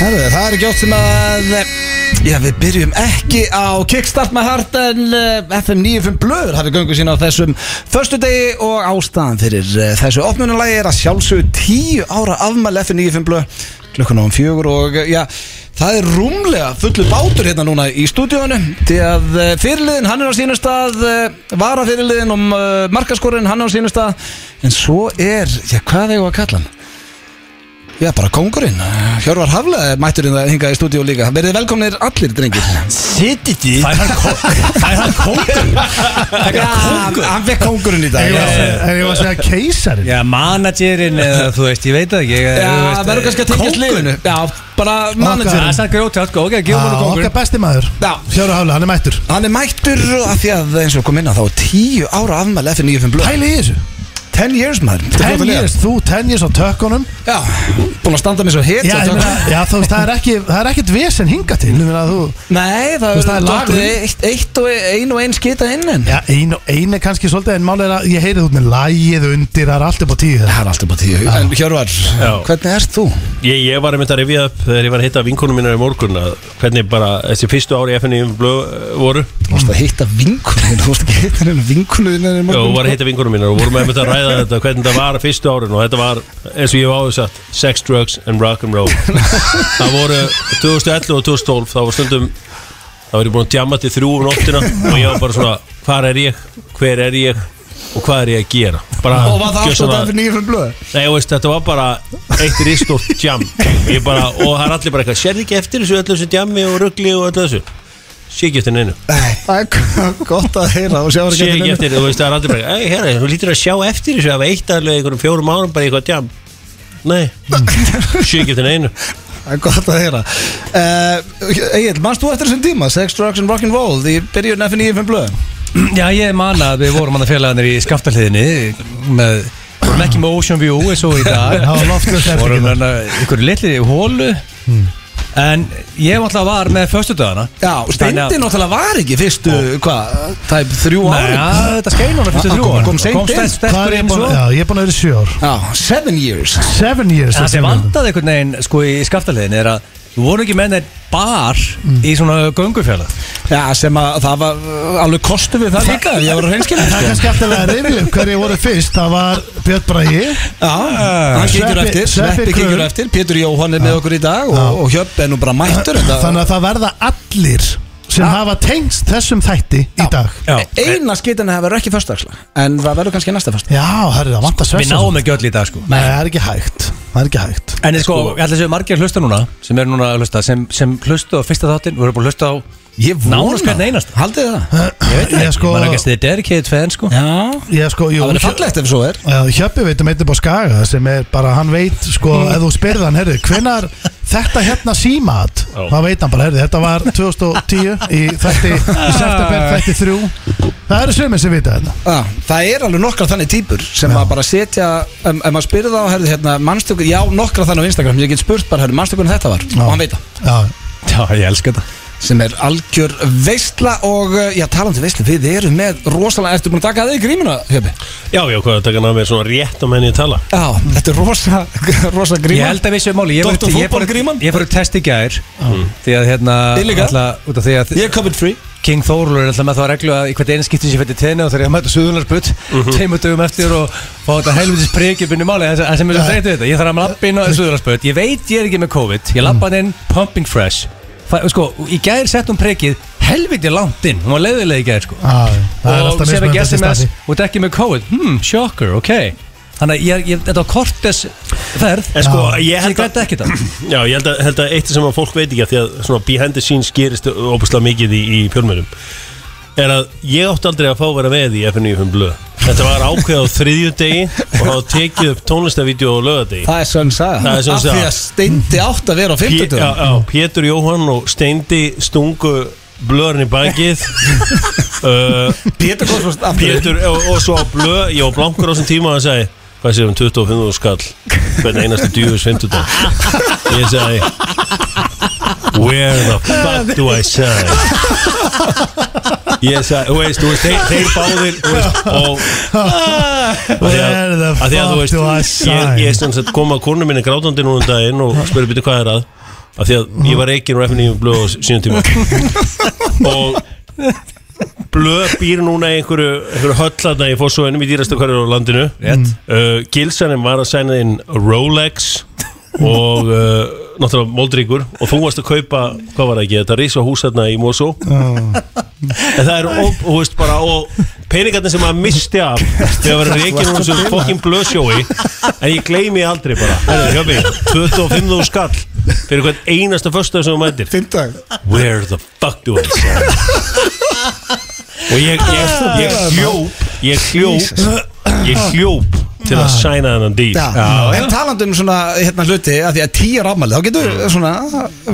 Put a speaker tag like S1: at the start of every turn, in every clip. S1: Herðu, það er ekki átt sem að eh, Já, við byrjum ekki á Kickstart með Hart en uh, FM 95 Blöður hafið göngu sína á þessum förstu degi og ástæðan fyrir uh, þessu opnunulagi er að sjálfsögðu 10 ára afmæli FM 95 Blöð klukkan á um fjögur og uh, já, það er rúmlega fullu bátur hérna núna í stúdíónu því að uh, fyrirliðin hann er á sínum stað uh, varafyrirliðin um uh, markaskorinn hann er á sínum stað en svo er, já, hvað eigum við að kalla hann? Já, bara kongurinn. Hjörvar Hafla er mætturinn að hinga í stúdíu líka. Verðið velkomnir allir, drengir.
S2: Sittið því
S3: Það er hann kókur Það er hann kókur Það er hann kókur
S1: hann fekk kongurinn í
S2: En
S1: dag.
S2: ég var að
S1: Já,
S2: segja- en ég var að segja keisarinn
S3: Já, managerinn eða þú veist, ég veit það ekki ég- þú veist,
S1: það verður kannski að tengja
S3: kóngurinn.
S1: sliðinu. Já, bara
S3: Það
S1: managerinn.
S3: er sann grjóti, hann kókur, gefum hann
S2: Já, Okkar
S3: kókur
S2: besti maður
S1: Já.
S2: Fjóra hafla, hann er mættur
S1: Hann er mættur af því að eins og kom inn á þá er tíu ára afmæli eftir 95 blöð.
S2: Pæli í þessu
S1: Ten years, maður. Þetta
S2: 10
S1: er flott að
S2: years, þú 10 years á tökkunum
S1: lifa. Já, búin að standa með svo hit.
S2: Já,
S1: á
S2: ég meina,
S1: tökum.
S2: já þú veist, það er ekki Það er ekkert vesen hinga til Ég meina, þú
S1: Nei, það
S2: veist, það er
S1: er
S2: lagur.
S1: dottið eitt, eitt og ein og ein skita inn en.
S2: Já, ein og ein er kannski svolítið En málið er að ég heyrið út með lagið undir Það er allt upp á tíu það
S1: Það er alltaf bara tíu. En Hjörvar, hvernig ert þú?
S4: Ég, ég var að mynda að rifja upp þegar ég var að hitta vinkonum mínar í morgun að hvernig bara þessi fyrstu ári FNI blöð eh, voru
S1: Þú varst að hitta vinkunin, þú varst ekki að hitta henni vinkunin í
S4: og
S1: morgun.
S4: var að hitta vinkonum mínar og vorum að mynda að ræða þetta hvernig það var fyrstu árin og þetta var eins og ég hef áður sagt sex, drugs and rock'n'roll það voru 2011 og 2012 þá var stundum þá var ég búin að djama til þrjú um nóttina og ég var bara svona hvar er ég, hver er ég og hvað er ég að gera bara,
S1: Og var það allt og
S4: gjörsamlega-
S1: það fyrir 95 blöð?
S4: Nei, þú veist, þetta var bara eitt ristótt jam Ég bara, og það er allir bara eitthvað Sér ekki eftir þessu, öllu þessu jammi og ruggli og öllu þessu Sé ekki eftir neinu
S1: Nei, það er gott að heyra og sjá
S4: Sé
S1: ekki
S4: ekki
S1: eftir
S4: eftir, þú veist, það er allir bara Ei, herra, þú lítur að sjá eftir þessu Það var eitt aðlega einhverjum fjórum árum bara í eitthvað jam Nei, sé ekki eftir neinu
S1: Það er gott að heyra uh, Egil, manst þú eftir þessum tíma? Sex, drugs and rock'n'roll Því byrjun F95 blöð
S3: Já, ég man að við vorum hann að félagarnir í skaftahliðinni með vorum ekki með Ocean View eins og í dag
S2: Það var loftið þetta
S3: vorum hann að ykkur litli hólu en ég alltaf var með föstudagana
S1: Hmm. Já,
S3: Þannig
S1: Steindi
S3: að-
S1: náttúrulega var ekki fyrstu, hvað, tæp þrjú
S3: Nei,
S1: ári
S3: ja, þetta skein hann fyrstu
S1: Hann
S3: þrjú
S1: Ah, kom-
S3: árin.
S1: kom seint inn.
S3: sterk-
S2: Hvað er
S3: sterkur
S2: ég
S3: inn
S2: búin
S3: svo
S2: að Já, ég er búin að vera í sjö ár
S1: Já, seven years
S2: Seven years
S3: Það sem
S2: er seven.
S3: vandaði einhvern veginn sko í skaftalegin er að þú voru ekki með þeir bar í svona göngufjörða
S1: Mm. Já, sem að það var uh, alveg kostu við það líka Ég var reynskilin
S2: Það er kannski eftir að rifja upp hverju voru fyrst Það var Björn Bragi
S1: Já, Ah, hann kikir
S2: Sveppi-
S1: eftir,
S2: Sveppi
S1: Sveppi kikir
S2: Kröll.
S1: eftir Pétur Jóhann er með okkur í dag og, og Hjöpp er nú bara mættur þetta-
S2: Þannig að það verða allir Sem hafa tengst þessum þætti í dag
S1: Eina skitana hefur ekki förstaksla En það verður kannski næsta förstaksla
S2: Já, herri, það vantar
S3: Við
S2: svessa
S3: náum ekki öll í dag sko
S2: Nei, það er ekki hægt Það er ekki hægt
S3: En sko, ég ætla að séu margir að hlusta núna sem eru núna að hlusta, sem, sem hlustu á fyrsta þáttinn og eru búin að hlusta á
S1: Ég vona
S3: Nánast hvern einasta.
S1: Haldið þið það?
S2: Ég veit
S3: Ég
S2: Ég sko,
S3: maður ekki að stiði dedicated fan sko
S1: Já
S2: ég sko, jú
S1: Það verður fallegt ef svo er
S2: Já, Hjöppi veit um eitthvað búið skaga sem er bara, hann veit sko, ef þú spyrð hann, herri, hvenar þetta hérna símat,
S4: Já.
S2: þá veit hann bara, herri, þetta var 2010 í þætti, í september þætti þrjú Það eru sömur sem vita þetta
S1: Já, það er alveg nokkra þannig týpur sem að bara setja, ef um, maður spyrir þá herði, hérna, mannstökur, já nokkra þannig á Instagram ég get spurt bara, herði, mannstökur þetta var og hann veit það,
S2: Já,
S3: Já, ég elska þetta
S1: sem er algjör veistla og, uh, já, talandi veistla við erum með rosalega, ertu búin að taka þig í grímuna, Hjöpi?
S4: Já, já, hvað er að taka námið svona rétt á menni að tala
S1: Já, þetta er rosa, rosa
S3: Ég
S1: gríma
S3: held að við séum máli Ég fór-
S1: Dr.
S3: ég fór-
S1: Fótbolgríman?
S3: Ég fór að testa í gær
S4: Hmm.
S3: Því að hérna
S1: Ég líka.
S3: alltaf, út af því að
S1: Ég er COVID free
S3: King Þórlur er alltaf með þá reglu að í hvert einu skiptin sem fyrir tenni og þegar ég mæta suðunarbutt mm
S1: Mhm.
S3: -hmm. teimur dögum eftir og fá þetta helvitis prikjubinni máli en sem- en sem er svo þreytið þetta, ég þarf að lappa inn á suðunarbutt ég veit ég er ekki með COVID, ég
S1: Mhm.
S3: lappa hann inn pumping fresh, Fæ, sko í gær sett hún prikið helviti langt inn hún var leiðilega í gær sko
S2: já, það er
S3: og
S2: alltaf
S3: sem ekki
S2: mismunandi
S3: SMS
S2: staffi
S3: og þetta ekki með COVID, hmm, shocker, ok þannig að ég, ég, þetta var kortes ferð,
S4: En sko, ég
S3: ég
S4: held að
S3: gæti ekki þetta
S4: Já, ég held að, held að eitt sem að fólk veit ekki af Því að svona behind the scenes gerist óbúslega mikið í, í fjölmjölum Er að ég átti aldrei að fá að vera með í FNF blöð Þetta var ákveð á þriðju degi Og þá tekið upp tónlistavídeó á lögadegi
S1: Það er sönn saga
S4: Það er sönn
S1: Af því
S4: saga.
S1: að steindi átt að vera á
S4: Pé-
S1: 50
S4: já, já, Pétur Jóhann og Steindi stungu blöðurinn í bakið uh,
S1: Pétur kom svo aftur.
S4: Pétur og, og svo blöð Ég var blankur á þessum tíma og hann sagði Hvað séum 25 og skall Hvern einasta djúðus 50 Ég sagði Where the fuck do I sign? Ég sagði, þú veist, þú veist, þeir, þeir báðir þú veist, og Af því
S2: Where the
S4: af því að þú
S2: fuck do I
S4: veist,
S2: sign?
S4: Ég, ég sem sagt kom að konu minni grátandi núna um daginn og spurði býtti hvað er að af því að ég var reygin og FNI og um blöð á sínum tíma og blöð býr núna í einhverju, einhverju höllatna í fórsóinum í dýrasta hverju á landinu
S3: Rétt.
S4: uh, Gilsanum var að sæna inn Rolex og uh, náttúrulega Moldríkur og þú varst að kaupa, hvað var það ekki, þetta rísa hús þarna í Mosó en það eru, og, og veist bara og peningarnir sem maður misti af þegar að vera reikin úr þessu fokkin blöðsjói en ég gleymi aldrei bara Herri, hjá mig, 25.000 skall fyrir hvern einasta föstudag sem þú mætir
S1: Fymtag
S4: Where the fuck do I sign? og ég,
S1: Ah,
S4: ég, ég hljóp ég hljóp ég hljóp til að sæna þennan dýr
S1: Ah. Já, en talandi um svona hérna hluti að því að tíu rámæli, þá getur svona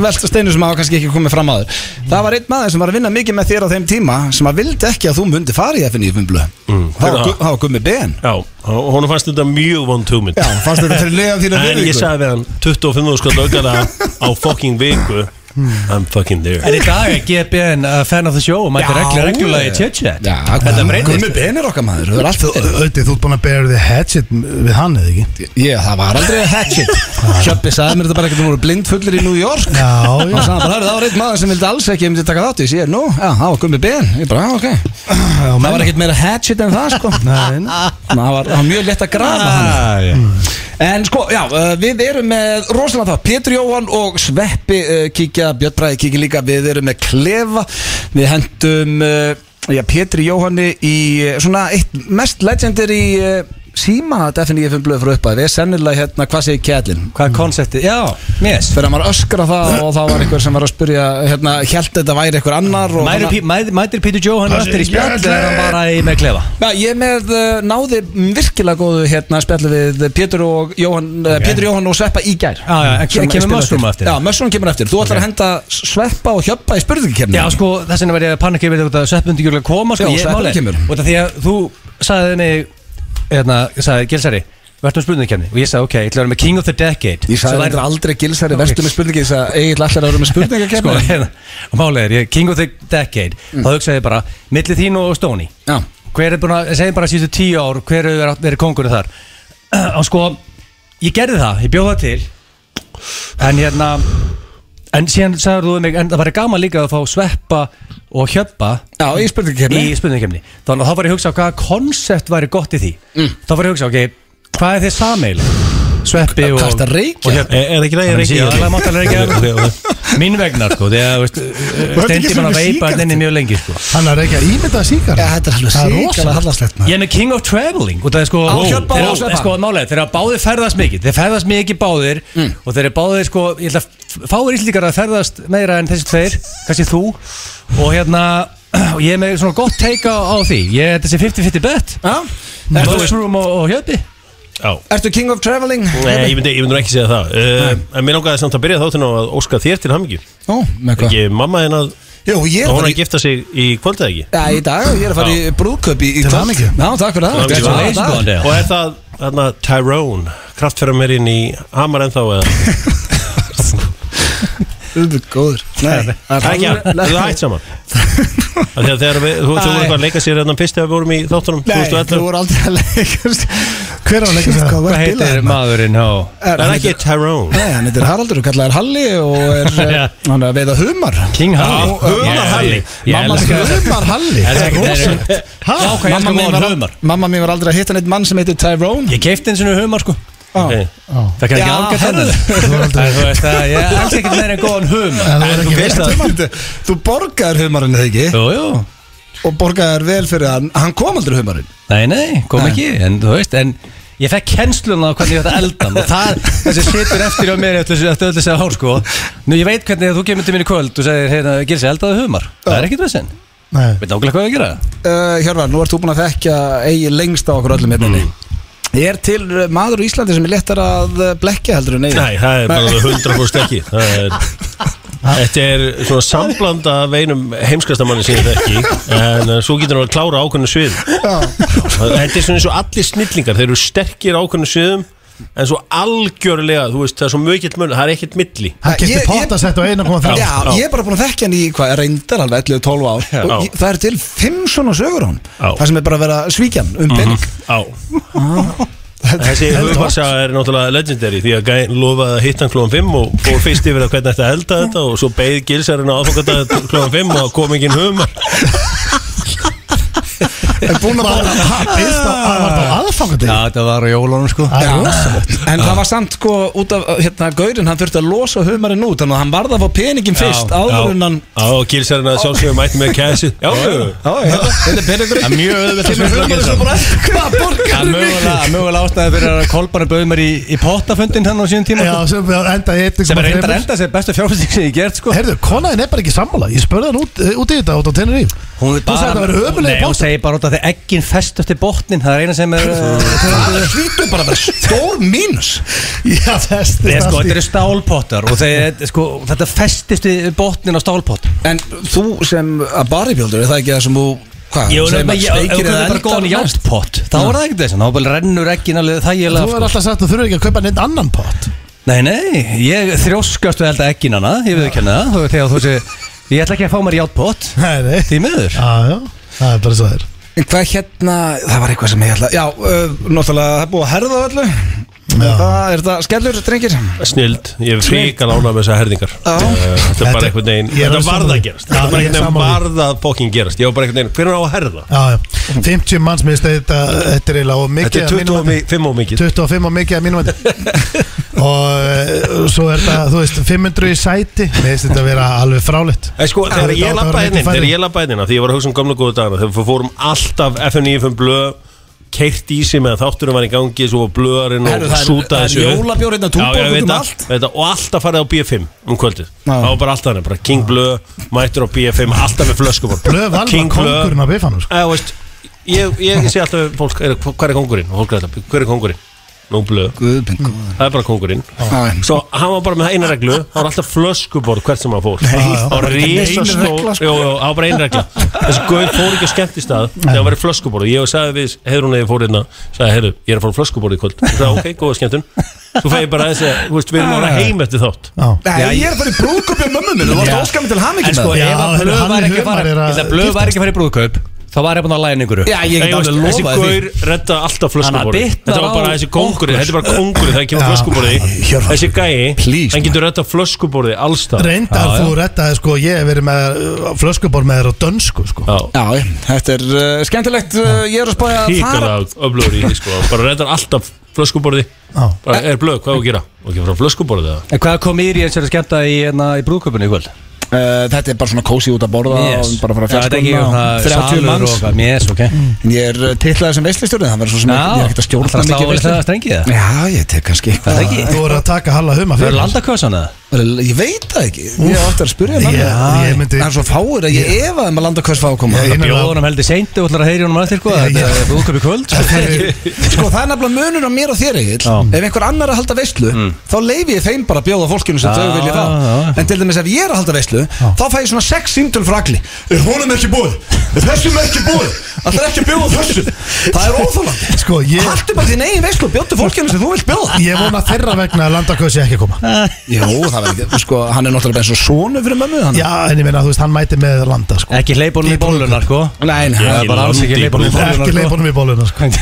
S1: velta steinu sem hafa kannski ekki komið fram áður Það var einn maður sem var að vinna mikið með þér á þeim tíma sem að vildi ekki að þú myndi fara í FNI Fumlu mm. Það var
S4: Hver
S1: Gu- það var Gummi Ben
S4: Já, og honum fannst þetta mjög vond hugmynd
S1: Já, fannst þetta fyrir leiðan þína
S4: en ég
S1: virðingu?
S4: sagði við hann 25.000 skall aukala á fucking viku
S1: Hmm.
S4: I'm fucking there
S3: En í dag er GBN uh, fan of the show og mætir
S1: Já,
S3: reglu- reglulega í
S1: ég.
S3: chit-chat
S1: Já,
S3: Þetta
S1: Gummi-
S3: breytist
S1: Gummi Ben er okkar maður, það er allt
S2: Þú- Auðvitað, þú ert búin að bera þig hatchet við hann eða ekki?
S1: Ég, það var aldrei hatchet Hjöppi sagði mér þetta bara ekki, þú voru blindfullir í New York
S2: Já,
S1: Og
S2: já,
S1: sagði bara, "Herru, það var einn maður sem vildi alls ekki, ég myndi taka þátt í þessu." Ég er, nú, já, það var Gummi Ben Ég bara, já, ok
S2: já
S1: Það var ekkert meira hatchet en það sko
S2: Nei, nei.
S1: Ná, það, var, það var mjög lett að grafa hann
S3: Ah, já.
S1: En sko, já, uh, við erum með rosalega það Pétur Jóhann og Sveppi uh, kíkja Björn Bræði kíkja líka Við erum með Klefa Við hendum uh, já, Pétur Jóhanni í uh, svona eitt mest legendir í uh, síma FNF blöð frá uppæði Við erum sennilega hérna, hvað segir Kjellin?
S3: Hvað er konseptið? Já, yes.
S1: Þegar maður öskra það og það var einhver sem var að spyrja hérna, held þetta væri einhver annar og
S3: Mæri,
S1: þannig-
S3: pí, mæ, Mætir Pítur Jóhann
S2: Það
S3: eftir í
S2: sé
S3: spjall
S2: spjall.
S3: eða er hann bara í með klefa?
S1: Já, ég er með uh, náði virkilega góðu hérna spjallu við Pétur og Jóhann, okay. Pétur Jóhann og Sveppa í gær
S3: Já, já, en
S1: Sem
S3: ke- kemur
S1: ég spila
S3: Mushroom eftir?
S1: Já, Mushroom kemur eftir Þú ætlar að henda Sveppa og Hjöppa í spurningkemni
S3: Já, sko, þess vegna var ég að panika yfir þetta að sveppundi gjörlega koma sko,
S1: Já,
S3: ég-
S1: sveppur
S3: málið-
S1: kemur.
S3: Og það því að þú sagði mig, hérna, sagði Gilsari, verðum spurningkjarni Og ég sagði, ok, ég ætla að vera með King of the Decade Svo
S1: Ég sagði
S3: væri-
S1: þetta aldrei gilsæri
S3: Ok.
S1: verstu með spurningi Ég sagði um eiginlega allar að vera með
S3: sko,
S1: spurningakemni
S3: hérna, og málið er, ég, King of the Decade Þá hugsaði ég bara, milli þín og Stóni
S1: Mm. Já,
S3: Hver er búin að, segjum bara síðustu tíu ár Hver er verið kongurinn þar Og sko, ég gerði það, ég bjóð það til En hérna En síðan sagður þú við mig En það var gaman líka að fá sveppa og hjöppa
S1: já í spurningakemni
S3: Í spurningkemni Þannig að þá var ég að hugsa hvaða konsept væri gott í því
S1: Mm.
S3: Þá var ég að hugsa, ok, hvað er þið sameil Sveppi og
S1: Hvað ertu að reykja?
S3: og Hjöbba.
S4: Er, er ekki nægir
S3: Já, það er máttalega reykja.
S4: ekki
S3: Mín vegna, sko, þegar, veist Stendi
S2: ekki
S3: mann að
S2: svona
S3: veipa
S2: sígarettu?
S3: henni mjög lengi, sko
S2: Hann er ekki að ímynda síkar
S1: Já, þetta er alveg
S2: rosalega
S1: sýkala hallarslegt
S3: Ég er með King of Traveling og það er sko,
S1: Á Hjöbba og
S3: þeirra,
S1: Sveppa.
S3: er sko málega, þeirra báðir ferðast mikið þeir ferðast mikið báðir
S1: Mm.
S3: og þeirra báðir sko, ég ætla að fáir íslíkar að ferðast meira en þessi tveir, kannski þú og hérna og ég er með svona gott teika á á því ég er þessi 50-50 bet
S1: Já, Ertu-
S3: Mushroom og, og Hjöbbi
S4: Já
S1: Ertu king of traveling?
S4: Nei, ég myndi, ég myndi nú ekki segja það uh, En mér langaði samt að byrja þáttinn á að óska þér til hamingju
S1: Ó, með hvað?
S4: Ekki mamma þinn að
S1: Jú, ég
S4: að
S1: er
S4: hún er
S1: það
S4: að gifta sig í kvöld eða ekki
S1: Já, í dag, ég er að fara í brúðköp í, í
S2: Til
S1: kvöld.
S2: hamingju.
S1: Já, takk fyrir
S4: Til
S1: það
S4: hamingju.
S1: Glæsilegt.
S3: Congratulations, Blondell.
S4: Og er það þarna Tyrone Kraftferðarmerinn í Hamar ennþá eða
S1: Þú ert góður Nei, það
S4: Ekki,
S1: er
S4: þú er hægt saman Af því að Þegar við, þú, þú voru eitthvað að leika sér hérna fyrst þegar við vorum í þáttunum
S1: Nei, þú
S4: 2011
S1: voru aldrei að leikast
S2: Hver á að leika sér?
S1: Hvað
S3: Hvað heitir maðurinn á
S4: Það er ekki Tyrone
S1: Nei, hann heitir Haraldur og kallaði Halli og er,
S3: Já.
S1: eh, hann er að veiða humar
S3: King Halli
S4: Já, Humar Halli.
S3: Ég
S1: Mamma
S3: elskar þetta
S1: humar Halli
S3: Það er ekki
S1: Ha?
S3: Já, hvað ég
S1: Mamma
S3: elskar
S1: mín
S3: góðan
S1: var-
S3: humar
S1: Mamma mín var aldrei að hitta neitt mann sem heitir Tyrone
S3: Ég keipti eins og humar sko
S4: Ok.
S3: Það kann ekki
S1: Já,
S3: ágætt
S1: herðu.
S3: hennar Þú veist það, ég elskar ekki meira en góðan humar
S2: Það er
S4: En
S2: ekki
S4: þú veist að
S1: Þú- Þú borgaðir humarinn eða ekki
S3: Jú, jú
S1: og borgaðir vel fyrir hann hann kom aldrei humarinn
S3: Nei, nei, kom ekki, en þú veist, en ég fekk kensluna á hvernig ég ætti að elda hann og það, þessi situr eftir á mér eftir, eftir öll þessi hár, sko Nú, ég veit hvernig að þú kemur til mín í kvöld og segir, hérna, Gilsi, eldaðu humar Það er ekkit vissinn,
S2: Nei,
S3: veit nákvæmlega hvað við að gera
S1: uh, Hjörvar, nú ert þú búin að þekkja eigi lengst á okkur öllum hérna mm. Er til eh, maður í Íslandi sem er lettar að eh, blekkja heldur en eigi?
S4: Nei, það er bara 100% ekki Það er Þetta er svona samblanda af einum heimskastamanni sem ég þekki en uh, svo getur hann að klára ákveðinu svið Þetta er svona eins og allir snillingar þeir eru sterkir á ákveðinu sviðum en svo algjörlega, þú veist, það er svo mjögill mun það er ekkert milli
S2: hann
S1: Ég-
S2: kipti
S1: ég-
S2: pottasett á 1,3
S1: Já,
S4: já.
S1: ég er bara búin að þekkja hann í hvað reyndar alveg 11-12 ár
S4: Já.
S1: og ég, það er til 5 svona sögur á hann
S4: Já. Mhm.
S1: það sem er bara að vera svíkjan um pening
S4: Á, Þessi hugfarsaga er náttúrulega legendary því að Gæn lofaði að hitta hann klóðan 5 og fór fyrst yfir að hvernig ætti að elda þetta og svo beigð gilsarinn á aðfangandag klóðan 5 og það kom enginn humar
S2: er búin að bara hann byrst á að var það aðfangandi
S3: Já, þetta var á jólunum sko
S2: Það er rosalegt
S1: En það var samt sko út af hérna Gaurinn hann þurfti að losa humarinn út Þannig að hann varði að fá peningin fyrst áður en hann
S4: Já, og gilsarinn að sjálfsögum mætti með kæsi Já, já,
S1: Já, já, þetta er peningurinn
S3: Það er mjög auðvitað að svindla Gilsson.
S1: Hvað borgar
S3: Það er mögulega- mögulega ástæði fyrir að Kolbarn bauð mér í, í pottafundin hann á síðan tíma
S2: Já,
S3: sko.
S2: sem við enda í
S3: sem er reyndar
S2: 1,3
S3: enda sem bestu fjárfæsting sem ég hef gert sko
S2: Herðu, konaðin er bara ekki sammála Ég spurði hann út, eh, út í þetta út á Teneríf
S3: Hún
S2: Þú sagði að það væri ömurlegur
S3: Nei, hún
S2: pottur.
S3: segi bara út af því egginn festast í botnin Það er eina sem er eh,
S1: Það hlýtur bara að vera stór mínus
S2: Já, þess
S3: Nei, sko, þetta eru stálpottar og þeir, sko, þetta festist í botnin á stálpott
S1: En þú sem að baribjöldur Er það ekki það sem þú Hvað,
S3: Ég var
S1: segir
S3: nefnilega,
S1: maður,
S3: ég- ef
S1: steikir
S3: þú
S1: eða
S3: er bara góðan í
S1: eldar mest?
S3: játpott Þá er það ekkert þess, þá bara rennur egginn alveg þægilega
S2: Þú er
S3: sko.
S2: alltaf sagt að þú þurfur ekki að kaupa neitt annan pott
S3: Nei, nei, ég þrjóskast við elda egginn hana Ég við kenna það, þú- þegar þú sé Ég ætla ekki að fá mér játpott
S2: Nei, nei
S3: Því miður
S2: Já, já, það er bara svo þér
S1: En hvað hérna, það var eitthvað sem ég ætla Já, uh, náttúrulega það er búið að herða á öllu Það er það skellur, drengir
S4: snild Ég er fríkal ánað með þessar herðingar
S1: Já.
S4: Eh, Þetta er bara
S2: Þetta-
S4: einhvern veginn
S2: ég er
S4: Þetta
S2: alveg
S4: varð að
S2: sammála.
S4: gerast
S2: Já,
S4: Þetta er bara
S2: ég er
S4: einhvern veginn
S2: sammála.
S4: varð að fokkin gerast Ég var bara einhvern veginn, hvernig á að herða?
S2: Já, já 50 manns minnst þetta Þetta er eiginlega og mikið
S4: Þetta er
S2: að
S4: 25
S2: mínum mati-
S4: og fimm og mikið
S2: 25 og mikið að mínum vandi Og eh, svo er þetta, þú veist, 500 í sæti Mér finnst þetta að vera alveg fráleitt
S4: En sko, þegar
S2: Þetta
S4: ég
S2: átti að
S4: lappa hérna
S2: vera miklu
S4: inn, þegar
S2: færri.
S4: ég lappa hérna inn, af því ég var að hugsa um gamla góða dagana, þegar við fórum alltaf FN95 blöð, keirt í sig með að þátturum var í gangi, svo var blöðarinn
S1: Herru,
S4: og
S1: það er-
S4: súta
S1: það er
S4: þessu. upp.
S1: jólabjór hérna, túborg
S4: Já, ég
S1: út
S4: veit
S1: um
S4: það,
S1: allt.
S4: veit það, Og alltaf farið á B5 um kvöldið. Það var bara alltaf hann, bara King blöð, mættur á B5, alltaf með flöskum.
S2: Blöð valva kongurinn á bifanum sko.
S4: Já, veist, ég, ég sé alltaf við fólk, er, hvað er kongurinn? Og Fólk er alltaf, hver er kongurinn? Nú blöð,
S1: Guðbjörn góður.
S4: það er bara kongurinn.
S1: Já.
S4: Svo hann var bara með eina reglu Það var alltaf flöskuborð hvert sem hann fór Það var risa stór Jú, jú, það var bara eina regla Þessi gauð fór ekki að skemmt í stað Þegar hann var í flöskuborð Ég sagði við Heiðrún eða ég fór hérna Sagði, heyrðu, ég er að fara á flöskuborð í kvöld Það var ok, góða skemmtun Svo fæ ég bara þessi, þú veist, við erum ára heim eftir þátt
S2: Já,
S1: Nei, ég er bara í brúðköp með mömmu minn Þú varst óskar mig til
S3: En
S1: hamingi með
S3: sko,
S1: það
S2: Já,
S3: ef
S2: en
S3: að blöð
S2: hann
S3: var ekki
S2: í
S3: að
S2: humar
S3: fara
S2: er að
S3: Ef að blöð
S2: giftast.
S3: var ekki að fara í brúðkaup Þá var ég búin að læna einhverju
S1: Já, ég
S4: Nei,
S1: get
S4: veist,
S1: alveg
S4: Þessi
S1: lofað því
S4: gaur redda alltaf
S3: Hann
S4: flöskuborði
S3: bitnar
S4: Þetta var
S3: á
S4: bara þessi kongurinn
S3: okkur.
S4: Þetta er bara kongurinn þegar kemur
S2: Já,
S4: flöskuborði
S2: Hjörvar.
S4: Þessi gæi,
S1: Please,
S4: hann getur redda flöskuborði allstað
S2: Reyndar þú rettaði sko, ég hef verið með uh, flöskubor með þér á dönsku sko.
S4: Já,
S1: Já, ég- þetta er uh, skemmtilegt uh, Ég er að spája að fara
S4: híkala öflugur í því sko Bara reddar alltaf flöskuborði
S2: Já.
S4: bara, Er blöð, hvað á að gera? Og ekki frá flöskuborði eða?
S3: En hvað kom ír í eins og skemmta í, hérna, í brúðkaupinu í kvöld?
S1: uh, Þetta er bara svona kósi út að borða og bara að fara að
S3: þetta er ekki
S1: fjallskona og 30 manns
S3: Yes, ok
S1: En ég er uh, titlaði sem veistlistjórið Það verður svo sem ekki, ég er ekkert að
S3: það er
S1: stjórna mikið
S3: stálega
S1: veislu
S3: það strengið það
S1: Já, ég tek kannski eitthvað
S3: Það er ekki
S2: Þú voru að taka Halla Huma
S3: Það
S2: fyrir
S3: eru landakössan eða?
S1: Ég veit það ekki, ég átti að spyrja hann
S2: Já, ég myndi-
S1: Það er svo fáir að ég efaði um að landa hvers fá að koma
S2: Ég- ég-
S3: Bjóðunum hérna- heldur seint og ætlar að heyri honum að þér hvað
S2: Já,
S3: Þetta
S2: já.
S3: er brúðkaup í kvöld sko.
S1: Sko það er nefnilega munur á mér og þér Egil
S3: Já.
S1: Ef einhver annar er að halda veislu
S3: Mm.
S1: Þá leifi ég þeim bara að bjóða fólkinu sem
S3: Já,
S1: þau vilja
S3: já, já.
S1: það En til dæmis ef ég er að halda veislu Þá fæ ég svona sex símtöl frá agli Er honum ekki búið? Er þessum ekki búið? Það er ekki að bjóða þessu Það er óþólandi
S2: Sko, ég,
S1: Haltu bara þín eigin veislu og bjóttu fólkinu sem þú vilt bjóða
S2: ég vona þeirra vegna að landakausi ekki að koma
S1: Jó, það verður ekki Sko hann er náttúrulega eins og sonu fyrir mömmu hann
S2: Já, en ég meina, þú veist, hann mæti með landa sko.
S3: Ekki hleypunum í bólunar sko
S1: Nei, nei,
S3: Það er bara alls ekki hleypunum í
S2: Ekki leif
S3: bólunar
S2: honum í bóluna sko.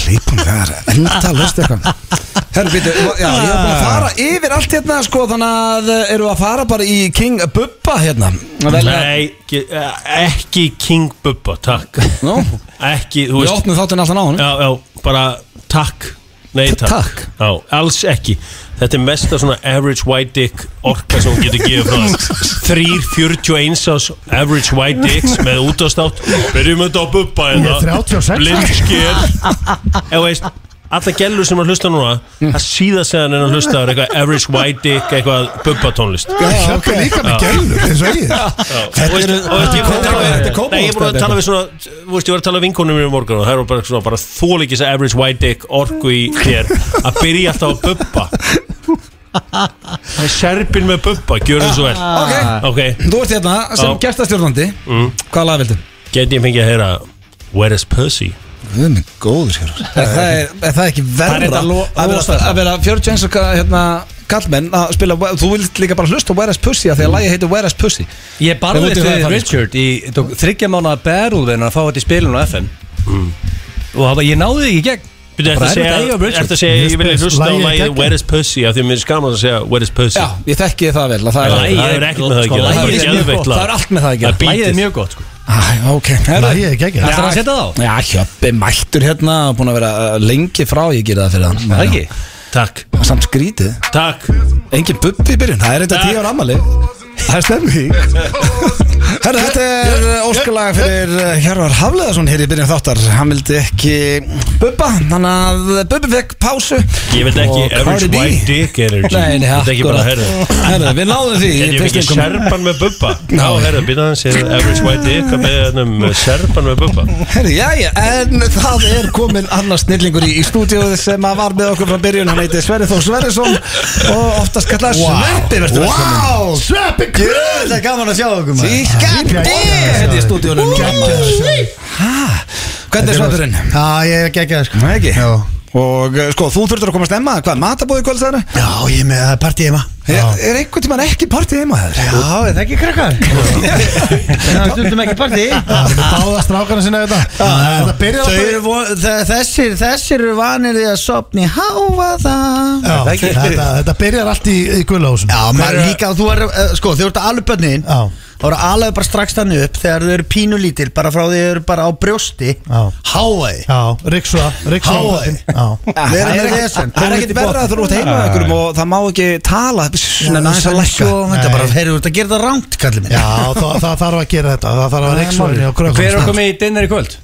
S1: Hleypum þar, enda löst sko. eitthvað Herru, býtu, já, ég er búin að fara yfir allt hérna, sko, þannig að eh, erum við að fara bara í King Bubba hérna Velja-
S4: Nei, ekki, ekki King Bubba, takk
S1: Nú,
S4: Ekki, þú
S1: við
S4: veist
S1: opnum þáttinn alltaf náðan
S4: já, já, bara takk Nei,
S1: T-
S4: takk,
S1: takk.
S4: Já, Alls ekki Þetta er mesta svona average white dick orka sem hún getur gefið frá þér. Þrír 41 ás average white dicks með útastátt Byrjum þetta á bubba
S2: Ég er 36 ára.
S4: Blindsker Ef veist Alla gælur sem að hlusta núna Það síða segðan en að hlusta á er eitthvað average white dick eitthvað bubba tónlist
S2: Hjálpa líka með gælur, eins og ég
S4: Þetta er
S1: Þetta er Kópavogs-
S4: Nei, ég er búin að tala við svona Þú veist, ég var að tala við vinkonum mér um morgun og það eru bara svona bara þól ekki þess að average white dick orku í þér að byrja alltaf að bubba Það er serpin með bubba, gjör það svo vel
S1: Ok,
S4: Ok,
S1: þú ert hérna sem
S4: Já.
S1: gestastjórnandi Hvað lag vildu?
S4: get ég fengið að heyra Where is Percy?
S1: Við erum góður hér Það er er það ekki
S3: Það er
S1: verra
S3: þetta lo-
S1: að vera-
S3: losast.
S1: að vera 41 og ka- hérna kallmenn að spila Þú vilt líka bara hlusta á Where is Pussy af því að lagi heitir Where is Pussy
S3: Ég
S1: Ég
S3: barðist
S1: múti það að
S3: við
S1: fara,
S3: Richard í þetta hérna, tók þriggja mánu að berúðin að fá þetta í spilinu á FM og það var- ég náði því ekki í gegn
S4: Byrju, Mm. ertu að
S3: Bara
S4: segja,
S3: erfitt að eiga Bridget.
S4: ertu að segja, ég vilja
S2: Lagið
S4: hlusta á
S2: er
S4: lagið
S2: geggjað.
S4: Where is Pussy, af því að mér er gaman að segja Where is Pussy
S1: Já, ég þekki það vel að það,
S4: Lagið-
S1: er,
S4: það er ekkert með það að gera,
S1: það er
S3: Lægið er mjög
S4: geðveikt
S3: gott
S4: lag.
S1: það er allt með
S4: Það
S1: það að
S4: er
S1: gera
S4: bí-
S3: Lægið
S4: Lagið
S3: er
S4: er
S3: mjög gott sko
S1: Æ, ok,
S2: Lagið er geggjað.
S3: Ætlarðu að setja það á?
S1: Já, hjöppi mættur hérna og búin að vera uh, lengi frá ég gerði það fyrir hann
S3: Það ekki?
S4: Takk,
S1: Já, Samt skrítið
S4: takk
S1: Engin bubbi í byrjun, það er þetta tíu ára ammali Það er stemming Herra, þetta er óskalaga fyrir uh, Hjörvar Hafleðarsson hér í byrjun þáttar Hann vildi ekki bubba Þannig að bubbi fekk pásu
S4: Ég veit ekki
S1: Og
S4: average
S1: Cardi B.
S4: white dick energy
S1: Nei, nei,
S4: Ég veit ekki bara,
S1: akkurat.
S4: herru
S1: Herra, Við náðum því
S4: En ég fikk ekki
S1: Fyrstum kom-
S4: serpan með bubba Já, herru, býta hans er average white dick að beða hann um serpan með bubba
S1: Herri, jæja, en það er komin annar snillingur í, í stúdíóið sem að var með okkur frá byrjun, hann heiti Sverri Þór Sverrisson og oftast kallar wow. Sveppi verður
S2: Wow, sveppi
S1: Það er gaman að sjá okkur maður Ískandi Þetta er stúdíónum Hvernig er Sveppurinn?
S2: Já, ég er geggjað sko
S1: Nei ekki
S2: Já.
S1: Og eh, sko, þú þurftur að koma að stemma Hvað, matabóði kvöld það er?
S2: Já, ég er með það er partí heima
S1: Er er einhvern tímann ekki partí heima þér?
S2: Já, er það ekki krakkar?
S5: Það er stundum ekki partí
S2: Báða strákarna sinna þetta Það byrjar
S5: Þau
S2: að
S5: eru vo- þe- Þessir, þessir eru vanir því að sopni háa það
S2: Já, þetta, þetta byrjar allt í, í gullhásum
S5: Já, maður er líka, þú er, eh, sko, þau eru þetta alveg bönnin
S2: Já.
S5: Það eru alveg bara strax þannig upp þegar þau eru pínulítil bara frá því þau eru bara á brjósti
S2: Já.
S5: háa þau
S2: Já, Riksua Riksua
S5: Hávaði.
S2: Já,
S1: Ja,
S5: Við erum
S1: það er
S5: með
S1: ekkert-
S5: vesen.
S1: það er ekkert verra að þú ert heima hjá einhverjum og það má ekki tala Nei, aðeins að lækka
S5: Svo, þetta
S2: Nei.
S5: bara, heyrðu, þetta gerir það rangt, kallið minn
S2: Já það, það þarf að gera þetta Það þarf að Riksua inni á krökkum
S3: Hver er að koma í dinner í kvöld?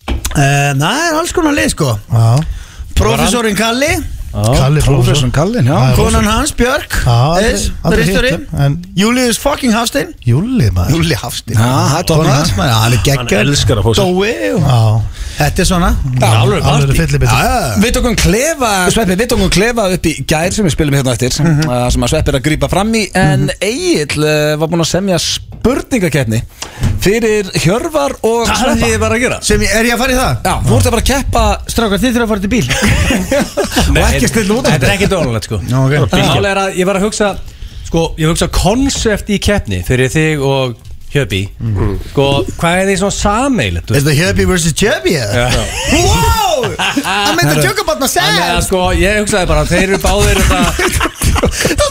S5: Eh, Það er alls konar leið, sko
S2: Já,
S5: Professorinn Kalli,
S2: Kalli
S1: Prófessor Kallinn, já.
S2: Það er
S5: konan hans, Björk
S2: Já, aldrei-
S5: Eðs,
S2: aldrei hitt
S5: Ritstjóri
S2: hann, en-
S5: Július fucking Hafstein
S2: Júli maður
S5: Júli Hafstein
S1: Já, það er toppurinn,
S5: Konan hans, maður, hann er
S4: Hann
S5: geggjör
S4: elskar að fá sér
S5: Dói og-
S2: Já,
S5: Þetta er svona
S3: Alveg
S2: alveg
S3: partí
S2: fyllibitur
S1: Við tókum um klefa, Sveppi, við tókum klefa upp í gær sem við spilum hérna eftir mm sem að Sveppi er að grípa fram í en mm Egil var búinn að semja spurningakeppni fyrir Hjörvar og
S3: Það er því ég var að gera
S5: Sem ég, er ég að fara í það?
S1: Já, þú ert að bara keppa
S5: Strákar, þið þurfa að fara til bíl
S1: og ekki stilla út af
S3: Þetta er
S1: þetta
S3: ekki dónalegt sko
S5: Já, ok.
S3: Mál er að ég var að hugsa Sko, ég var að hugsa konsept í keppni Fyrir þig og Hjöbi
S4: Mm.
S3: Sko, hvað er því svona sameilegt?
S5: Is the Hubby vs. Chubby? eða? Wow! I meant to joke about
S3: Þannig að
S5: myself
S3: sko, ég hugsaði bara Þeir eru báðir þetta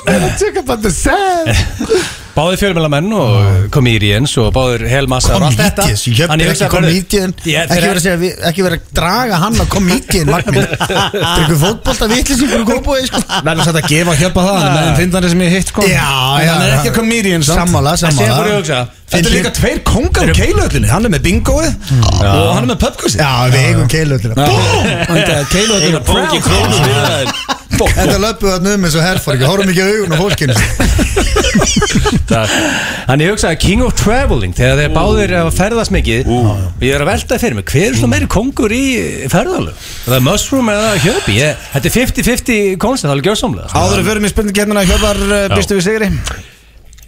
S5: I meant to joke about myself
S3: Báðir fjölmjölamenn og komedians Og báðir hel massa og allt þetta
S5: Comedians, E ég hef ekki comedian
S3: Þannig ég hugsaði bara, Ég-
S5: Ekki verið að segja, við- ekki verið að E draga hann á comedian Magmin Tryggur fótbolta vitlisingur og góðbúi sko.
S1: Verður satt að gefa Hjörpa það, hann er meðin fyndandi sem ég hitt sko
S5: Já, já
S1: En hann er ekki að comedian samt
S5: Sammála,
S3: En síðan fór ég að
S5: sammála
S3: hugsa
S1: Þetta er líka tveir kongar á keilöðlunni, hann er með bingoið og hann er með pubquizið
S5: Já, við eigum keilöldina
S1: Keilöðlunni
S4: Eina bóki krónu fyrir það
S5: Þetta löpum við um eins og herfóringi Hórum ekki augun og fólkinu
S4: Takk
S3: Þannig ég hugsaði King of Traveling Þegar þeir báðir að ferðast mikið Og ég er að velta fyrir mig Hver er svona meiri kongur í ferðalög? Er Það Mushroom eða Hjöbi Ég- Þetta er 50-50 konsept, það er gjörsamlega sko.
S1: Áður en við förum í spurningakeppnina Hjörvar, eh,
S4: Já.
S1: býstu við sigri?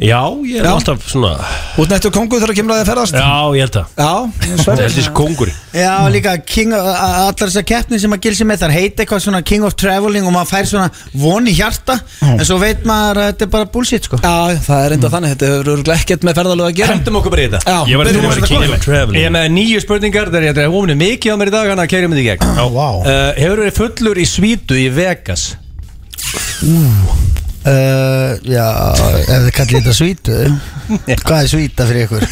S4: Já, ég er
S1: Já.
S4: alltaf svona
S1: Út nættu kongu þegar kemur að þið ferðast?
S4: Já, ég held það
S1: Já,
S4: Ég
S1: Sverrir.
S4: held þessi kongur
S5: Já, líka King of, a- allar þessar keppni sem að gilsi með þar heita eitthvað svona King of Traveling og maður fær svona von í hjarta en svo veit maður að þetta er bara bullshit sko
S1: Já, það er enda þannig, þetta hefur örugglega ekkert með ferðalög að gera
S3: Hendum okkur bara í þetta
S1: Já,
S4: Ég var til að
S1: byrjum á
S4: vera
S1: þetta
S4: king
S1: kongu.
S4: of traveling
S3: Ég er með nýju spurningar, þegar ég er ofinu mikið á mér í dag Þannig að kæri mig í gegn
S2: Já, vá
S3: uh, Hefur verið fullur í svítu í Vegas?
S5: uh, Já, ef þið kallir þetta svítu Hvað er svíta fyrir ykkur?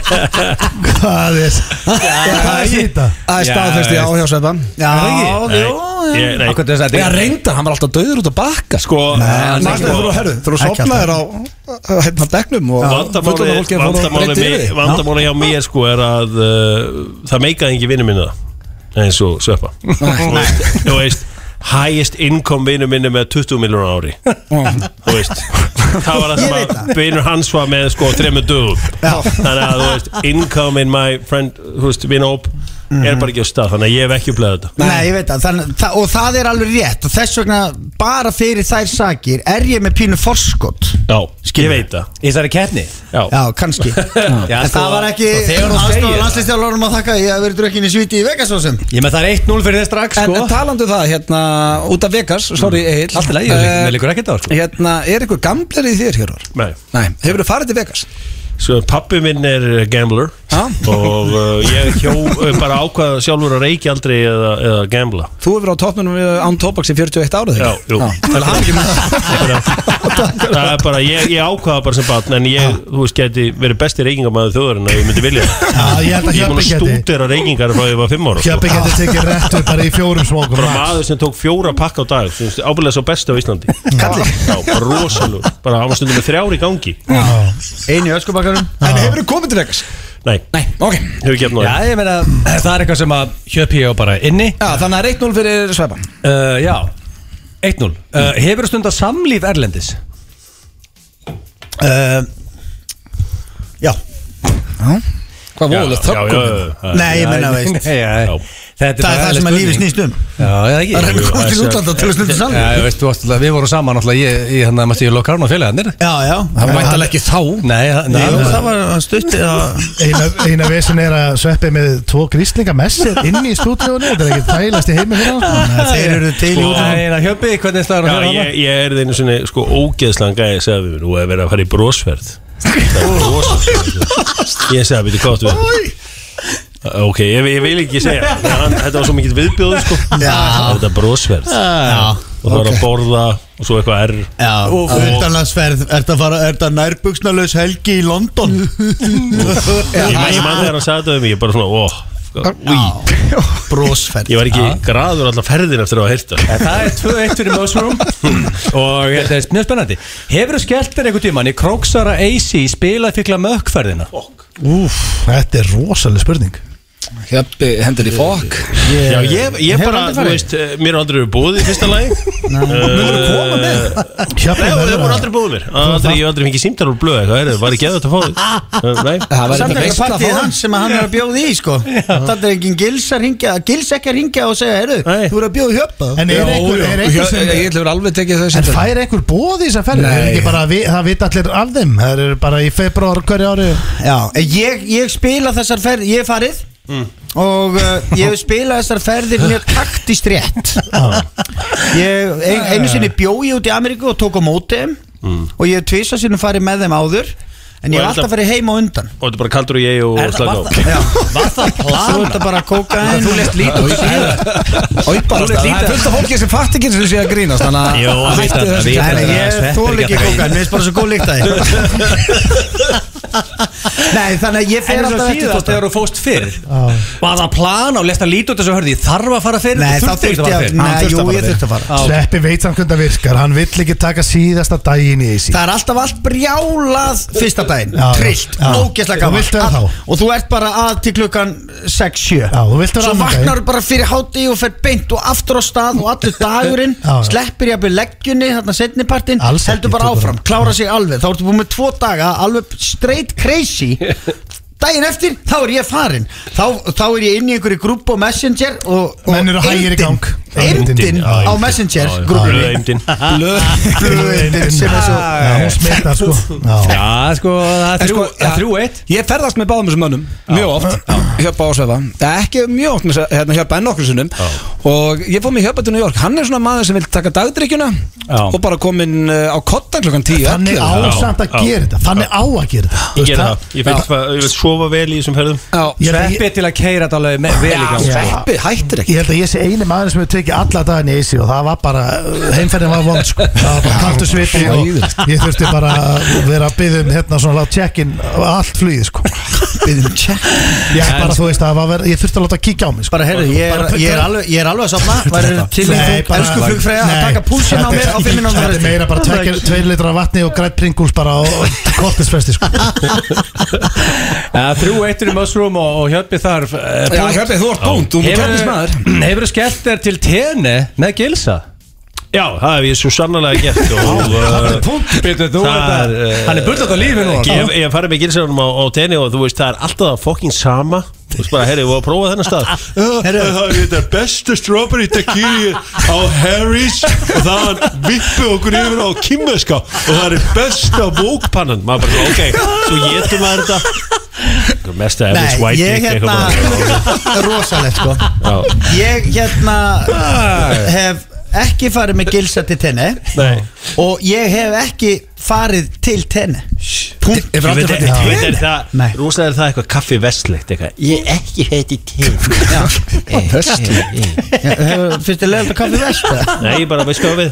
S2: Hvað er Hvað er þetta?
S1: Það er
S3: Já,
S1: staðfesti á hjá Sveppa
S5: Já,
S3: ekki?
S5: jú
S4: Ég- nei.
S3: Akkur þess að
S1: Já, reyndar, hann var alltaf döður út að bakka sko.
S4: Sko,
S1: Manstu,
S4: sko,
S1: Þú þurfum að herðu, þú þurfum að
S5: Ekki
S1: sopna þér á uh, hérna degnum og fullorðna
S4: Vandamáli
S1: fólki fór og
S4: vandamáli
S1: breiddi yfir
S4: mi-
S1: þig.
S4: vandamáli hjá mér sko er að uh, það meikaði ekki vinnu minna eins og sveppa Þú veist- Þú veist, highest income vinnu minni með 20 miljónar ári Þú veist, það var það sem að vinnur hans var með sko þremmu dögum Þannig að þú veist, income in my friend, þú veist, vinnóp
S2: Mhm.
S4: er bara ekki á stað, þannig að ég hef ekki upplegað þetta
S5: Nei, ég veit það, þannig, það og það er alveg rétt og þess vegna bara fyrir þær sakir er ég með pínu forskot
S4: Já, ég veit það
S3: Í þessari keppni
S4: Já,
S5: Já, kannski
S3: Já,
S5: En
S3: sko,
S5: það var ekki
S3: og þegar hún segir
S5: aðstofa
S3: það.
S5: landslistjálfurinn að þakka ég að verið drukkin í svíti í Vegasósum
S3: Ég með það er 1-0 fyrir þess strax
S1: En
S3: sko
S1: en talandu það, hérna, út af Vegas Sorry, Egil
S3: Allt í lagi, ég
S1: Eh,
S3: ligg- mér liggur ekkert á, sko.
S1: Hérna, er einhver gamlir í þér, Hjörvar?
S4: nei
S1: Nei, hefur þú farið til Vegas?
S4: Sko, pappi minn er eh, gambler
S1: Já.
S4: og uh, ég hjó, eh, bara ákvað sjálfur að reykja aldrei eða, eða gambla
S1: Þú hefur á topnum án tóbaks í 41 ára
S4: Já, jú.
S1: Það er ekki með
S4: það er bara, ég, ég ákvaða bara sem batn en ég, þú veist, geti verið besti reykingamæður þjóðurinn ef ég myndi vilja
S2: Já, ég held að
S4: ég er búin
S2: Hjöppi
S4: að
S2: geti
S4: stúdera reykingar frá ég var fimm ára sko.
S2: Hjöppi geti tekið réttu bara í fjórum smókum
S4: bara
S2: max.
S4: maður sem tók fjóra pakka á dag þú veist, ábyrðlega svo besti á Íslandi já, bara rosalur, bara hann var stundum með þrjár í gangi
S5: Einu öskubakarum
S1: En hefur þú komið til Vegas?
S4: nei,
S1: Nei, ok
S4: hefur ekki efna
S3: Já, ég meina, það er eitthvað sem að hjöpi ég á bara inni
S1: Já, þannig að 1-0 fyrir Sveipan
S3: uh, Já, 1-0 uh, Hefur þú stundar samlíf Erlendis?
S5: uh, Já
S1: Hvað voðalegt
S4: já,
S1: þökkum
S4: já, já, já.
S5: Nei, ég meina,
S3: Nei,
S5: veist
S3: nei, já,
S4: Já.
S3: Þetta
S5: Það er það sem að lífi
S3: spurning.
S5: snýst um
S3: Já, eða ekki
S5: Það er að
S4: Jú,
S5: komast til
S4: það er-
S5: útlanda til að stunda
S3: Já,
S5: saman
S3: ég veist, þú varst alltaf, við vorum saman alltaf Ég, ég hann að hérna, maður stíði Locarno félagarnir
S5: Já, já
S3: Það mættalega ekki þá Nei, það-
S5: Jú,
S3: nei,
S5: Það var hann stutti að
S2: Eina, eina vesin er að sveppi með tvo gríslinga messir inn í stúdíónu Þetta er ekki þægilegst í heimi hérna
S5: Þeir eru til í
S4: Sko,
S5: útlanda
S3: Nei, það hjöpi, hvernig staður
S4: Já,
S3: að hana?
S4: ég, ég er einu svona sko ógeðslan gæði að segja við mér, nú er verið að fara í brósferð það er brósferð ég segja, veitir hvað þú verður ok, ég, ég vil ekki segja en hann, þetta var svo mikið viðbjóð sko. þetta er brósferð
S5: Já,
S4: og það var að borða og svo eitthvað err
S5: já Utanlandsferð Ertu að fara Ertu að nærbuksnalaus helgi í London
S4: ég man ég man þegar hann sagði þetta um mig, ég bara svona óh,
S5: Brósferð
S4: ég var ekki graður allar ferðin eftir að hafa heyrt það
S3: Það er 2-1 fyrir Mösrum Og þetta er mjög spennandi Hefur þú skellt þér einhvern tímann í Króksara AC spilað fyrkla mökkferðina?
S2: Úf, þetta er rosalega spurning
S1: Hjöppi hendur í fokk
S4: Já, ég, ég bara, þú veist, eh, mér er aldrei verið búið í fyrsta lagi Eh, Möndur þú koma með?
S2: Hjöppi
S4: Nei, það
S2: verður
S4: voru
S2: að-
S4: aldrei búið mér aldrei, Ég hef aldrei fengið símtar úr blöð eitthvað, heyrðu, var ekki eða þetta að fá Eh, þig
S1: Það var
S5: Samt
S1: eitthvað
S5: ekki
S1: veist að
S5: partið
S1: fá
S5: hans sem að hann er að bjóða í sko Þetta er engin gils að ringja Gils ekki að ringja og segja Heyrðu,
S4: Nei.
S5: þú eru að bjóða hjöpa
S2: En er einhver, er einhver sem
S1: Ég ætlur alveg tekið þau
S2: En
S1: sem
S2: fær einhver bóð í þessar ferðir?
S1: Nei.
S2: Er ekki bara að vi- Það vita allir af þeim Það eru bara í februar hverju ári
S5: Já, en ég, ég spila þessar ferð, ég er farið og uh, ég hef spilað þessar ferðir mjög taktist rétt ég, ein, einu sinni bjó ég út í Ameríku og tók á móti þeim og ég hef tvisa sinni farið með þeim áður en
S4: Mm. Og er
S5: ég hef alltaf
S4: þetta-
S5: farið heim á undan
S4: Og þetta er bara kaldur og ég og
S3: Er það-
S4: slaka á
S3: var það-
S5: Já, var það plan? Svo er þetta bara kókaðin
S3: Þú lest lítið út síðan
S1: Óipar,
S3: Þú leit
S1: það
S3: lítið-
S1: er fullt af fólki sem fatt ekki sem sé að grínast Þannig að
S4: Jó,
S1: hættu
S4: veit það, veit
S1: þessu.
S5: Nei, nei,
S3: Það
S5: ég
S3: er
S5: þól ekki
S3: sveppir ekki
S5: kókaðin, mér finnst bara svo góð líkt að þið Nei, þannig að ég fer
S3: En þess
S5: alltaf
S3: að
S5: eftir
S3: síðast
S5: fótbolta.
S3: þegar þú fóst fyrr Var það plan á lest að líti út þessu hörði Ég þarf að fara fyrr
S5: Nei,
S3: þú
S5: þá
S3: þurftir
S5: þurfti
S3: ekki
S5: að,
S3: fara
S5: nei,
S3: fyrr.
S5: jú, ég
S3: Hann þurfti
S5: þurfti að fara
S3: Já.
S2: Sveppi veit hann hvernig það virkar Hann vill ekki taka síðasta daginn í þessi
S5: Það er alltaf allt brjálað fyrsta daginn
S2: Já, já.
S5: Trillt,
S2: Já.
S5: ógeðslega
S2: Og viltu
S5: gaman
S2: það
S5: All-
S2: þá?
S5: Og þú ert bara að til klukkan 6-7
S2: Já, þú viltu
S5: Svo
S2: það annan
S5: vaknar þú bara fyrir háti og fer beint og aftur á stað og allur dagurinn
S2: Já, já.
S5: Sleppir ég að byrja leggjunni, þarna setnipartin
S2: Alls ekki,
S5: Heldur bara
S2: þú
S5: áfram,
S2: bara-
S5: klára sig alveg Þá ertu búin með tvo daga, alveg straight crazy Daginn eftir, þá er ég farin Þá, þá er ég inn í einhverju grúpp og messenger og, og
S2: Menn eru hægir í
S5: eymdin-
S2: gang.
S5: Eymdin
S2: Eymdin, já,
S5: á
S2: eymdin.
S5: messenger
S4: Blöð
S5: grúppinni
S4: eimdin
S5: Blöðin sem er svo
S2: Já, hún smitar sko Já.
S3: Já, sko, það
S1: En
S3: er þrjú-
S1: sko,
S3: það er
S1: ja,
S3: þrjú eitt
S1: Ég ferðast með báðum þessum mönnum Mjög oft Hjöpa og svefa Ekki mjög oft með se- hérna, Hjöpa en nokkur sinnum Og ég fór með Hjöpa til New York Hann er svona maður sem vil taka dagdrykkjuna
S3: Já.
S1: Og bara komin uh, á kottan klukkan 10
S2: Þannig á
S4: Já,
S2: samt að
S4: já.
S2: gera þetta Þannig á að gera þetta
S4: Ég
S2: Þú veist,
S4: gerði það, ég vil fa- ég vil sofa vel í þessum ferðum
S1: Já,
S2: Ég held að ég-
S3: Sveppi til að keira þetta alveg me- vel í gang
S2: Já.
S1: Sveppi hættir ekki
S2: Ég held að ég sé eini maður sem hefur tekið alla daginn í Ísi og það var bara, heimferðin var vond sko. það var bara kaltu sviti og ég þurfti bara að vera að byggja um hérna svona látt check-in á allt flugið sko.
S5: Byðum check
S2: ég, bara, þú veist, það var, verið- ég þurfti að láta kíkja á mig sko.
S5: Bara heyrðu, ég, er- ég, er alveg- ég er alveg að sopna Væri til í
S2: Nei,
S5: þú,
S2: bara-
S5: elsku flugfræða að
S2: Nei,
S5: taka púlsinn á
S2: þetta er-
S5: mér á fimm mínútur
S2: Þetta er meira bara tveir, tveir litra af vatni og grætt pringuls bara á kortisfesti sko.
S3: Ja, Þrjú eittur í Mushroom og, eh, og Hjöppi þarf
S1: Já, Hjöpi, þú ert búnd, þú mútt hættis maður
S3: Hefur þú skellt þér til tenni með Gilsa?
S4: Já, það hef ég svo sannlega gert og uh,
S3: Býtu, þú
S4: Það
S3: er
S4: er, eh,
S3: Hann er bullat á lífi nú
S4: ég, ég hef farið með gilsarunum á, á tenni og þú veist, það er alltaf það fokkin sama Þú veist bara, herri, við varum að prófa þennan stað
S5: Heyrðu.
S4: Það er þetta besta strawberry tequila á Harry's og það vippu okkur yfir á kimmeska og það er besta vókpannan Maður bara, ok, svo getum maður þetta Mesta Evans
S5: Nei,
S4: White
S5: ég
S4: dick, eitthvað
S5: hérna Rosalegt sko
S4: bara. Já.
S5: Ég hérna hef ekki farið með gilsa til tenni
S4: Nei,
S5: Og ég hef ekki farið til tenni Punkt.
S1: Ég fyrir aldrei
S4: Ég veit-
S1: fætt í
S4: ég veit
S1: teni.
S4: er það,
S5: Nei.
S4: Rúslega er það eitthvað kaffi vestlegt eitthvað
S5: Ég er ekki fætt í til Fyrst er leiðilegt að kaffi vest eða?
S4: Nei, ég bara, veist hvað við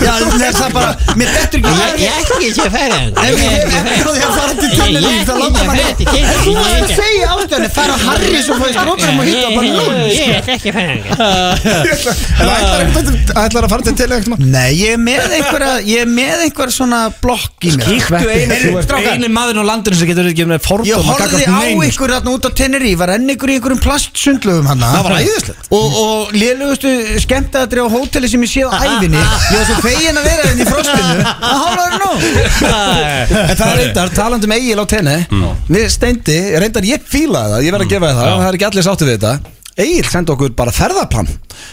S5: Já, það er það bara Mér dettur ekki Ég er ekki Ef ég hef ekki á því að fara til Tenerife þá langar maður ekki Þú var að segja ástöðunni fara að Harrys og fæði stróknum og um hitta bara lón
S1: En ætlar einhvern veginn- ætlar að fara til tele eitthvað
S5: Nei, ég er með einhverja Ég er með einhverja svona blokk í mér
S1: Kíktu
S5: Heyrðu, strákar.
S1: einu maðurinn á landinu sem getur ekki með fordóma
S5: Ég horfði
S1: gagnvart
S5: á
S1: neinu.
S2: sko.
S5: ykkur þarna út á Tenerife var enn ykkur í einhverjum plastsundlöfum hann
S1: Það var æðislegt.
S5: Og, og lélugustu skemmtadri á hóteli sem ég séð
S2: Ah,
S5: á ævinni Ég var svo fegin að vera henni í frostinu Það hálfaður nú
S1: En það er reyndar, talandum Egil á tenni Við steindi, reyndar ég fílaði það Ég
S3: Mm.
S1: verð að gefa þér það, það er ekki allir sáttu við þetta Egil sendi okkur bara ferðaplan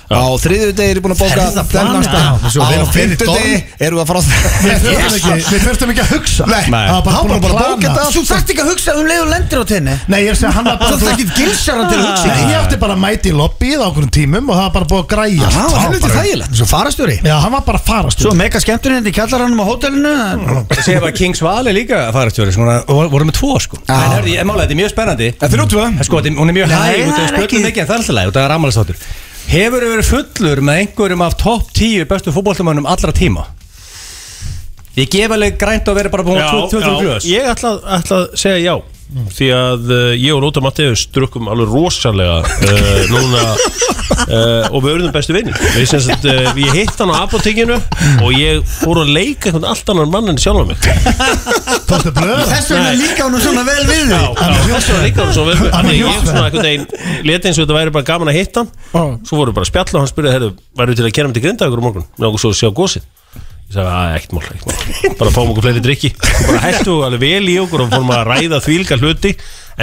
S1: Á þriðju degi er ég búin að bóka
S5: Ferðaplan,
S1: þennan stað.
S5: já.
S2: Svo
S1: Á
S2: þeir á fyrri
S1: fymtu degi erum við að
S2: Við
S1: fara á
S2: þurftum ekki- við þurftum ekki að hugsa
S1: Nei.
S2: Það var bara
S1: Hann var
S2: búin að
S1: bara
S2: plana
S1: bóka
S5: Þú þarft ekki að hugsa um leið og lendir á tenni
S2: Nei, ég er að segja hann var bara
S5: Þú þarft ekki gilsar hann til að hugsa um
S2: Nei, ég átti bara að mæti í lobbyið á okkur tímum og það var bara búið að græja
S1: Það var helviti
S2: bara-
S1: þægilegt
S5: Svo farastjóri
S2: Já, hann var bara að farast
S5: Svo mega skemmtun henni í kjallaranum á hótelinu
S3: Ég segja bara King Svali líka að fara stjóri Svona, og voru með tvo sko
S1: Já.
S3: En hörðu, ég mála, þetta er mjög spennandi
S1: En Ah. þrjú tvö.
S3: En Sko, þetta er- hún er mjög
S5: Nei,
S3: hæg
S5: það
S3: út af
S5: er
S3: spöldum
S5: ekki.
S3: ekki En það er alltaf læg, út af rammalastáttur Hefur verið fullur með einhverjum af topp 10 bestu fótboltamönnum allra tíma? Ég gef alveg grænt að vera bara búin að 23 glöðs
S4: Ég ætla, ætla að segja já Því að uh, ég og Róta Matteus drukkum alveg rosalega uh, núna uh, og við urðum bestu vinni Við sem sagt, uh, ég hitt hann á apotekinu og ég fór að leika einhvern allt annan mann en sjálf mig
S2: Tókstu blöð
S5: Þess vegna líka hún svona vel við
S4: Já,
S5: þig
S4: já, þess vegna líka hann svo vel með-
S2: Hann er
S4: Þannig ég
S2: hjálpsveit.
S4: svona einhvern veginn leti eins og þetta væri bara gaman að hitta hann Svo voru bara að spjalla og hann spurði Herru, væru til að kera um til grinda ykkur á morgun Mér okkur svo að sjá gósið Ég sagði, að ekkert mál, ekkert mál Bara fáum okkur fleiri drikki Og bara hættu alveg vel í okkur og fórum að ræða þvílga hluti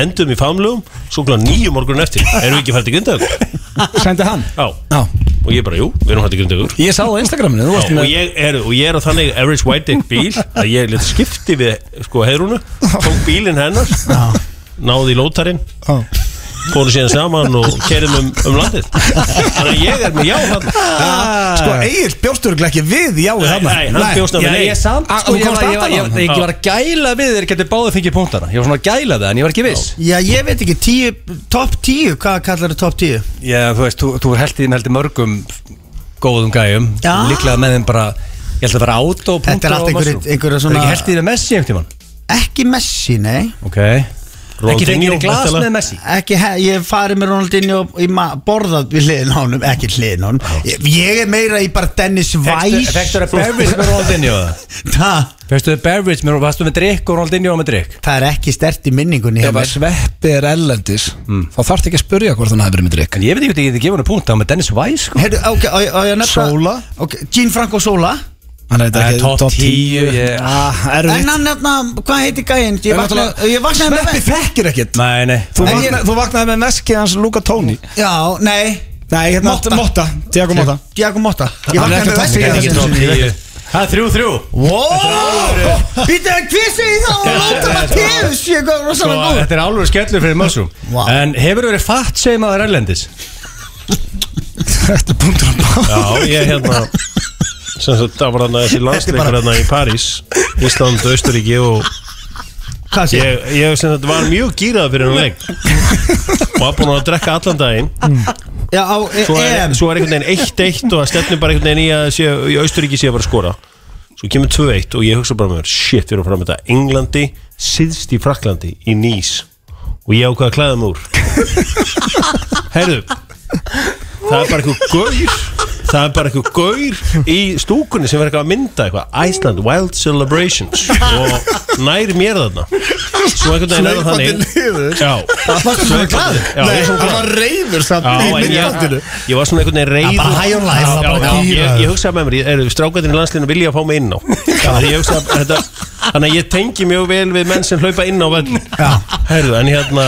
S4: Endum í famlugum, svo klá nýju morgun eftir Erum við ekki fært til grinda ykkur?
S1: Sendi hann
S4: Já
S1: Já.
S4: Og ég bara, jú, við erum fært til grinda ykkur
S1: Ég sá það á Instagraminu, þú varst
S4: Já, og,
S1: með
S4: ég er, og ég er á þannig average white dick bíl að ég lit skipti við sko heyrúnu, tók bílinn hennar náði í lótarinn fóru síðan saman og kerðum um, um landið þannig að ég er með já hann
S1: Sko, Egil bjóstur ekki við jáið
S4: Nei,
S1: þarna
S4: nei, hann bjóst að
S3: Já,
S4: við
S3: ég samt,
S1: Ah,
S3: sko,
S1: þú
S3: ég
S1: komst
S3: var, ég,
S1: aftan
S3: var,
S1: á
S3: ég,
S1: hann.
S3: ég, ég var að gæla við þeir getur báðið fengið punktana Ég var svona að gæla það, en ég var ekki viss
S5: Já, ég veit ekki, tíu, topp tíu, hvað kallar þið topp tíu?
S3: Já, þú veist, þú, þú held í með heldur mörgum góðum gæjum
S5: Já.
S3: Líklega með þeim bara, ég held að vera át og
S5: Þetta er allt einhverjir- einhverja
S3: svona
S5: svona-
S3: Það er ekki held í með Messi einhvern tímann
S5: Ekki Messi, nei
S3: Ok Ekki fengið í glas með Messi
S5: ekki, he- ég fari með Ronaldinho og ég ma- borðað við hliðin á honum ekki hliðin á honum ég, ég er meira í bara Dennis Weiss
S3: Fekstu það beverage með Ronaldinho það?
S5: það,
S3: Fekstu það beverage með, varstu með drikk og Ronaldinho með drikk?
S5: það er ekki stert í minningunni hjá
S1: Ef að
S5: mér.
S1: sveppi er ellendis Þá þarfti ekki að spurja hvort hann hafi verið með drikk
S3: Mm. En ég veit ekki hvort ég geti gefið hann punkt, það var með Dennis Weiss sko
S5: Heyrðu, ok, á, ég- á ég að nefna
S2: Sóla.
S5: okay, Gianfranco Sola
S1: Hann er
S3: Eh,
S1: þetta ekki
S3: topp 10, ég-
S1: Ah, Erfitt
S5: en hann nefna, hvað heiti gæinn ég
S1: En
S5: vakna-
S1: náttúrulega-
S5: ég vaknaði með
S1: Sveppi þekkir ekkert
S3: Nei, nei
S1: Þú,
S5: En
S1: vakna,
S5: ég-
S1: þú vaknaði með meski hans Luka Tóni
S5: já, nei,
S1: Nei, hérna
S5: Motta.
S1: Motta Tiago Motta
S5: Diago Motta ég
S1: Hann
S5: vaknaði
S1: er
S5: með
S1: ekki topp
S5: Messi
S1: tíu,
S5: einu
S1: hann er
S5: sinni.
S1: ekki topp
S3: Það er þrjú þrjú
S5: Wow! Býta, hvað segir þá? Láta maður tíu, sé hvað
S3: Sko,
S5: rosalega góð
S3: þetta er alveg skellur fyrir Mössum
S5: Vá.
S3: En hefur verið fatt segjum að það er erlendis?
S1: Þetta er punktur á bá
S4: Já, ég hérna sem sagt, það var hann að þessi landsleikur hérna í París Ísland, Austuríki og
S5: Hvað segir?
S4: ég, ég sem sagt var mjög gýrað fyrir hann leik og var búin að drekka allan daginn
S5: Já, á E
S4: svo er,
S5: EM
S4: svo er einhvern veginn 1-1 og það stefnir bara einhvern veginn í að sé, í Austuríki sé að bara að skora svo kemur 2-1 og ég hugsa bara með mér shit, við erum fram með þetta Englandi síðst í Fraklandi í Nýs og ég ákvað að klæða mig úr herðu það er bara eitthvað gaur það er bara eitthvað gaur í stúkunni sem verður eitthvað að mynda eitthvað Iceland Wild Celebrations og nær mér þarna svo einhvern veginn er það þannig já, það
S5: varstu svona glaður?
S4: já, ég er svona glaður
S1: reyður samt
S4: Já, en ég, ég var svona einhvern veginn reyður
S2: bara high on life,
S4: Já,
S2: það var bara
S4: já,
S2: gíraður.
S4: ég, ég hugsaði með mér, er, strákættin í landslinu vilja að fá mig inn á Þannig að ég hugsaði, að þetta, þannig að ég tengi mjög vel við menn sem hlaupa inn á völlin Herðu, en hérna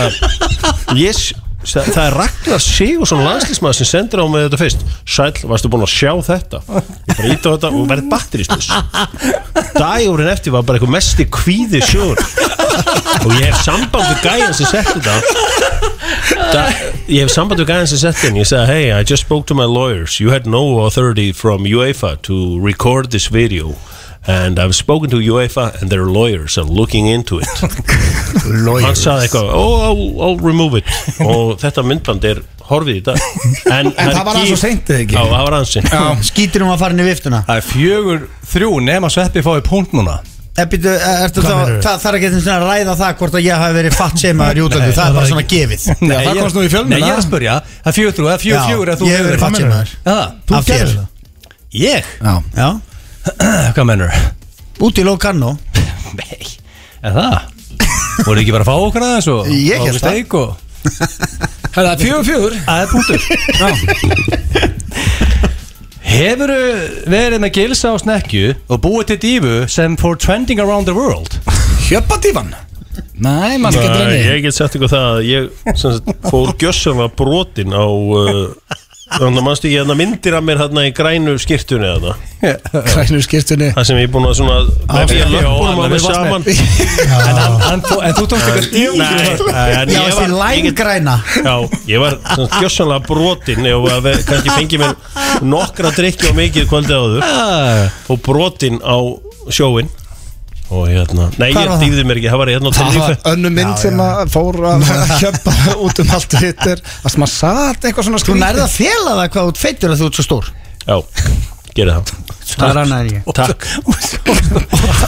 S4: ég, s- það er Ragnar Sigursson landslísmaður sem sendir á mig þetta fyrst Sæll, varstu búin að sjá þetta Ég bara íta á þetta og verði batteristús Dagurinn eftir var bara eitthvað mesti kvíði sjór og ég hef samband við gæjan sem setti þetta Da, ég hef samband við gæðan sem sett inn ég sagði hey I just spoke to my lawyers you had no authority from UEFA to record this video and I've spoken to UEFA and their lawyers are looking into it hann sagði eitthvað, oh, I'll, I'll remove it og þetta myndband er horfið í dag en,
S1: En það var aðeins og seint, eða ekki?
S4: Já, það var aðeins seint
S5: Skítir hún að fara inn í viftuna
S3: Það er fjögur þrjú nema sveppi fái punkt núna
S5: Er byrju, er- Eh, ertu þá-
S2: meinarðu?
S5: Það þarf ekki einu sinni að ræða það hvort að ég hafi verið fatt sem að rjútandi Það er bara svona gefið
S3: Nei,
S1: það
S3: ég-
S1: komst nú í fjölmiðla.
S3: Nei, ég er að spurja, það er fjögur þrjú, það er
S5: Já,
S3: fjögur fjögur að þú
S5: ég hef verið fatt sem að
S3: Já,
S1: Ah,
S2: Þú
S5: Af
S2: gerðir
S5: þér.
S2: það
S3: ég?
S1: Já
S5: Já
S3: Hvað mennur?
S5: Út í Locarno
S3: Nei, en það? Voru ekki bara að fá okkur aðeins og
S5: Ég hélt það.
S3: steik og
S1: Það er fjögur fjögur
S3: Það er punktur Hefur verið með gilsa á snekju og búið til dífu sem for trending around the world
S1: Hjöpadífan Nei, mann ekki
S4: Nei,
S1: drenni
S4: Ég get sagt eitthvað það að Ég sem sagt, fór gjössanlega brotin á uh, Þannig að mannstu ég hérna myndir af mér hérna í grænu skirtunni þarna
S1: Krænur skýrtunni
S4: Það sem ég er búin að svona Vefja löpunum á mig saman Nei,
S3: en, hann, hann, tó- en þú tókst eitthvað stíl
S4: nei, en ég
S5: Já,
S4: var
S5: þessi
S4: ég get-
S5: længræna
S4: Já, ég var sem sagt, gjössanlega brotin og að ve- kannski fengið mér nokkra drikki og mikið kvöldi áður
S5: Ah.
S4: og brotin á sjóin og hérna, nei
S5: Hvar
S4: ég
S5: var það?
S4: dýfði mér ekki, það var hérna á
S1: Það var
S4: Tenerife.
S1: önnu mynd sem að fór að hjöpa út um allt hitt er að maður satt eitthvað svona
S5: Þú
S1: skrítið.
S5: nærði að fela það hvað þú ert feitur að þú ert svo stór
S4: Já, gerði það
S5: Það er annað en ég
S4: Takk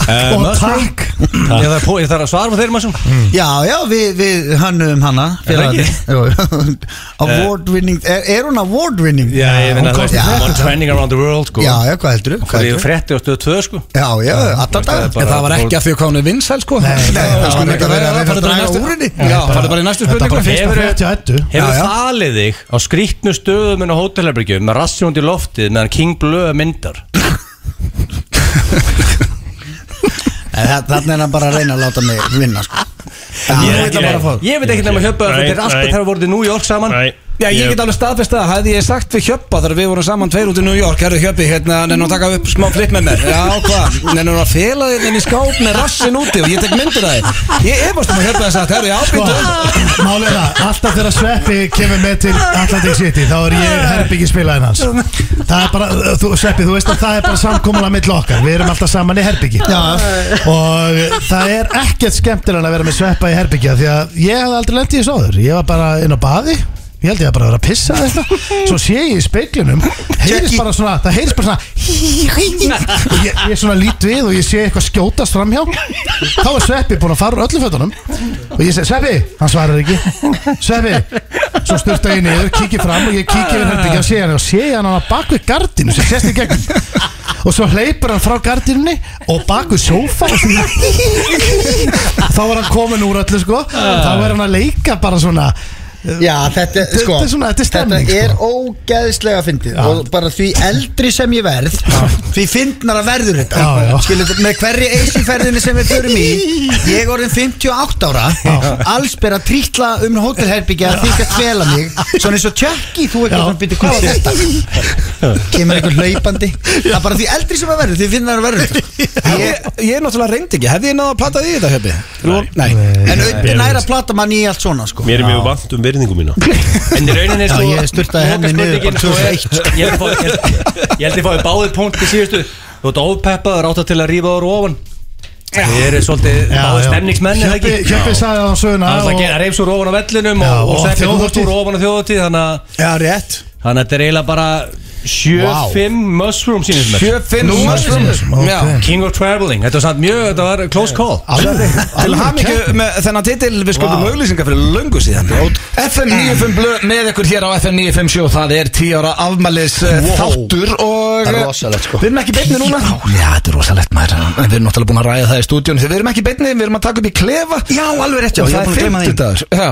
S1: Eh,
S3: Og Eh, takk Ég þarf að- ég þarf að svara með þeirra maður
S5: Já, já, við, við hannum hana
S3: Er það ekki?
S5: félagarnir. Jú, Award winning Er, er hún award winning?
S3: Já, ég finna
S5: Hún
S3: það
S5: komst í fréttir.
S3: For trending around the world sko
S5: Já, já, hvað heldur
S3: Það er frétti á stöðu 2 sko
S5: Já, já, alltaf
S3: það er
S5: dag
S3: bara-
S1: En það var ekki að því að konu vinsæl sko
S2: Nei, nei,
S1: það
S2: það var
S1: sko myndi
S2: ekki
S1: að
S2: verið
S1: vera
S2: að
S1: það
S2: reyna að
S1: Farðu
S2: draga úr henni. Nei, bara-
S1: bara í næstu- Já, farðu bara í næstu
S2: Þetta er bara
S1: spurningu
S2: fyrst og
S3: Hefurðu-
S2: fremst hjá Eddu
S3: Hefur falið þig á skrýtnu stöðum en á hótelherbergjum með rassjónd í loftið meðan King Blöð myndar
S5: Þannig er hann bara að reyna að láta mig vinna sko. Já,
S4: Ég-
S5: ætla bara að fá það.
S3: Ég veit ekki nema hjöpa
S4: Nei,
S3: Þetta er alltaf
S4: nei.
S3: þegar voruð í New York saman
S4: Nei,
S1: Já, ég get alveg staðfest að hefði ég sagt við Hjöppa þegar við vorum saman tveir út í New York Herru Hjöppi, hérna, nennum að taka upp smá flipp með mér Já, hvað, nennum að fela þér inn í skáp með rassin úti og ég tek myndir að þér Ég efast um að Hjöppa þess að herru, já, býttu
S2: Sko, Málið er það, alltaf þegar Sveppi kemur með til Atlantic City þá er ég herbyggi spilaðin hans Það er bara, þú, Sveppi, þú veist að það er bara samkomulega mitt okkar, við erum alltaf saman í herbyggi og það er ekkert skemmtilega að vera með Sveppa í herbyggi því að ég hafði aldrei lendið í þessu áður ég var bara inn á baði Ég held ég að bara vera að pissa eða eitthvað Svo sé ég í speiklinum Heyrist bara svona Það heyrist bara svona Og ég, ég svona lít við og ég sé eitthvað skjótast framhjá Þá er Sveppi búin að fara úr öllum fötunum Og ég segi Sveppi Hann svarar ekki Sveppi Svo styrta ég niður, kíki fram og ég kíki yfir herbyggja og sé hann og sé hann á bakvið gardinu sem sést í gegnum og svo hleypur hann frá gardinunni og bakvið sófa og svona þá var hann komin úr öllu sko þá var hann að leika bara svona
S5: Já, þetta er sko
S2: Þetta er svona- þetta er stemning,
S5: Þetta er
S2: sko.
S5: ógeðslega fyndið
S2: Já.
S5: Og bara því eldri sem ég verð Því fyndnar að verður þetta
S2: Já, já.
S5: Skilu, Með hverri eisiferðinni sem við förum í Ég er orðin 58 ára Alls ber að trítla um hótelherbyggja Því ekki að tvela mig Svona eins og tjökki Þú ekki
S2: Já.
S5: svona býttu hvað var þetta Kemur einhver hlaupandi Það er bara því eldri sem að verður Því fyndnar að verður þetta Ég-
S1: Ég, ég náttúrulega reyndi ekki, hefði ég náða að plata því þetta Hjöppi? Nei,
S5: En auðvitað næra plata mann í allt svona sko
S4: mér er mjög vant um virðingu mína
S3: En í rauninni
S5: Já, ég sturtaði henni niður bara 2001,
S3: sko, Ég held ég fái- ég held- ég held ég fáið báðið punkt í síðustu Þú ert ofpeppaður átt til að rífa úr ofan Þið eru svolítið báðið stemningsmenn er það
S2: Hjöppi
S3: ekki?
S2: Hjöppi sagði á hann söguna
S3: Það er alltaf
S2: og-
S3: að gera reyfs úr ofan á vellinum
S2: Já,
S3: og, og
S2: og
S3: sveppi þú ert
S2: þjóðhátíð.
S3: úr ofan á þjóðatíð þannig að
S5: Já, rétt
S3: þannig að þetta er eiginlega bara 7-5 mushroom sínum mér
S1: 75
S2: Nú er
S1: mushroom.
S2: þessi mushroom,
S1: Já.
S2: ok.
S3: King of Traveling, þetta var samt mjög, þetta var close call
S2: Alveg-
S1: Til
S2: alveg
S1: hamingju
S2: keppni.
S1: með þennan titil við skuldum auðlýsingar fyrir löngu síðan FM 95 blöð með ykkur hér á FM 957 það er 10 ára afmælis wow. þáttur og
S5: Það er rosalegt, sko.
S1: Við erum ekki í beinni núna Já, þetta er rosalegt maður en við erum náttúrulega búin að ræða það í stúdíun þegar við erum ekki í beinni, við erum að taka upp í klefa
S5: Já, alveg rétt, já, ég
S1: og það
S5: var búin
S1: er
S5: að gleyma því.
S1: 50 dagur Já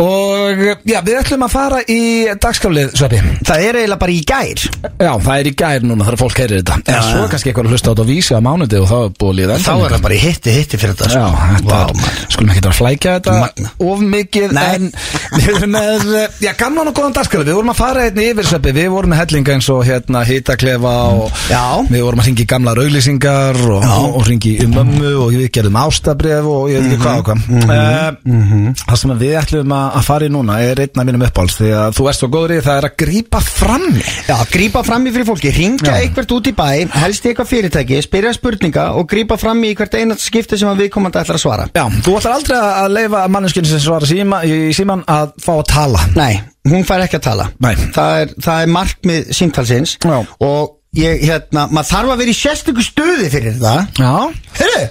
S1: Og eh, já, við ætlum að fara í dagskaflið, Sveppi
S5: Það er eiginlega bara í gær
S1: Eh, Já, það er í gær núna, það er fólk heyrir þetta En svo er kannski eitthvað að hlusta á þetta og vísi á mánuði og þá er búið að líða ennþá
S5: Þá er það bara í hitti hitti fyrir þetta sko.
S1: Já, þetta
S5: Vá,
S1: er,
S5: maður.
S1: skulum ekki þetta að flækja þetta
S5: Magna.
S1: of mikið
S5: Nei.
S1: en við erum með, eh, já, gamlan og góðan dagskræði við vorum að fara hérna yfir sveppi, við vorum með hellinga eins og hérna hitaklefa og
S5: Mm. Já.
S1: við vorum að ringi gamlar auglýsingar og, og, og ringi um
S5: Mhm,
S1: Eh, mömmu og við gerðum ástabref og ég veit ekki hvað og hvað mm -hmm. það sem að við ætlum að að fara í núna er einn af mínum uppáhalds því að þú ert svo góður í það er að grípa fram í.
S5: Já, grípa fram í fyrir fólki, ringja eitthvað út í bæ, helst í eitthvað fyrirtæki, spyrja spurninga og grípa fram í hvert einast skipti sem að viðkomandi ætlar að svara.
S1: Já, þú ætlar aldrei að leifa manneskinu sem svara síma, í síman að fá að tala
S5: Nei, hún fær ekki að tala.
S1: Nei.
S5: Það er, það er markmið síntalsins
S1: Já.
S5: og ég, hérna, maður þarf að vera í sérstöku stuði fyrir það.
S1: Já,
S5: Hörru,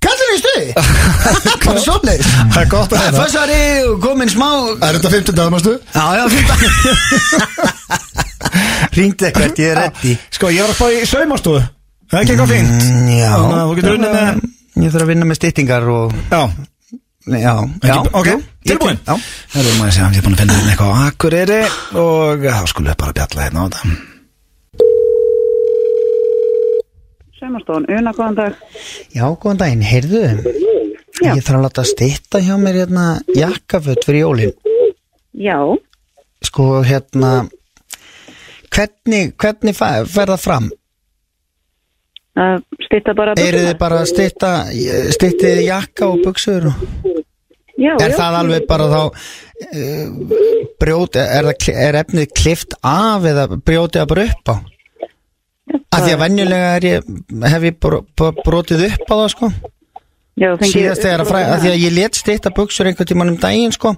S5: kallar þig stuði? Bara svoleiðis.
S2: Það er gott að heyra.
S5: Fössari og komin smá...
S2: Er þetta 50 dagar, mástu?
S5: Já, já, fyrir það. Ringd eitthvað, ég er reddi. Mm,
S1: sko ég var að spá í saumastofu Það er ekki eitthvað fínt
S5: Já.
S1: Þannig að þú getur unnið með
S5: Ég þarf að vinna með styttingar og...
S1: Já,
S5: Nei, Já, já,
S1: ekki, ok,
S5: jú, ég
S1: tilbúin
S5: til- Já
S1: Það er maður að segja að ég er búin að finna hérna eitthvað á Akureyri og þá skulum við bara bjalla hérna á þetta
S6: Saumarstofan, una, góðan dag.
S5: Já, góðan daginn, heyrðu
S6: Já.
S5: Ég þarf að láta stitta hjá mér hérna jakkaföt fyrir jólin
S6: Já,
S5: Sko hérna Hvernig, hvernig fa- fer það fram?
S6: að stýta bara
S5: Eru
S6: buxurnar.
S5: þið bara að stitta stittið þið jakka og buksur og
S6: Já,
S5: er
S6: já.
S5: það alveg bara þá uh, brjóti, er, það, kli- er efnið klift af eða brjótið að bara upp á? Af því að venjulega er ég, hef ég bro- bro- brotið upp á það sko
S6: Já, fengið-
S5: síðast þegar að fræða, því að ég let stýtta buksur einhvern tímann um daginn sko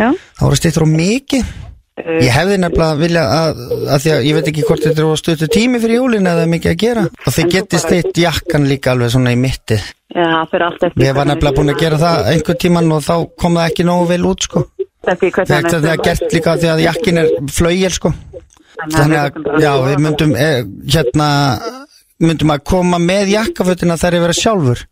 S6: Já,
S5: þá voru stýttur á mikið
S6: Eh.
S5: ég hefði nefnilega vilja að, að því að ég veit ekki hvort þetta er stötu tími fyrir jólin eða það er mikið að gera og þið getið stýtt jakkan líka alveg svona í mittið
S6: já, það fyrir allt eftir
S5: ég var nefnilega búin að gera það einhvern tímann og þá kom það ekki nógu vel út sko
S6: Eftir hvernig
S5: þegar það er gert líka því að jakkin er flögel sko þannig að já við myndum eh, hérna myndum að koma með jakkafötina þær er vera sjálfur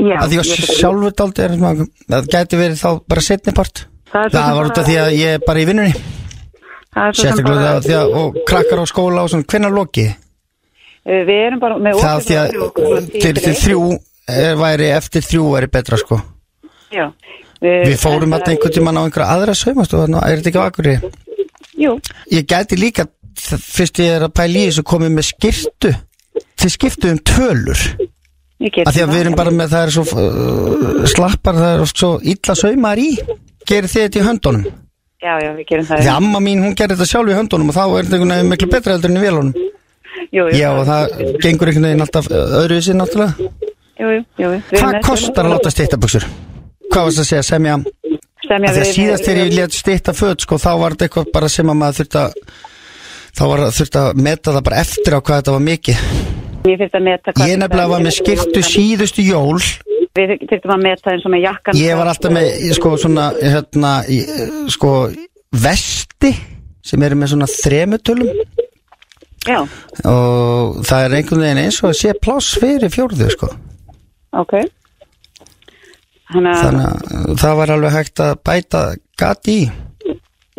S6: Já,
S5: að því að
S6: ég get-
S5: sjálfur daldi er svona- það gæti verið þá bara setnipart
S6: Það er svo
S5: það
S6: sem
S5: var út af því að ég er bara í vinnunni
S6: það er svo sem
S5: Sérstaklega
S6: bara-
S5: það því að og krakkar á skóla og svona, hvenær lokið?
S6: Eh, Við erum bara með
S5: Það
S6: opið
S5: því
S6: frá þrjú,
S5: að
S6: klukkan tíu
S5: til til
S6: fyrir
S5: þrjú er, væri, eftir þrjú væri betra sko.
S6: eitt. Já. Við,
S5: Við fórum alltaf einhvern tímann á einhverja aðra saumastofa, ná, er þetta ekki á akkurri?
S6: Jú,
S5: Ég gæti líka, þ- fyrst ég er að pæla í þessu, komið með skirtu til skiptu um tölur.
S6: ég get
S5: Af því að við erum bara með, það er svo uh, slappar, það er oft svo illa saumar í. Gerið þið þetta í höndunum?
S6: Já, já, við gerum það
S5: Því amma mín, hún gerir þetta sjálf í höndunum og þá er þetta einhvern veginn miklu betra heldur en í vélunum.
S6: Jú, jú,
S5: Já, og það gengur einhvern veginn alltaf uh, öðruvísi náttúrulega.
S6: jú, jú, jú við erum
S5: Hvað
S6: með-
S5: kostar að láta stýtta buksur? Hvað varst að segja, semja?
S6: Semja
S5: Af því að
S6: við-
S5: síðast þegar ég let stýtta föt, sko, þá var þetta eitthvað bara sem að maður þurft að þá var þurft að meta það bara eftir á hvað þetta var mikið.
S6: Ég þurfti að meta hvað-
S5: Ég nefnilega var með skirtu síðustu jól,
S6: Við þurftum að meta eins og með jakkan
S5: ég var alltaf með, sko, svona, hérna, í- sko, vesti sem eru með svona þremutölum
S6: Já,
S5: og það er einhvern veginn eins og að sé pláss fyrir fjórðu, sko.
S6: ok Þannig að
S5: Þannig að það var alveg hægt að bæta gat í.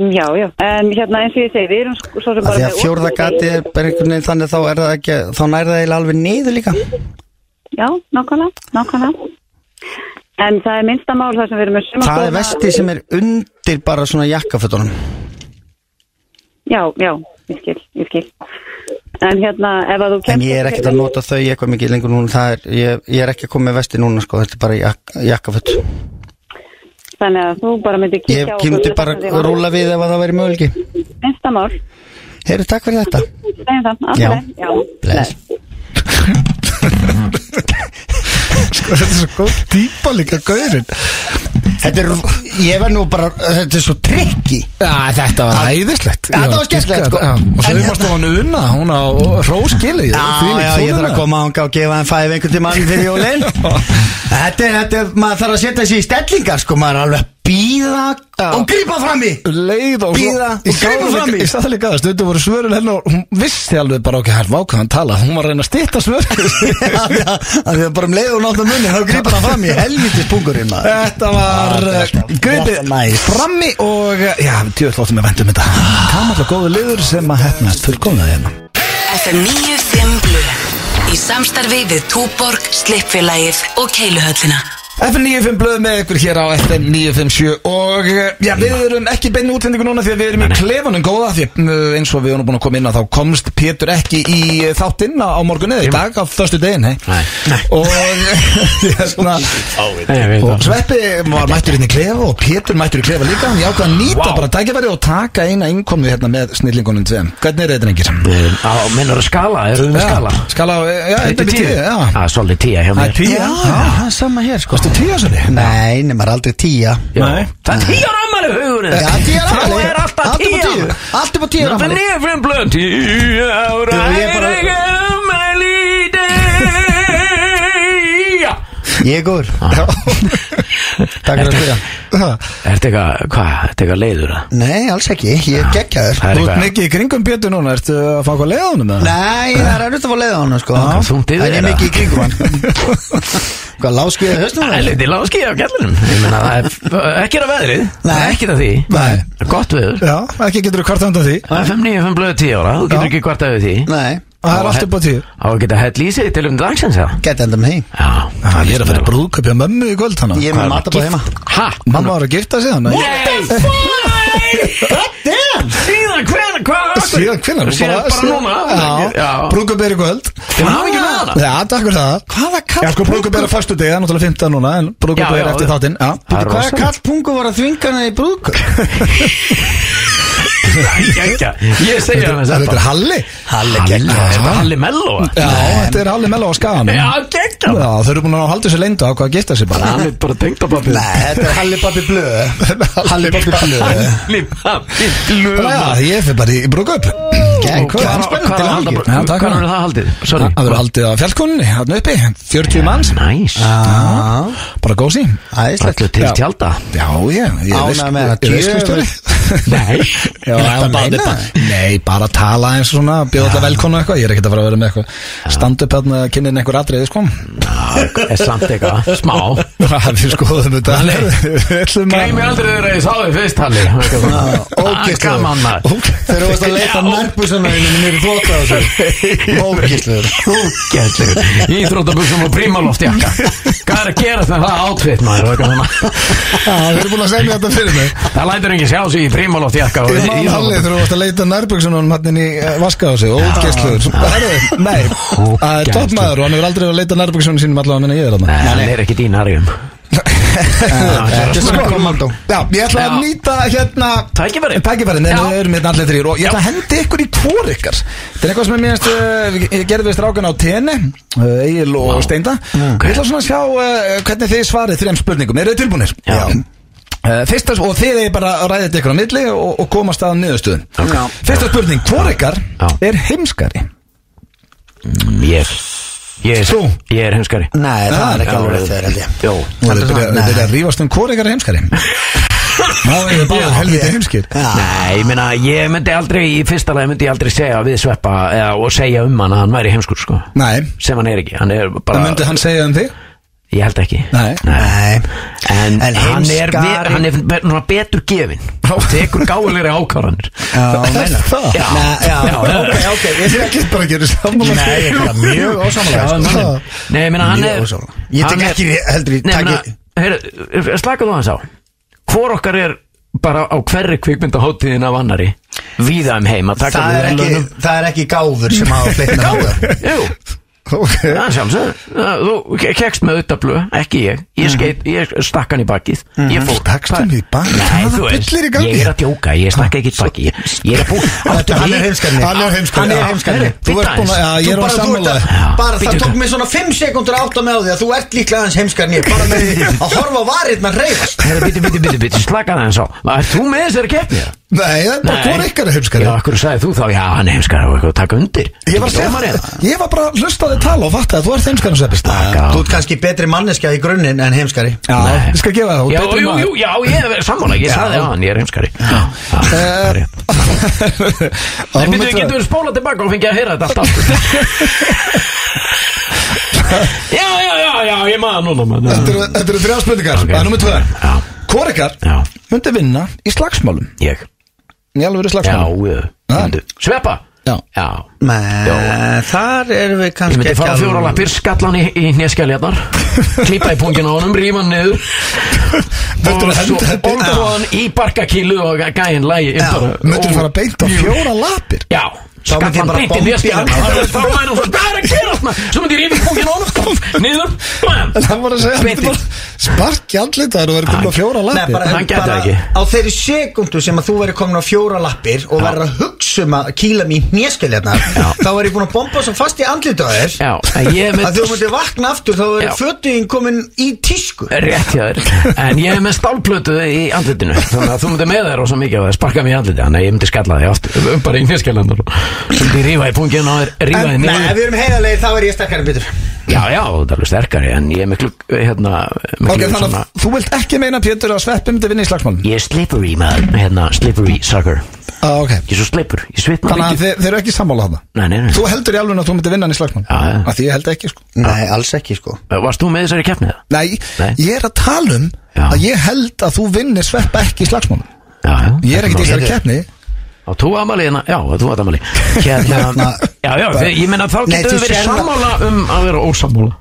S6: Já, já, en hérna eins og ég segi, við erum sko- svo sem
S5: Af
S6: bara
S5: því að fjórða gati er bara einhvern veginn þannig þá er það ekki, þá nær það eiginlega alveg niður líka.
S6: Já, nákvæmlega, nákvæmlega En það er minnsta mál það sem við erum með sumarstofu
S5: Það er vesti sem er undir bara svona jakkafötunum.
S6: Já, já, ég skil, ég skil En hérna, ef að þú
S5: En ég er ekkert að nota þau eitthvað mikið lengur núna, það er, ég, ég er ekki að koma með vesti núna sko, þetta er bara jak, jakkaföt.
S6: Þannig að þú bara myndir kíkja
S5: Ég
S6: á
S5: ég
S6: okkur
S5: myndi
S6: þess
S5: bara
S6: að þið var-
S5: rúla við ef að það væri mögulegi.
S6: Minnsta mál,
S5: Heyru, takk fyrir þetta.
S6: segjum það, allt
S5: Já.
S6: leið, já,
S5: Bless.
S2: Sko, þetta er svo góð típa líka gaurinn
S5: Þetta er, ég verð nú bara, þetta er svo trikki.
S1: Já, þetta var æðislegt
S5: Já, þetta var skemmtilegt, sko.
S1: Já, Og
S5: En
S1: saumastofan Una, hún á róskili
S5: Já, já, ég þarf að koma ánga og gefa hann fæf einhvern tíma annan fyrir jólinn Þetta er, þetta er, maður þarf að setja sér í stellingar sko, maður er alveg að býða og grípa fram í
S1: leið og
S5: Bíða og grípa
S1: Ég sagði
S5: fram í.
S1: líka- ég sagði líka að stundum voru svörun hennar og hún vissi alveg bara okkar hægt vákaðan tala hún var að reyna að stýta svörun
S5: Já, já, af því að bara um leið og náttan munni þá grípar hann fram í helvitis pungurinn maður
S1: Þetta var eh,
S5: Ah, þetta var-
S1: gripið
S5: þetta var nice.
S1: frammi og eh, já, djöðl áttum við vendum þetta Það var alltaf góðu liður sem að hefnast fullkomnaði hérna
S7: FM 95 Blu Í samstarfi við Túborg, Slippfélagið og Keiluhöllina
S1: F95 blöð með ykkur hér á FM 957 og eh, já, við erum ekki í beinni útlendingu núna því að við erum í klefanum góða því eh, eins og við erum búin að koma inn að þá komst Pétur ekki í eh, þáttinn á, á morgun eða í dag á förstu degin hei.
S7: Nei.
S1: og eh, svona,
S7: Nei, við
S1: og
S7: það.
S1: Sveppi var mættur inn í klefa og Pétur mættur í klefa líka hann jákvæða að nýta bara tækifæri og taka eina innkomni hérna með snillingunum tveim hvernig er þetta rengir?
S7: Við erum á, menn eru að skala, erum við með skala
S1: skala eh, já,
S7: Eitt
S1: þetta
S7: til
S1: er tíu já.
S7: Það er Ah, svolítið tíja hjá
S1: það er
S7: mér
S1: tíu
S5: það er sama hér sko
S1: Varstu tíu á svolítið?
S5: Nei, nema er aldrei tíja
S7: Já. Það er tíja rámæli hugurinn
S5: Já, tíu ára
S7: Þá
S5: afmæli.
S7: er alltaf
S5: Allt upp á
S7: tíja
S5: tíu. Allt upp á tíu
S7: Það
S5: ára
S7: er
S5: afmæli.
S7: nefnum blöð Tíja ára
S5: Já, ég
S7: er
S5: bara-
S7: ekki umæli Tíja
S5: Ég er góður
S7: Ah.
S5: Takk fyrir að spyrja
S7: Er þetta eitthvað, hvað, er þetta eitthvað leiður að?
S5: Nei, alls ekki, ég er geggjaður
S7: Það er
S1: Þú ert
S7: eitthvað
S1: mikið í kringum Pétur núna, ertu að fá hvað leiðanum eða? Ah,
S5: Nei, það er erfitt að fá leið á hann sko
S7: Það er þungt yfir
S5: Það er
S7: þér,
S5: mikið í kringum hann Hvað, láskið eða höstum
S7: Það er
S5: það?
S7: litið láski á kjallinum Ég meina, það er ekki að veðrið Það er
S5: Nei.
S7: ekki að því
S5: Nei.
S7: Það er Gott veður
S1: Já, ekki getur þú hvart undan því
S7: Það er 5-9-5 blöðu 10 ára, þú getur
S1: Já.
S7: ekki hvart af því
S5: Nei,
S1: og það er allt upp á tíu
S7: Á að geta hett lýsið til um dagsins eða?
S5: geta enda með heim
S7: Já,
S1: Ég er að fara brúðköpja mömmu í kvöld hann
S5: Ég er
S7: Hvað
S5: með
S7: er
S5: matabóð heima
S7: Hæ?
S1: Mamma var að gifta sig hann
S7: What the fuck? God damn Síðan hvernig, hvað? af hverju?
S1: Síðan hvenær?
S7: Síðan bara núna
S1: Já, brúðköp er í kvöld
S7: Til hamingju með hana.
S1: Já, takk fyrir það
S7: Hvaða kall
S1: Já, sko brúðköp er að fyrstu degi, það er náttúrulega 15 núna En brúðköp
S7: Já,
S1: er
S7: já,
S1: eftir
S7: já.
S1: þáttinn Já,
S7: Það er
S5: Hvað
S7: rosa
S5: kall pungu var að þvinga hana í brúðköp?
S7: Gekka Ég segja það með
S1: Þetta
S7: þetta
S1: er Halli
S7: Halli gekka Er þetta Halli Mello?
S1: Já, þetta er Halli Mello á skagan
S7: Já,
S1: Já,
S7: gekka
S1: þau eru búin að halda sér leyndu á hvað að gifta sig bara
S7: Hann er bara tengt á pappi
S5: Nei, þetta er Halli Babbi Blöð Halli Babbi Blöð
S7: Halli pappi glöð
S1: Já, ég fyrir bara í brúðköp
S5: Gekk,
S7: Hvað hvað
S5: hann
S7: er
S5: spennandi
S7: að halda
S5: helgi
S7: bara-
S1: Já, takk
S7: Hvað
S1: fyrir.
S7: er það haldið? Sorry
S1: Það verður haldið á fjallkunni, hann uppi 40 manns,
S7: Næs
S5: Já,
S1: bara gósi
S5: æðislegt
S7: Allir til
S1: Já.
S7: tjálta
S1: Já, ég, ég
S5: Ánægð með það,
S1: Djöfustjóri
S7: Nei
S1: Já, ég meina það Nei, bara tala eins og svona Bjóða alltaf velkonu eitthvað Ég er ekkert að fara að vera með eitthvað Stand up hérna Kynnið einhver atriði, sko
S7: Já, Er samt eitthvað Smá
S1: Við skoðum þetta Við ætlum að-
S7: Gleimi aldrei þegar ég sá þig fyrst Halli
S5: ógeðslegur.
S7: Ógæst Come on Ah, maður
S5: Þegar þú varst að leita nærbúsana í mér í þvóta á þessu Ógislegur
S7: Ógæstlegur Íþróttabuxum og prímaloft jakka Hvað er að gera þetta það átfitt maður og eitthvað svona.
S1: Já, Þið eru búin að segja þetta fyrir mig
S7: Það lætur enginn sjá sig í prímaloft jakka og
S1: Ég man
S7: íþróttabuxum.
S1: Halli þegar þú varst að leita nærbuksunum hann inn í eh, vaska á sig Ógeðsluður Herru, Nei, það er topp maður og hann hefur aldrei verið að leita nærbuksunum sínum allavega minna ég er
S7: Nei,
S1: þarna
S7: hann er ekki dín arjum
S5: Þetta Ah, er svona kommando
S1: Já, ég ætla að
S7: Já.
S1: nýta hérna
S7: Tækifæri.
S1: Tækifæri, nei,
S7: Já.
S1: við erum hérna allir þrýr og ég ætla að hendi ykkur í hvor ykkar Þetta er eitthvað sem er mérst, uh, ég gerði við strákan á TN uh, Egil og Steinda
S7: Ok.
S1: Ég ætla svona að sjá uh, hvernig þið svarið þrejum spurningum Eru þið tilbúinir?
S7: Já.
S1: Uh, fyrsta, og þið er bara að ræða þetta ykkur á milli og, og komast að niðurstöðum
S7: Ok. Já.
S1: Fyrsta spurning, hvor ykkar
S7: Já.
S1: er heimskari?
S7: Ég er- Ég er
S1: Þú?
S7: Ég er heimskari
S5: Nei, það er ekki
S7: Já,
S5: alveg þegar held ég
S7: Jó
S1: Nú erum við byrjað-
S5: Nei.
S1: við byrjað að rífast um hvor ykkar er heimskari Ná, ég er bara helviti heimskir
S7: Nei, ég meina, ég myndi aldrei, í fyrsta lagi myndi ég aldrei segja við Sveppa eða, og segja um hann að hann væri heimskur, sko
S1: Nei,
S7: sem hann er ekki, hann er
S1: það
S7: bara
S1: myndi hann segja um þig?
S7: ég held ekki
S1: Nei.
S5: Nei,
S7: En,
S5: En
S7: hann er,
S5: heimskari-
S7: við, hann er be- svona betur gefin og tekur gáðulegri ákvarðanir
S5: já, meina
S1: Það?
S7: Já,
S5: Nei, já,
S7: já.
S5: ok, ok, ég
S1: Ég get bara að gera sammála
S5: Nei, ég er bara mjög ósamlega
S7: Sjáðu
S5: sko.
S7: manninn. Nei, ég meina hann
S5: Mjög
S7: er
S5: ósammála. Ég tek
S7: hann er-
S5: ekki í- heldur í-
S7: Nei, ég meina,
S5: taki-
S7: heyrðu, slaka þú aðeins á Hvor okkar er bara á hverri kvikmyndahótiðin af annari Víða um heim að taka
S5: Það er, ekki,
S7: verðlaunum.
S5: það er ekki gáfur sem hafa flytna Gáfur?
S7: Jú,
S1: Ok.
S7: það er sjálfsög Þú kekst með auðtablu, ekki ég
S5: Mhm.
S7: Ég, skeit, ég stakk hann í bakið Ég fór
S1: Stakkst hann í bakið?
S7: Nei,
S1: Hvaða
S7: þú veist,
S1: bullir í gangi?
S7: ég er að djóka, ég stakk ekki í bakið Ég- Ég er að bú Áttu
S5: Hann er
S7: við-
S5: heimskarni
S1: Hann er heimskarni.
S5: Hann
S1: Já.
S5: er heimskarni
S7: Þú ert búin að
S1: Já, ég er á
S5: bara, þú ert
S1: sammála
S5: að,
S7: Já.
S5: bara það
S7: Bíddu,
S5: tók
S7: hvað?
S5: mig svona 5 sekundur að átta með á því að þú ert líklega aðeins heimskarni ég, bara með því að horfa á varirnar reyfast
S7: Herra, bíti, bíti, bíti, bíti, slaka það eins á Er þú með þessari keppni? eða?
S1: Nei, það er bara hvor ykkar er heimskari
S7: Já, okkur sagði þú þá, já, hann er heimskari og eitthvað að taka undir
S1: Ég var, að segja, ég var bara að hlusta á þig tala og fatta að þú ert heimskari sveppist
S7: Taka á
S5: Þú ert kannski betri manneskja í grunninn en heimskari
S1: Já, ég skal gefa það þú
S7: Já,
S1: betri
S7: jú,
S1: maður. Eh,
S7: jú, já, ég er sammála, ég sagði á hann, ég er heimskari Já, já,
S5: Ah,
S7: það er rétt.
S1: Það
S7: Nei,
S1: var
S7: bíddu,
S1: mitt
S7: getur
S1: ræð.
S7: við spólað tilbaka og fengið að heyra þetta alltaf Já, já, já, já, ég maður núna maður.
S1: Þetta eru- þetta eru þrjá spurningar
S7: Ok.
S1: Það er nummer tvö
S7: Já.
S1: Hvor ykkar
S7: Já.
S1: myndi vinna í slagsmálum
S7: Ég,
S1: Í alveg verið
S7: já,
S1: slagsmálum
S7: ég
S1: Ha?
S7: myndu- Sveppa
S1: Já.
S7: já.
S5: Men, Eh, Þar erum við
S7: Ég
S5: kannski
S7: myndi fara fjóra lappir, skallan í, í neskjæljarnar klippa í pungin á honum, rífa hann niður
S1: Möttur
S7: og
S1: að
S7: svo
S1: henda þetta
S7: olgu hann í barkakílu og gæinn lægi
S1: Möttur að fara beint á fjóra lapir
S7: Já,
S5: Þá myndi ég
S7: skallan
S5: bara
S7: beint í
S5: bomba í
S7: nýrskina
S5: hann.
S7: Þá væri hún svo, hvað er að gera þarna? Svo myndi ég rífa í pungin á honum, kom, niður bam.
S1: En hann var að segja hann
S7: Beint í-
S1: myndi bara Sparki andlit þar og verið komin á fjóra
S5: Nei,
S1: lapir
S5: bara,
S7: Hann gæti
S5: bara
S7: ekki.
S5: á þeirri sekundu sem að þú verður komin á fjóra lappir og verður að hugsa um að kýla mér í hnéskeljarna þá er ég búin að bomba svo fast í andlita á þér
S7: Já, en ég er
S5: að
S7: með
S5: þú myndir vakna aftur þá
S7: Já.
S5: er fötuðin komin í tísku
S7: Rétt hjá þér En ég er með stálplötu í andlitinu Þannig að þú myndir með þér og svo mikið og sparka mér í andlitinu Þannig að ég myndi skalla þig aftur um bara í nýrskjælandur Þú myndir rífa í pungin á þér Rífa
S5: En,
S7: þig
S5: nei, ef
S7: niður
S5: við erum heiðarlegir þá er ég sterkari en Pétur
S7: Já, já, þú ert alveg sterkari En ég er miklu, hérna miklu,
S1: Ok, þannig að þú vilt ekki meina Pétur að sveppi myndi vinna í slagsmálum
S7: Ég er slippery maður Hérna, slippery sucker Ég
S1: ah, ok
S7: er svo slipper, ég svitna
S1: Þannig að
S7: mikið
S1: þið, þið eru ekki sammála þarna
S7: Nei, nei, nei
S1: Þú heldur í alveg að þú myndi vinna hann í slagsmálum
S7: Já, já.
S1: Af Því ég held ekki sko
S5: Nei, alls ekki sko
S7: Varst þú með þessari keppnið?
S1: Nei,
S7: Nei.
S1: ég er að tala um
S7: Já.
S1: að ég held að þú vinnir sveppa ekki í slagsmálum
S7: Já, já
S1: Ég er ekkert í þessari
S5: Pétur.
S1: keppni
S7: Á tú amali hérna, já, þú var amali Hérna, já, já, þið- ég meina þá
S5: Nei,
S7: getum
S5: þú
S7: við verið
S5: sérð að-
S7: sammála um að vera ósammála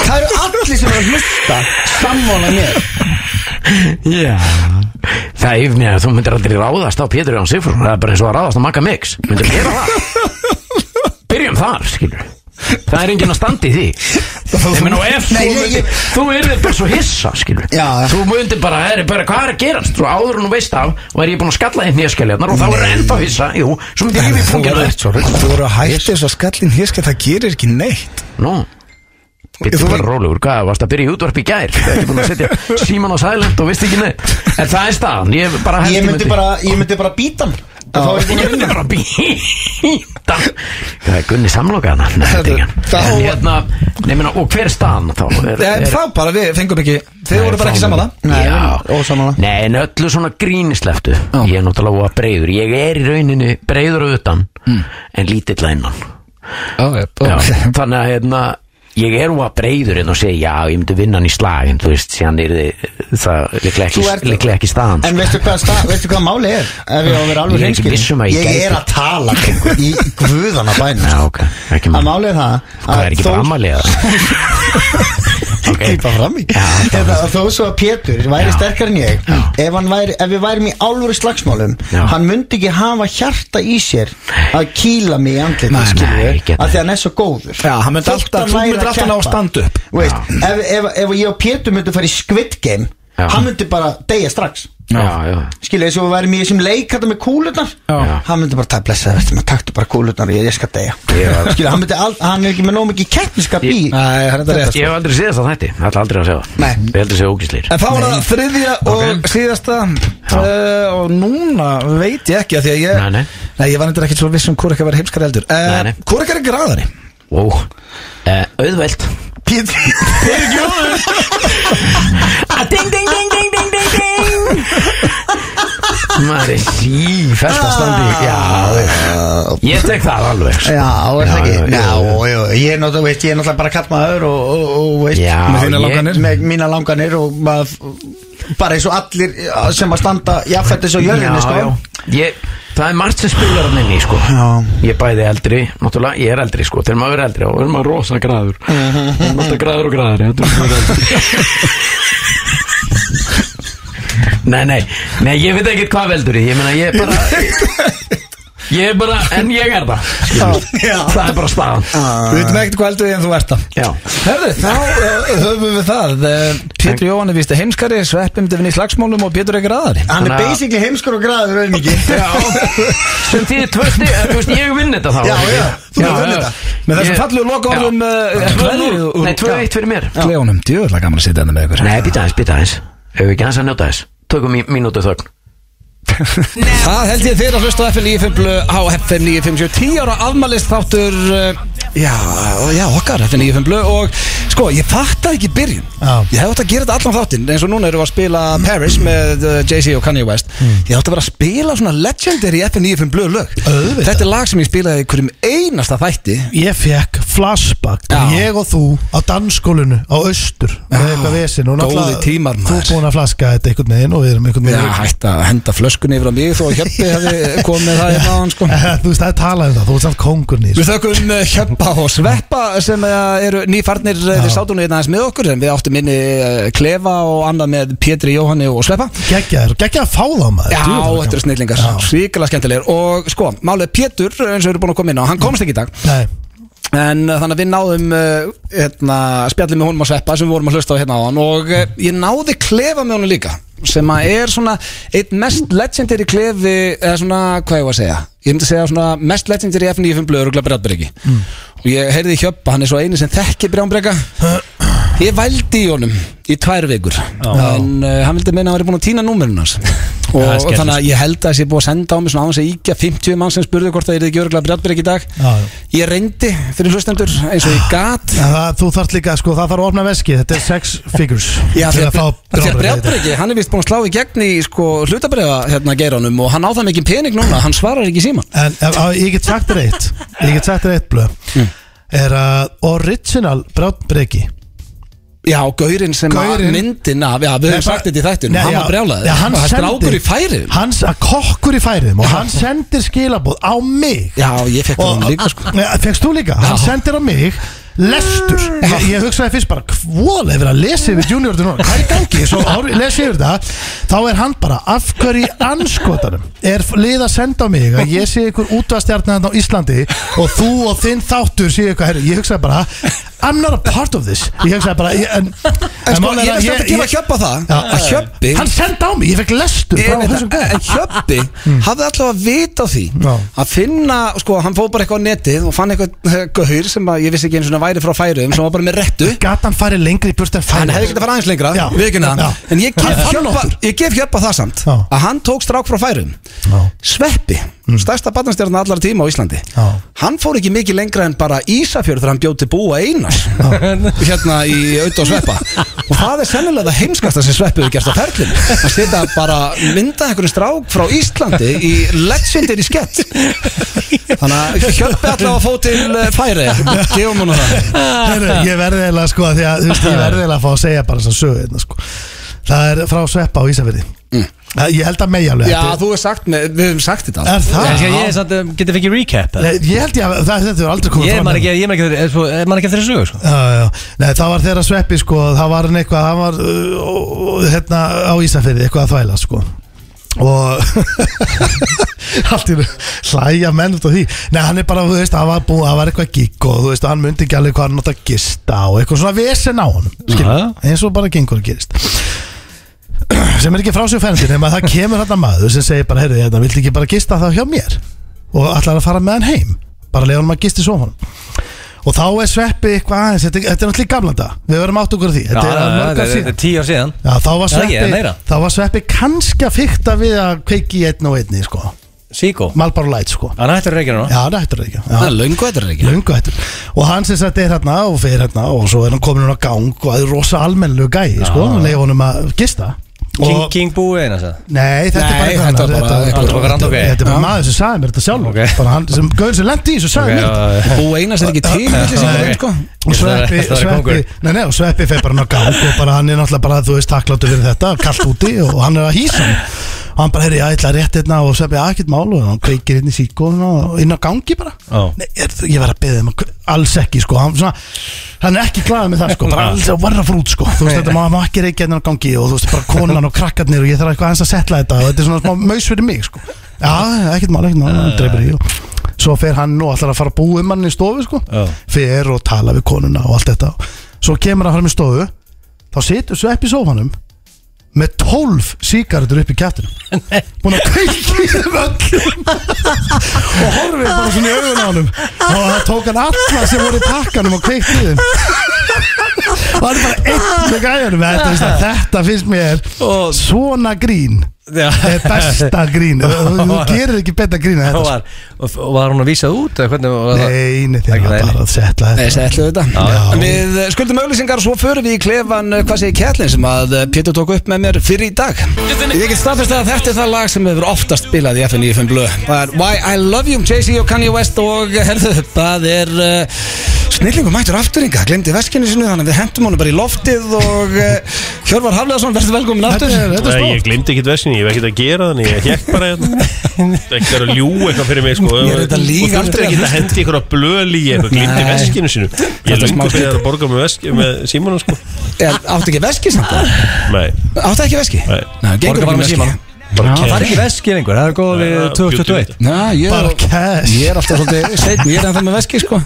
S5: Það eru allir sem er að hlusta sammála mér
S7: Já Það er mér, þú myndir aldrei ráðast á Pétur Jón Sifrún Það er bara eins og að ráðast á Magga Mix Myndir gera það Byrjum þar, skilur Það er enginn að standa í því Ég meina, og ef
S5: Nei,
S7: þú
S5: ég-
S7: myndir-
S5: ég-
S7: Þú yrðir bara svo hissa, skilur
S5: Já, já.
S7: Þú myndir bara, er, bara, hvað er að gerast Þú áður en þú veist af, væri ég búin að skalla þinn nýjaskæljarnar Og þá er ennþá hissa, jú Svo myndir ég við funginu
S1: Þú eru að hætti þess að skallin hérska það gerir ekki neitt
S7: Nú Bittu
S1: Þú-
S7: bara rólegur, hvað, varst að byrja í útvarp í gær Þú ert ekki búin að setja síman á sælent og veist ekki neitt En það er staðan, ég bara held
S5: Ég
S7: ég
S5: myndi bara, ég myndi bara býta hann Og þá er ég búin
S7: Ég myndi
S5: að vinna
S7: bara að býta Það er Gunni samlokaðan Nei, þetta er ekki
S1: Þá-
S7: hann En hérna, nefnina, og hver er staðan þá? Er,
S5: Eh,
S1: En þá bara við fengum ekki Þið voru bara ekki sammála
S5: Nei,
S7: Já,
S5: ósammála.
S7: Nei, en öllu svona grínisleftu Ég er náttúrulega voða breiður Ég er í rauninni breiður að utan En lítill að innan Já, Þannig að hérna Ég er úr að breyður en að segja já, ég myndi vinna hann í slag en þú veist, síðan er þið það líklega ekki,
S5: Þú ert-
S7: líklega ekki staðan
S5: En veistu hvað, sta, veistu hvað máli er? Ef ég á að vera
S7: Ég
S5: alveg
S7: er ekki
S5: hreinskilinn?
S7: viss um að ég
S5: Ég
S7: gæti.
S5: er að tala drengur, Í guðana bænum
S7: Já,
S5: sko.
S7: ok, ekki
S5: Að
S7: mál
S5: máli er það
S7: Það Sko, er ekki bara amalega
S5: Týpa fram í Eða, Þó svo að Pétur
S7: Já.
S5: væri sterkar en ég ef, hann væri, ef við værim í álfur slagsmálum
S7: Já.
S5: Hann myndi ekki hafa hjarta í sér Að kýla mig í andlita
S7: Nei,
S5: skilur
S7: nei, ég get
S5: Af því
S7: það.
S5: að hann er svo góður
S1: Já, hann myndi
S5: Þótt
S1: alltaf-
S5: hann
S1: þú
S5: væri
S1: myndir
S5: að
S1: alltaf ná að
S5: keppa.
S1: standa upp.
S5: Þú veist, ef, ef, ef ég og Pétur myndi fara í Squid Game
S7: Já.
S5: Hann myndi bara deyja strax
S7: Já, já,
S5: skilja eins og við værum í þessum leik þetta með kúlurnar
S7: Já.
S5: hann myndi bara tæpla þess að þetta maður taktu bara kúlurnar og ég, ég skal deyja
S7: Já.
S5: skilja hann, myndi all, hann er ekki með nóg mikið keppniskap í sko.
S1: Nei, það er þetta rétt
S7: Ég hef aldrei séð þess að þetta, það er aldrei að segja
S5: Nei.
S7: Ég heldur að segja ógíslir
S1: En þá var það þriðja og síðasta uh, og núna veit ég ekki að því að ég
S7: Nei, nei.
S1: ég var endur ekkert svo viss um hvor ekki var heimskar eldur
S7: Nei,
S1: uh,
S7: nei.
S1: Hvor ekki er graðari?
S7: Ó, eh, auðveld Ah, Ding, ding, ding, ding, ding, ding, ding Maður er sífæst að standi Já, ég tek það alveg sko.
S5: Ah. Já, er
S7: Já,
S5: það ekki?
S7: já,
S5: Já,
S7: já.
S5: já, ég er náttúrulega, veist, ég er náttúrulega bara kallmaður og, og, og veist,
S7: Já, Með þínar
S5: ég-
S1: langanir?
S5: Með mína langanir og maður, bara eins og allir ja, sem að standa jafnfættis á jörðinni, sko
S7: Ég, það er margt sem spilar hann inn í sko. Ég er bæði eldri, náttúrulega Ég er eldri sko, þegar maður er eldri og er maður rosa graður
S5: Mhm.
S7: Alltaf graður og graður já, þegar maður er eldri. Nei, nei, nei, ég veit ekkert hvað veldur því Ég meina, ég er bara Ég er bara, en ég er það skilur.
S5: Já. Ah.
S7: Það er bara staðan
S1: Við veitum ekkert hvað eldur en þú ert það
S7: Já,
S1: Herðu, þá uh, höfum við það uh, Pétur Jóhann er vísti heimskari Sveppi myndi vinna í slagsmálum og Pétur ekki graðari
S5: Hann
S7: Þannig
S5: er
S7: að-
S5: basically heimskur og graður auðviki
S7: já Sem því tvösti, þú veist, ég vinn þetta þá
S5: Já,
S7: ekki?
S5: já, þú
S7: Já, já.
S5: vinn þetta.
S1: Með þessum
S7: Ég-
S1: fallegu lokaorðum,
S7: Já.
S1: eh,
S7: 2-0.
S1: eh, kveðju úr-
S7: Nei, 2-1 fyrir mér
S1: Kleónum, djöðlega gaman að sitja henni með ykkur
S7: Nei, býta aðeins, býta aðeins Hefur við ekki aðeins að njóta aðeins Tökum í mínútu þögn
S1: Það held ég þeir að hlusta á FM 95 á FM 95 10 ára afmælist þáttur uh, já, já, okkar FM 95 og sko, ég fattaði ekki í byrjun
S2: Já.
S1: ég hef átt að gera þetta allan þáttinn eins og núna erum við að spila Paris með uh, Jay-Z og Kanye West
S2: Mm.
S1: ég átt að vera að spila svona legendary FM 95 lög
S2: Auðvitað.
S1: þetta er lag sem ég spilaði í hverjum einasta þætti
S2: Ég fekk flashback
S1: Já.
S2: Ég og þú á dansskólinu á austur með eitthvað vesinn og
S1: Góði
S2: náttúrulega
S1: tímar,
S2: Þú
S1: maður.
S2: búin að flaska þetta einhvern veginn og við erum einhvern
S1: Já,
S2: veginn
S1: hætt að henda flöskunni yfir á mig þó að Hjöppi hefði komið með það hérna á hann sko
S2: Þú veist, það er talað um það, þú ert samt kongurinn í
S1: Við
S2: þessu.
S1: þökkum eh, Hjöppa og Sveppa sem eh, eru nýfarnir eh, þeir sátum hérna aðeins með okkur en við áttum inni eh, Klefa og annað með Pétri Jóhanni og Sveppa
S2: Geggjaður, geggjaður að fá það maður
S1: Já,
S2: Djú, það var
S1: þetta eru
S2: gaman.
S1: snillingar,
S2: Já.
S1: svíkilega skemmtilegir og sko, málið Pétur eins og við erum búin að koma inn á, hann komst ekki í dag
S2: Nei,
S1: En uh, þannig að við náðum uh, hérna, spjallið með honum að sveppa sem við vorum að hlusta á hérna á hann og uh, ég náði klefa með honum líka sem að er svona eitt mest legendary klefi eða svona, hvað ég var að segja ég myndi að segja svona mest legendary F95 blöður og glabræðbreki mm. og ég heyrði í hjöppa, hann er svo eini sem þekki brjánbreka ég vældi í honum í tvær vikur en uh, hann vildi meina að hann væri búin að týna númerun hans
S3: það
S1: og,
S3: er skemmtilegt.
S1: þannig að ég held að þessi er búið að senda á mig svona á hans að íkja 50 mann sem spurði hvort það er ekki örgulega brjálbrek í dag
S2: Já, já.
S1: Ég reyndi fyrir hlustendur eins og ég gat
S2: en það, þú þarf líka, sko, það þarf að opna veski Þetta er sex figures
S1: Já,
S2: til
S1: því
S2: að fá
S1: að
S2: brjálæði.
S1: Brjábreki, hann er vist búin að slá í gegn í sko, hlutabriða hérna geiranum og hann á það mikið pening núna, hann svarar ekki í síman
S2: En ef, á, ég get sagt þér eitt Ég get sagt þér eitt blöð
S1: Mm.
S2: Er að original brjáttbreki
S1: Já, gaurinn sem
S2: Gaurinn-
S1: að myndin af, já, við
S2: Nei,
S1: höfum sagt
S2: bara-
S1: þetta í þættunum,
S2: Nei,
S1: hann
S2: já.
S1: var brjálaði
S2: Nei, hann
S1: og
S2: sendi-
S1: strákur í færiðum
S2: Hans að kokkur í færiðum Og hann sendir skilaboð á mig
S1: Já, ég fekk
S2: Og-
S1: hann líka sko
S2: Nei, Fékkst þú líka? Hann sendir á mig Lestur Ég, ég hugsaði fyrst bara Hvað er verið að lesa yfir junior til núna? Hvað er í gangi? Svo ári, lesi yfir það Þá er hann bara Af hverju í anskotanum Er lið að senda á mig Að ég sé ykkur útvastjarnan á Íslandi Og þú og þinn þáttur sé ykkur herri, Ég hugsaði bara I'm not a part of this Ég hugsaði bara ég, En,
S1: En sko,
S2: málið er
S1: ég
S2: að
S1: veist að gefa hjöppa það
S2: Já.
S1: að hjöppi
S2: Hann sendi á mig Ég fekk lestur
S1: Ég
S2: frá
S1: veit
S2: þessum
S1: það,
S2: gæja.
S1: En Hjöppi hafði alltaf að vita á því
S2: Mm. Já.
S1: að finna, sko, hann fóð bara eitthvað á netið og fann eitthvað eh, gaur sem að ég vissi ekki einu svona væri frá færiðum sem var bara með rettu
S2: Gat hann farið lengri í burtu en
S1: hann
S2: færi
S1: hefði getið að fara aðeins lengra
S2: Já.
S1: viðurkenni það.
S2: Já.
S1: en ég gef,
S2: Hann fann
S1: hjöppa,
S2: okkur.
S1: ég gef hjöppa það samt
S2: Já.
S1: að hann tók strák frá færum
S2: Já.
S1: Sveppi, stærsta batnastjarnar allar tíma á Íslandi
S2: Já.
S1: hann fór ekki mikið lengra en bara Ísafjörð þegar hann bjóð til búa einas hérna í auðvitað og Sveppa og það er sennilega það heimskasta sem Sveppi hefur gert á ferlinu að setja bara mynda einhvern strák frá Íslandi í legendir í skett þannig að hjöppi allar að fó til eh, færi gefum hún það
S2: Heru, ég verði eiginlega sko því að, þú veist, ég verði eiginlega að fá að segja bara þess að sögu hérna, sko. það er frá sveppa á Ísafirði Það- ég held að megi alveg
S1: Mm. Já,
S2: þetta
S1: þú hefur sagt, með, við hefum sagt þetta
S2: er það?
S3: Ég, ég, ég um, geti fengið recap eða?
S2: Nei, ég held ég að það, þetta er aldrei komið
S3: Ég
S2: fram
S3: man
S2: hérna.
S3: ekki, ég man ekki, eftir- svo- ég man ekki eftir þessu sögu sko.
S2: Já, já. Nei, það var þeirra sveppi sko það var hann eitthvað, hann var uh, ó- ó- hérna á Ísafirði eitthvað að þvæla sko og allt í einu hlæja menn út af því Nei, hann er bara, þú veist, hann var, búið, hann var eitthvað gík og þú veist, hann myndi ekki alveg hvað hann átt að gista og eitthvað svona vesen á honum skilur, eins og bara gengur að gerist sem er ekki frá sér færandi nema að það kemur hann maður sem segir bara heyrðu, þetta viltu ekki bara gista þá hjá mér og ætlar að fara með hann heim bara leiða hann að gista í sofanum og þá er sveppi eitthvað aðeins þetta, þetta er náttúrulega í gamla dag, við verðum átt okkur á því
S3: Já,
S2: þetta er
S3: já,
S2: mörg
S3: Þetta
S2: að
S3: er- þetta
S2: síðan
S3: er tíu ár síðan
S2: Já, þá var
S3: Já, ekki,
S2: sveppi,
S3: meira.
S2: þá var sveppi kannski að fykta við að kveiki í einn og einni sko.
S3: Síkó
S2: Malbaro Light sko.
S3: Hann hættur að reykja núna
S2: já, það hættur það ekki
S1: Það er
S2: já.
S1: löngu þetta er ekki
S2: Lungu hættur og hann sem sagt er hérna og fer hérna og svo er hann komin hún á gang og það er rosa almennlu gæi sko, leiði honum að gista
S3: King,
S2: Og-
S3: King Boo eina sagði.
S2: Nei, þetta
S1: Nei,
S2: er bara
S1: þetta var bara-
S2: þetta,
S3: þetta var bara
S2: þetta,
S3: random gæi.
S2: þetta er bara
S1: Já.
S2: maður sem sagði mér þetta sjálf
S3: Ok.
S2: bara hann sem gauður sem lendi í þessu sagði mér
S3: Ok,
S2: þetta
S3: já, já.
S1: Bú einas er ekki til milli sem er sko
S2: og
S3: Ég ætla-
S2: sveppi,
S3: ég ætla að vera
S2: sveppi,
S3: kóngur.
S2: nei, nei, og sveppi fer bara hann á gang og bara hann er náttúrulega bara, þú veist, takkláttu fyrir þetta kallt úti og hann er að hýsa hann og hann bara, heyrði, ég ætla að rétt hérna og sveppi að ekkert mál og hann kveikir hérna í síkóðuna og inn á gangi bara
S3: Já.
S2: nei, er, ég var að beða um að kve- alls ekki, sko hann, svona, hann er ekki glaðið með það, sko bara alls að varra frút, sko, þú veist, þetta má, má ekki reykja hérna á gangi og þú veist, bara konan og krakkarnir og ég þarf eitthvað aðeins að setla þetta og þetta er svona smá maus fyrir mig, sko já, ekkert mál, ekkert mál, hann dreipir í og svo fer hann og ætlar að fara að búa um hann í stofu, sko
S3: Já.
S2: fer og tala við konuna og allt þetta svo kemur hann fram í stofu þá situr sveppi í sófanum með tólf síkardur upp í kjættinum búin að kveiki í þeim öllum og horfið bara svona í augun á hann og það tók hann alla sem voru í pakkanum og kveikti í þeim og hann er bara einn með græjunum þetta, veist það, þetta finnst mér
S3: Og-
S2: svona grín
S3: Já.
S2: er besta grín þú, þú gerir ekki betra grín að
S3: Og
S2: þetta sko.
S3: var, og var hún að vísa út eða hvernig var það?
S2: neini þegar
S3: Ekki
S2: var
S3: það.
S2: bara að setla
S1: Nei,
S2: þetta
S1: sætlu þetta
S2: Já.
S1: Við eh, skuldum auðlýsingar og svo förum við í klefan eh, Hvað segir Kjellin sem að eh, Pétur tók upp með mér fyrir í dag Ég get staðfest að þetta er það lag sem hefur oftast spilað í FN95 Blö Það er Why I Love You, Jay-Z og Kanye West Og eh, herðu, það er uh, Snillingu mættur afturinga Glemdi veskinu sinu, þannig að við hendum honum bara í loftið Og uh, Hjörvar Hafleðarsson, verður velkomin aftur
S2: Þetta er- þetta
S4: Nei, ég glimti ekkert vestinni, ég hef ekkert að gera þannig Ég hekk bara hérna Ekkert að ljú eitthvað fyrir mig sko
S1: Ég er þetta líka
S4: Og þurfti
S1: aldrei að
S4: ekki að
S1: hlusta.
S4: hendi ykkur að blöli í eitthvað Glimti
S1: Nei.
S4: veskinu sinu Ég er
S1: Þetta er smá
S4: lungu fyrir
S1: skrítið.
S4: að borga með, vesk, með símanum sko
S1: Er- Áttu ekki veski samt?
S4: Nei,
S1: Áttu ekki veski?
S4: Nei.
S1: Nei, gengur
S4: bara
S3: Borga bara með símanum. Það
S1: ekki með veski
S4: kæft
S3: er ekki veski lengur, það er góð við 2021
S1: Já, ég
S2: bara cash
S1: Ég er alltaf svolítið setn, ég er ennþá með veski sko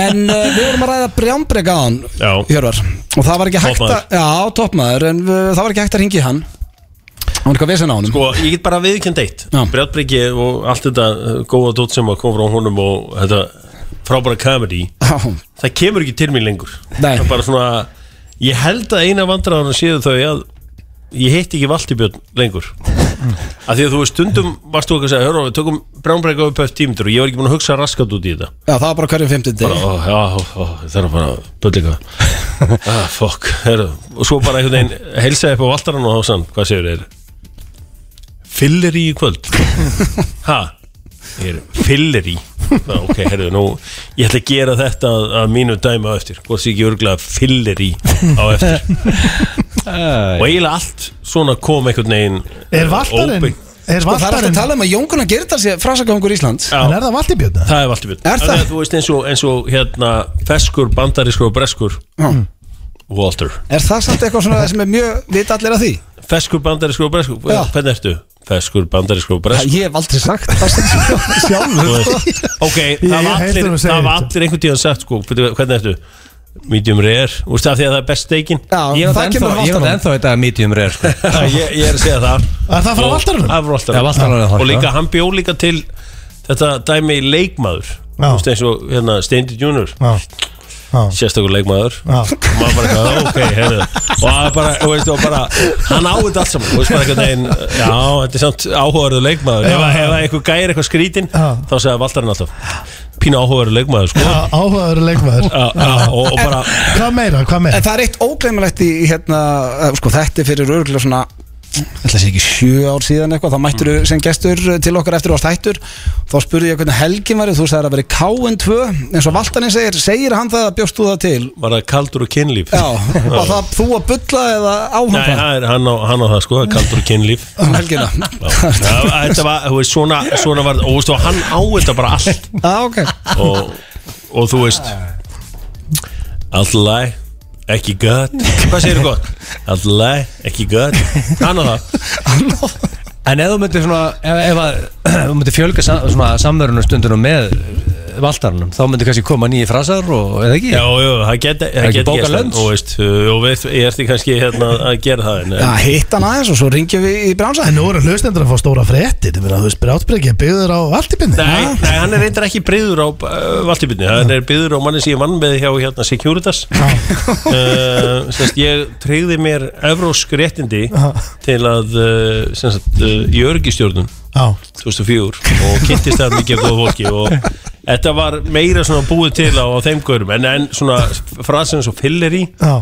S1: En uh, við vorum að ræða brjánbrek á hann
S4: Já.
S1: Hjörvar Og það var ekki hægt að Já, toppmaður En uh, það var ekki hægt að ringi hann Það var eitthvað vesen á hann
S4: Sko, ég get bara viðkjönd eitt
S1: Já.
S4: Brjátbryggi og allt þetta uh, góða dót sem að koma frá honum og þetta frábæra comedy það kemur ekki til mér lengur
S1: Nei.
S4: það er bara svona ég held að eina vandræðan séu þau að ég heitti ekki Valtibjörn lengur af því að þú veist stundum varst þú ekki að segja, hörru, við tökum bránbreyka upp eftir tímitur og ég var ekki búin að hugsa raskat út í þetta
S1: Já, það var bara hverjum fimmtindi
S4: bara, ó, já, ó, ó, það er bara böllika ah, fokk, herru og svo bara einhvern veginn heilsaði upp á valdarann og þá sann, hvað séu þér fyllir í kvöld ha, ég er fyllir í Ná, ok, herru, nú ég ætla að gera þetta að, að mínu dæma á eftir hvort því ekki örgulega fyllir í á eftir og eiginlega allt svona kom einhvern veginn
S2: er valtarinn
S4: óbeint-
S2: er
S1: Og það er alltaf að
S2: valtarinn
S1: tala um að Jónkuna Gerdal sé frasagangur Íslands
S4: Já.
S2: en er það valtibjörn
S4: Það er Valtibjörn
S1: Er það?
S4: að Þú veist eins og, eins og hérna feskur, bandarískur og breskur
S1: Mm.
S4: Walter
S1: Er það samt eitthvað svona sem er mjög Vita allir að því?
S4: Feskur, bandarískur og breskur
S1: Já.
S4: Hvernig ertu? Feskur, bandarískur og
S1: Það
S4: breskur
S1: ég hef aldrei sagt það sjálfur
S4: Þú veist, Ok, það
S2: ég
S4: var
S2: heyrði
S4: allir,
S2: honum segja
S4: það var
S2: þetta.
S4: allir einhvern tíðan sagt sko, "Bíddu, Hvernig ertu? Medium rare Þú veist það því að það er best steikin
S1: Já,
S3: Ég var
S1: það kemur
S3: ennþá- ég var
S1: alltaf
S3: ennþá í dag medium rare sko.
S4: ég, ég er að segja það
S2: Er það frá
S4: Og-
S2: Valtaranum?
S4: Það er frá
S3: Já,
S4: Valtaranum
S3: Valtaranum er það, sko.
S4: Og
S3: já.
S4: líka, hann bjó líka til Þetta dæmi leikmaður
S2: Já.
S4: Þú veist eins og hérna, Steindi Junior Sérstakur leikmaður og maður bara eitthvað, ok, heyrðu og hann bara, þú veist, og bara hann á þetta allt saman, þú veist, bara einhvern veginn já, þetta er samt áhugaverðu leikmaður ef, að- ef að einhver gæri eitthvað skrítin,
S2: Já.
S4: þá segja valdarinn alltaf, pínu áhugaverðu leikmaður sko,
S2: áhugaður leikmaður
S4: Já, já, og, og bara
S2: hvað meira, hvað meira
S1: En það er eitt óglemalegt í hérna, eh, sko, þetta er fyrir örgulega svona ætla að sé ekki sjö ár síðan eitthvað þá mættur sem gestur eh, til okkar eftir þú varst hættur þá spurði ég hvernig helgin var þú sagði að veri KN2 eins og Valtanin segir, segir hann það að bjóst þú það til
S4: var það kaldur og kynlíf
S1: já, og það þú að bulla eða á hann
S4: Nei,
S1: það
S4: það er, hann, á, hann á það sko, kaldur og kynlíf
S1: um helgina
S4: Já, Þetta var, þú veist, svona, svona var og, þú veist, og hann á þetta bara allt
S1: já, Ah, ok
S4: og, og þú veist Allt í lagi ekki gott Hvað segir þú gott? Allt í lagi ekki gott Hann á það
S3: En ef þú myndir svona Ef, ef að, þú myndir fjölga sam, svona samverunarstundunum með eh, valdarnum þá myndir kannski koma nýji frasar og, eða ekki?
S4: Já, já, það geta
S3: ekki
S4: get
S3: bókað lunch?
S4: Og veist, uh, og veist, ég ertu kannski hérna að gera það en,
S1: já, hitt hann aðeins og svo ringjum við í bránsa
S2: en nú eru hlustendur að fá stóra fréttir Ég meina, þú veist, brátbrekja byggður á valtibjörni
S4: Nei, nei, hann er reyndar ekki breyður á uh, Valtibyrni, hann er breyður á manni sem ég vann með hjá hérna Securitas uh, Sérst, ég treyði mér evrósk réttindi
S2: Já.
S4: til að, uh, sérst, uh, í örgistjórnum
S2: já
S4: 2004 og kynntist það mikið af góða fólki og þetta var meira svona búið til á, á þeim görum en, en svona frasin svo fyllir í
S2: Já,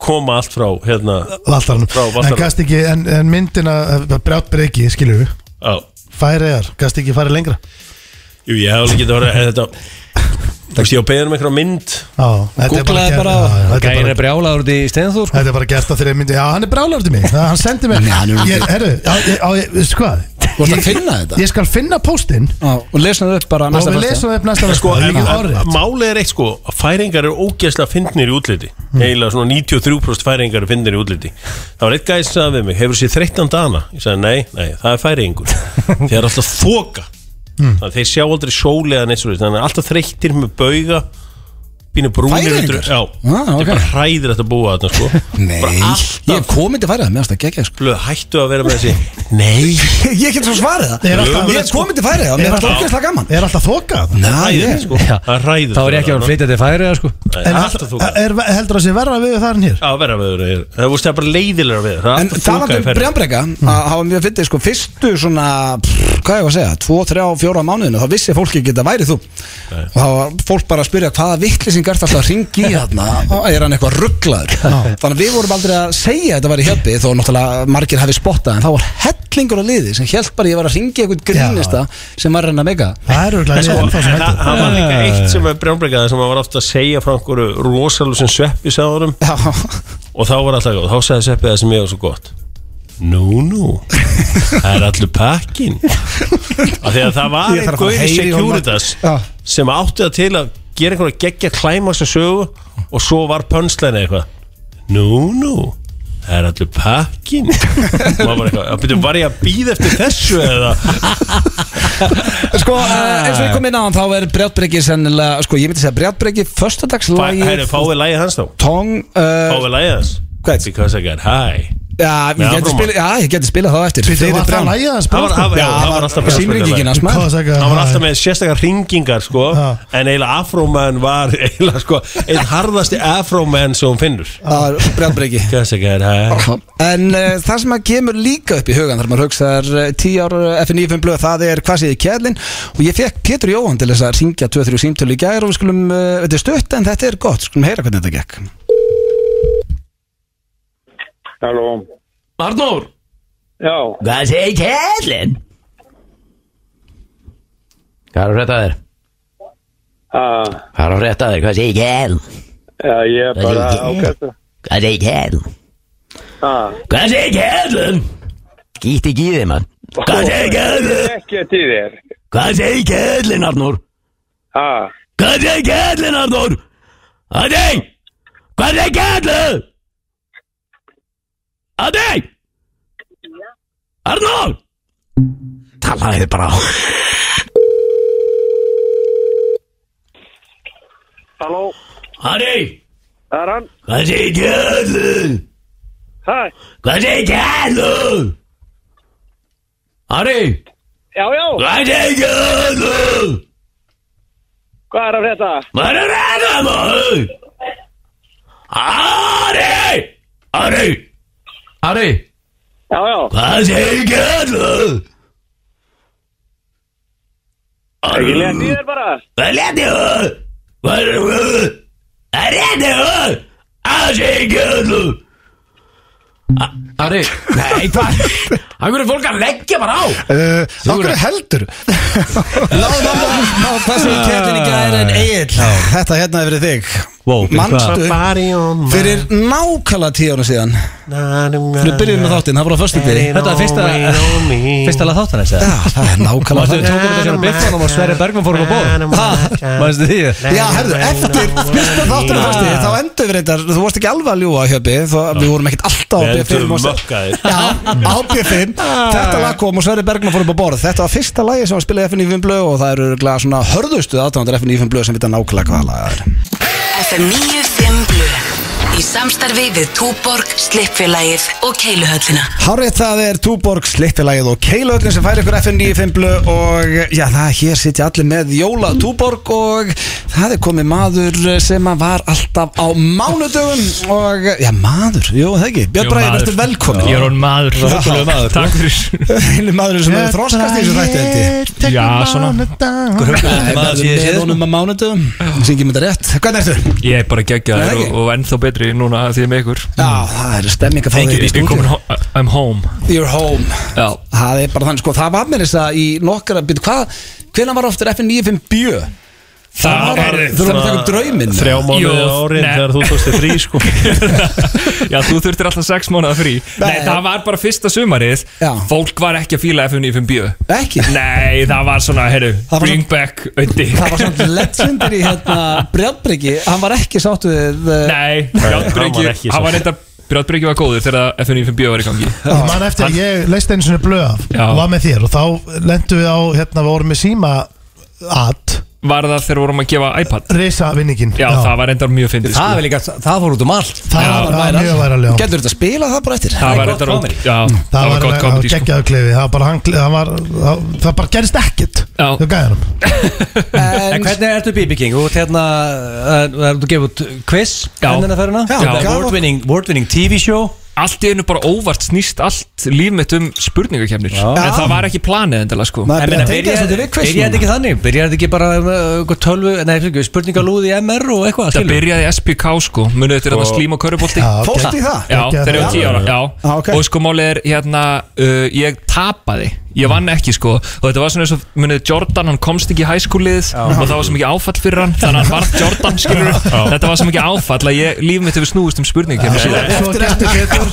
S4: koma allt frá hérna
S2: Valtaranum
S4: Frá Valtaranum.
S2: En gast ekki, en, en myndina Brjátt breyki, skilur við
S4: á,
S2: Færiðar, gast ekki farið lengra
S4: jú, ég hef alveg getið að vera þetta Þú veist, ég á beðinu með einhverja mynd
S2: Já, þetta er
S1: Googlaði
S2: gert-
S1: bara-
S2: já, já, þetta er
S3: Gæri
S2: bara
S3: brjálaður út í steinþór sko.
S2: Þetta er bara gert á þeirri myndi Já, hann er brálaður til mig Það- Hann sendi mér
S1: Nei, hann er-
S2: Ég- Herru, á- ég- á- ég- veistu hvað
S1: Þú ert að finna þetta?
S2: Ég skal finna póstinn
S1: já, og lesna það upp bara
S2: Og
S1: næsta
S2: við
S1: föstudag.
S2: lesum það upp næsta
S4: Sko,
S2: föstudag.
S4: en,
S2: Líka
S4: en,
S2: orðrétt.
S4: málið er eitt sko að færingar eru ógeðslega fyndnir í útliti eiginlega svona 93% færingar eru fyndnir í útliti það var eitt gæði sem sagði við mig hefur séð 13 dana ég sagði nei, nei, það er færingur þeir eru alltaf þoka mm. þeir sjá aldrei sól eða neitt svo þannig að alltaf þreyttir með bauga pínu brúnir
S1: Færeyingar?
S4: undir- Já,
S1: Ah,
S4: þetta
S1: ok.
S4: er bara hræðir að búa þarna sko
S1: Nei,
S4: Bara
S1: ég
S4: alltaf
S1: hef komið til færið Mér finnst það geggja sko
S4: blöð, hættu að vera með þessi Nei
S1: Ég get svo svarið það
S2: Ég er alltaf- sko.
S1: Ég hef komið til færið
S2: Ég er
S1: Mér finnst það
S2: alltaf-
S1: ógeðslega gaman
S2: Er alltaf þokað?
S1: Næ,
S4: Hræðir
S1: ég
S4: sko Það er hræðir
S3: Þá er ég ekki að vera að flytja til færi sko.
S4: flytja Alltaf þú
S2: Er, heldur það sé verra við þar en hér?
S4: Já, verra veður er Það er bara leiðilega veður Það er
S1: En
S4: alltaf
S1: talandi
S4: þoka í
S1: um
S4: ferð.
S1: brjambrekka að hafa mjög fyndið sko fyrstu svona pff, hvað ég var að segja, 2, 3, 4 mánuðinu þá vissi fólki ekki að það væri þú og þá var fólk bara að spyrja hvaða vittlising er alltaf að ringi í þarna og er hann eitthvað rugglaður þannig að við vorum aldrei að segja að þetta væri hjöppi þó náttúrulega margir hafi spottað en þá var hellingur á liði sem held bara að ég var að ringi eitthvað grínista sem var að reyna að meika
S2: Það er
S4: En
S2: örgulega
S4: sko,
S2: liðin þá sem
S4: en það
S2: heldur
S4: það var líka eitt sem er brjánbrekkað sem maður var ofta að segja frá einhverju rosalega sem sveppi sagðurum
S1: Já,
S4: og þá var alltaf góð, þá sagði sveppið það sem ég var svo gott Nú, nú Það er allur pakkin Af því að það var
S1: Ég þarf
S4: einhver
S1: að fara
S4: í
S1: að heyra í honum
S4: Securitas
S1: Já.
S4: sem átti það til að gera einhverja geggja klæmaks að sögu og svo var pönslein eitthvað Nú, nú Það er allur pakkin og maður bara eitthvað, "Bíddu, var ég að býða eftir þessu eða
S1: sko eh, eins og ég kom inn á hann þá er brjambrekki sennilega, sko ég myndi segja brjambrekki
S4: Hæri,
S1: förstadagslægi
S4: fáið lægið hans þá
S1: tong uh,
S4: Fáið lægið hans
S1: Hvern?
S4: Because I got high
S1: Já, ég
S4: Með
S1: geti
S4: Afrómar.
S1: spila, já, ég geti spila þá eftir
S2: Býttu, var það
S1: Brown.
S2: lægið sko. hans
S4: Það var,
S2: bara?
S4: það var, já, það var alltaf um
S1: Símringingin hans maður
S4: Það
S1: Eh,
S4: var alltaf með sérstakar ringingar sko
S2: Já.
S4: En eiginlega afrómenn var eiginlega sko Einn harðasti afrómenn sem hún finnur
S1: Það er brjálbreyki
S4: Because I got high
S1: En uh, það sem að kemur líka upp í hugan Þar maður hugsaðar uh, 10 ár FNF blöð Það er hvað séði kjærlin Og ég fekk Pétur Jóhann til þess að ringja 2-3 símtölu í gær Og við skulum, uh, þetta er stutt en þetta er gott Skulum heyra hvernig þetta gekk
S8: Halló,
S7: Arnór
S8: já,
S7: Hvað segir kællin? Hvað er að frétta af þér?
S8: að,
S7: Hvað er að frétta af þér? Hvað segir kællin?
S8: að ég er bara
S7: Það er ekki-
S8: ágætt
S7: Hvað segir kællin?
S8: að,
S7: Hvað segir kællin? Gýtt ekki í þig mann Hvað segir kællin?
S8: ekki til þér,
S7: Hvað segir kællin Arnór?
S8: að,
S7: Hvað segir kællin Arnór? Adei! Hvað segir kællin? Adei! Arnór! Talaði þið bara á
S8: halló,
S7: Adei!
S8: það er hann,
S7: Hvað segir kællin?
S8: hæ,
S7: Hvað segir kællin? Adei!
S8: já, já,
S7: Hvað segir kællin?
S8: hvað er að frétta?
S7: Hvað er að ræða maður? Ari! Ari! Ari!
S8: Já, já,
S7: Hvað segir kjöldu? Ari!
S8: ég leti þér bara,
S7: Hvað leti hún? Hvað er hún? Það leti hún! Hvað segir kjöldu? Ari! Nei, hvað? Hann verður fólk að leggja bara á!
S2: Okkur Eh, heldur
S1: Ná, hvað séði kjærlin í gær
S4: Ah.
S1: en Egil Þetta hérna er fyrir þig
S3: Wow,
S1: Manstu
S4: Body on my-
S1: fyrir nákvæmlega 10 ára síðan Nú byrjum við þáttinn, það voru á föstu
S3: Þetta er fyrsta Fyrsta lag þáttan þess
S1: Já, það er nákvæmlega
S3: Mástu við tókum þetta sér á biffan um og Sverri Bergman fórum á bóð Mástu því
S1: Já, herðu, eftir fyrsta þáttunum fyrsti, þá endur við reyndar, þú varst ekki alveg að ljúa hjöpi, við vorum ekkert alltaf á
S4: Við
S1: B5
S4: endum
S1: og svo-
S4: mökkaðir.
S1: Já, á B5 Þetta lag kom og Sverri Bergman fór upp á borð Þetta var fyrsta lagi sem var spilað í FNÍFum blöð og það eru glæða svona hörðustu aðdánandur FNÍFum blöð sem vita nákvæmlega hvaða lag það er
S9: FM 95 Blu Í samstarfi við Túborg, Slippfélagið og Keiluhöllina
S1: Hárið það er Túborg, Slippilagið og Keilögnin sem færi ykkur FNÍFum blöð og já, það hér sitja allir með Jóla Túborg og það er komið maður sem að var alltaf á mánudögum og já, maður, jú, það ekki Björn Bræði, verður velkomin
S10: Ég er hún maður
S1: huggulegur maður.
S10: Takk fyrir
S1: einu maður sem hefur þroskast í þessu þætti held ég
S10: Já, svona.
S1: Nei, maður með honum að mánudum syngi mér þetta rétt, hvernig ertu?
S10: Ég er bara
S1: Nei,
S10: geggjaður
S1: ekki.
S10: og, og ennþá betri núna því ég er með ykkur
S1: Já, það er stemming að fá þig
S10: Ég
S1: í
S10: er komin
S1: stúdíu
S10: ho I'm home
S1: You're home
S10: Já
S1: Það er bara þannig sko, það var mér þess að í nokkara byrju, hvað, hvenær var oftur FN95 bjö? Það
S10: Það
S1: var,
S10: var-
S1: þú erum að taka upp drauminn
S4: Þrjá mánuði
S10: Jú,
S4: árin
S10: nei.
S4: þegar þú tókst þér frí sko
S10: Já, þú þurftir alltaf sex mánuða frí Nei, það var bara fyrsta sumarið
S1: Já.
S10: Fólk var ekki að fíla F95 bíu
S1: Ekki,
S10: Nei, það var svona, heyrðu,
S1: Það var
S10: bring back Öndi
S1: það var svona legendir í hérna Brjálbryggi, hann var ekki sáttu við eh,
S10: Nei,
S4: hann var ekki
S10: Brjóttbyrgi
S4: svo.
S10: Hann var reynda Brjóttbyrgi var góður þegar F95 bíu var í gangi
S2: Ég man eftir að ég leist einu sinni blöð af
S10: Já.
S2: og var með þér og þá lendu við á hérna, við vorum með síma at
S10: var það þegar við vorum að gefa iPad
S2: Risa vinningin
S10: Já, það var endar mjög fyndið sko.
S3: Það var líka, það fór út um allt
S2: Það
S10: Já.
S2: var- það var mjög væralega
S1: Getur þetta að spila það bara eftir?
S10: Það var endar
S1: komið
S10: Já,
S2: Mm. Það
S10: gott
S2: var, það var
S10: komið sko.
S2: geggjaðu klefi Það var bara hangli Það var Það, það bara gerist ekkert
S10: Já.
S2: Þau gæðanum
S3: En hvernig ertu BB King? Þú ert hérna, uh, þú ert að gefa út quiz
S10: Já.
S3: Hvernig það ferðina?
S10: Já,
S3: Þetta er
S10: gaf-
S3: award-winning- Award-winning TV show
S10: Allt í einu bara óvart snýst allt líf mitt um spurningakefnir En það var ekki planið endala sko
S3: En
S1: Maður er
S3: meina,
S1: að tengja
S3: byrjaði
S1: þessu til við quiz
S3: byrjaði þetta
S1: núna.
S3: ekki þannig? Byrjaði þetta ekki bara um, uh, tölvu, nei, fyrir, spurningalúð í MR og eitthvað?
S10: Það byrjaði í SPK sko, munið þetta er
S3: Og-
S10: þarna slím og körubolti
S2: Já,
S1: Fórstu
S2: gegg-
S1: í það?
S10: Já,
S2: Geggjaður.
S10: þegar ég var 10 ára já.
S1: Já, ok.
S10: Og sko málið er hérna uh, Ég tapaði, ég vann ekki sko Og þetta var svona eins og, munið Jordan Hann komst ekki í hæskúlið og það var svo mikið áfall fyrir hann Þannig að hann varð Jordan skilur Þetta var svo mikið áfall að ég, líf mitt hefur snúist um spurningi síðan.
S2: Svo gerist betur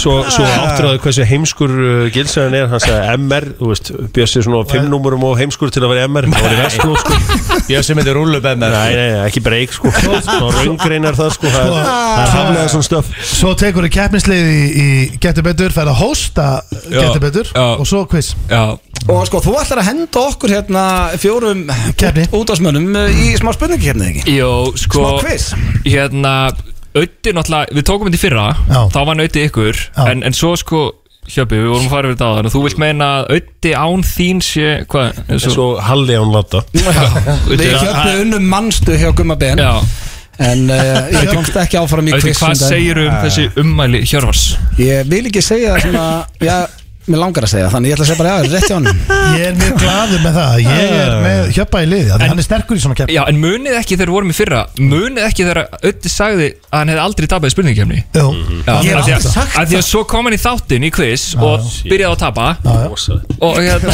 S4: Svo, svo áttur að hversu heimskur uh, gilsæðan er, hann sagði MR Þú veist, Bjössi er svona á fimm númurum og heimskur til að vera MR Það var í vestló sko
S3: Ég sem heitir Rúlu BMR
S4: Nei, nei, ekki breyk sko Svo raungreinar það sko Það er- það er haflega svona stöf
S2: Ah. Svo tekur þau keppnislið í, í getur betur Fær að hósta getur betur
S10: já.
S2: Og svo quiz
S10: Já,
S1: Og sko, þú ætlar að henda okkur hérna fjórum
S2: Keppni.
S1: útásmönnum í smá spurningakefni, ekki?
S10: Jó, sko
S1: Smá quiz.
S10: Hérna, Ötti náttúrulega Við tókum þetta í fyrra,
S2: Já.
S10: þá var hann Ötti ykkur
S2: Já.
S10: en, en svo sko, Hjöpi, við vorum að fara yfir þetta áðan og Þú vilt meina að Ötti án þín sé Hvað, eins og
S4: Svo halli án láta
S1: Við
S10: Öddi-
S1: hjöfnum unnum mannstu hjá Gumma Ben
S10: Já,
S1: En uh, ég komst ekki áfram í
S10: Ötti,
S1: quiz um
S10: hvað
S1: daginn.
S10: segir um þessi ummæli Hjörvars?
S1: Ég vil ekki segja það sem að Já, mér langar að segja Þannig ég ætla að segja bara já, rétt hjá honum
S2: Ég er mjög gladur með það Ég er með hjöpa í liði af því Hann er sterkur í svona keppni
S10: Já, en munið ekki þegar við vorum í fyrra Munið ekki þegar Ötti sagði að hann hefði aldrei tapað í spurningkefni
S2: Jú.
S10: Ég
S2: hef aldrei
S10: sagt það Því að svo kom hann í þáttinn í quiz og byrjaði að tapa og hérna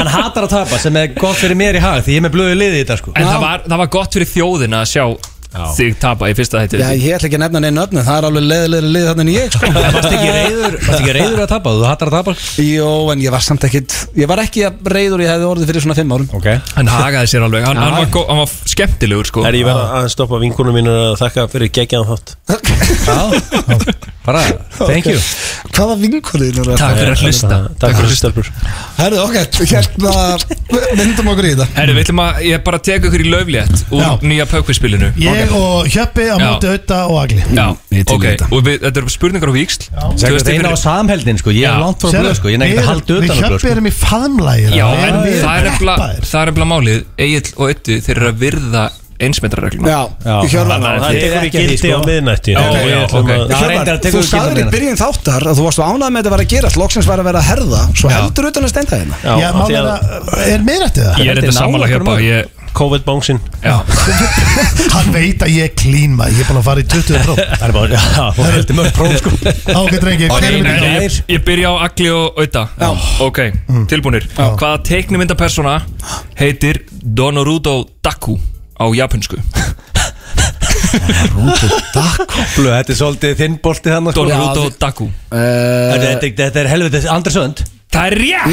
S3: Hann hatar að tapa sem er gott fyrir mér í hag Því ég er með blöðu liði í þetta sko
S10: En það var, það var gott fyrir þjóðina að sjá þig tapa í fyrsta þætti
S1: Já, ég ætla ekki að nefna neina öfni Það er alveg leiðilega leið þannig en ég sko.
S3: En Varst ekki reyður, varst ekki reyður að tapa? Þú hattar að tapa?
S1: Jó, en ég var samt ekkit Ég var ekki að reyður ég hefði orðið fyrir svona fimm árum
S3: Ok
S10: Hann hagaði sér alveg, hann, hann, var, gó- hann var skemmtilegur sko
S4: Það er ég verða að stoppa vinkunum mínu að þakka fyrir geggjaðan þátt
S3: Já, bara, thank you
S1: Hvaða vinkurðin eru
S10: Takk
S1: þetta?
S10: fyrir að hlusta
S4: Takk fyrir stelpur
S1: Herðu, ok, hérna Vindum okkur í þetta
S10: Herri, við ætlum að, ég bara teka ykkur í lauflétt úr
S2: Já.
S10: nýja pökkvíspilinu
S2: Ég og hjöpi á
S10: Já.
S2: móti auða og agli
S10: Já,
S1: Ég til í
S10: ok,
S1: þetta.
S10: og við, þetta eru spurningar á víksl Tvö
S3: Sækir
S10: stig fyrir-
S3: reyna á samheldin sko, ég
S10: Já.
S3: er langt frá blöð sko Ég nefnir að halda
S2: Við
S3: utan á blöð
S2: hjöpi
S3: sko
S2: erum í faðmlægir
S10: Já, en það er efla, það er efla málið Egil og Öttu, þeir eru að virða einsmetrarreglum
S1: Já, Hjörvar
S4: Það
S3: þið
S4: tekur í
S3: ekki því,
S4: gildi á
S3: sko.
S4: miðnætti
S10: Já,
S4: og
S10: já,
S4: við ætlum
S10: ok.
S4: að-
S3: Já, reyndar
S1: Hjörvar,
S3: tekur ekki
S1: sko. þú sagðir í
S10: hérna.
S3: meira.
S1: byrjun þáttar að þú varst ánað með þetta var að gera Loksins var að vera að herða Svo heldur utan að stenda hérna
S4: Já,
S2: Já,
S4: af því
S2: málið er
S4: að
S2: að Er meðrættið það?
S10: Ég er
S3: Þetta er
S10: þetta sammála
S3: nálægt
S10: hér bara,
S3: okkur
S10: ég
S4: COVID-bóngsinn
S10: Já,
S2: Hann veit að ég er clean maður Ég er búin að fara í 20 próf
S4: Það er bara, já, hún heldur mörg próf sko
S2: Ok, drengi, hver er
S10: Nei,
S2: mér í
S10: nei,
S2: gær?
S10: ég, ég byrja á Agli og Auða Ok, tilbúnir Hvaða teiknumyndapersona heitir Donorudo Daku á japansku?
S3: Blöð, þetta er svolítið þinn bolti þannig sko Eh,
S10: Donorudo Daku
S3: Þetta er- þetta er- þetta er helvitið Andersönd
S10: Það er rétt!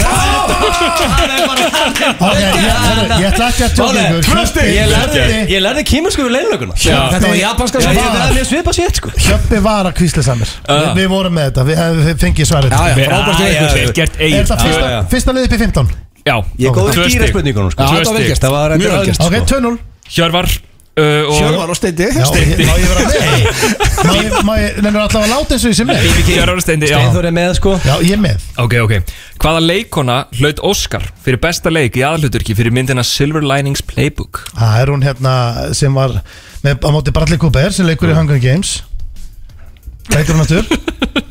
S2: Ok, ég- heyrðu, Ég ætla ekki að tjóka ykkur Hjöppi-
S3: Ég lærði-
S2: Hjöppi-
S3: ég lærði kímersku við leinlökunum
S10: Já.
S1: Þetta var japanska
S3: Já,
S1: sem
S3: ég
S1: var.
S3: það er mjög svipað sétt sko
S2: Hjöppi var að kvísla samir
S10: Já.
S2: Við vorum með þetta, við hefum fengið svarið
S1: Já,
S10: Já,
S1: já,
S10: já,
S1: frábært hjá
S10: já,
S1: ykkur
S10: vel gert
S2: Er
S10: eigin
S2: þetta fyrsta,
S3: já, já.
S2: fyrsta lið upp í 15?
S10: Já,
S3: Ég er góður
S10: Tvö
S3: skýra
S10: stig.
S3: spurningunum
S1: Já,
S3: sko
S1: þetta var vel gert.
S3: Það var
S1: Mjög
S3: þetta
S1: vel gert.
S2: Ok, 2-0
S10: Hjörvar uh, og
S1: Hjörvar og Steindi
S2: Já, Má ég vera með? Má ég, má ég, nefnir alltaf að láta eins og ég sem með?
S10: Hjörvar og Steindi já.
S3: Einþór er með sko
S2: Já, ég er með
S10: Ok, ok Hvaða leikona hlaut Óskar fyrir besta leik í aðhluturki fyrir myndina Silver Linings Playbook?
S2: Það er hún hérna sem var með, á móti Bradley Cooper sem leikur í Hunger Games Hvað heitir hún aftur?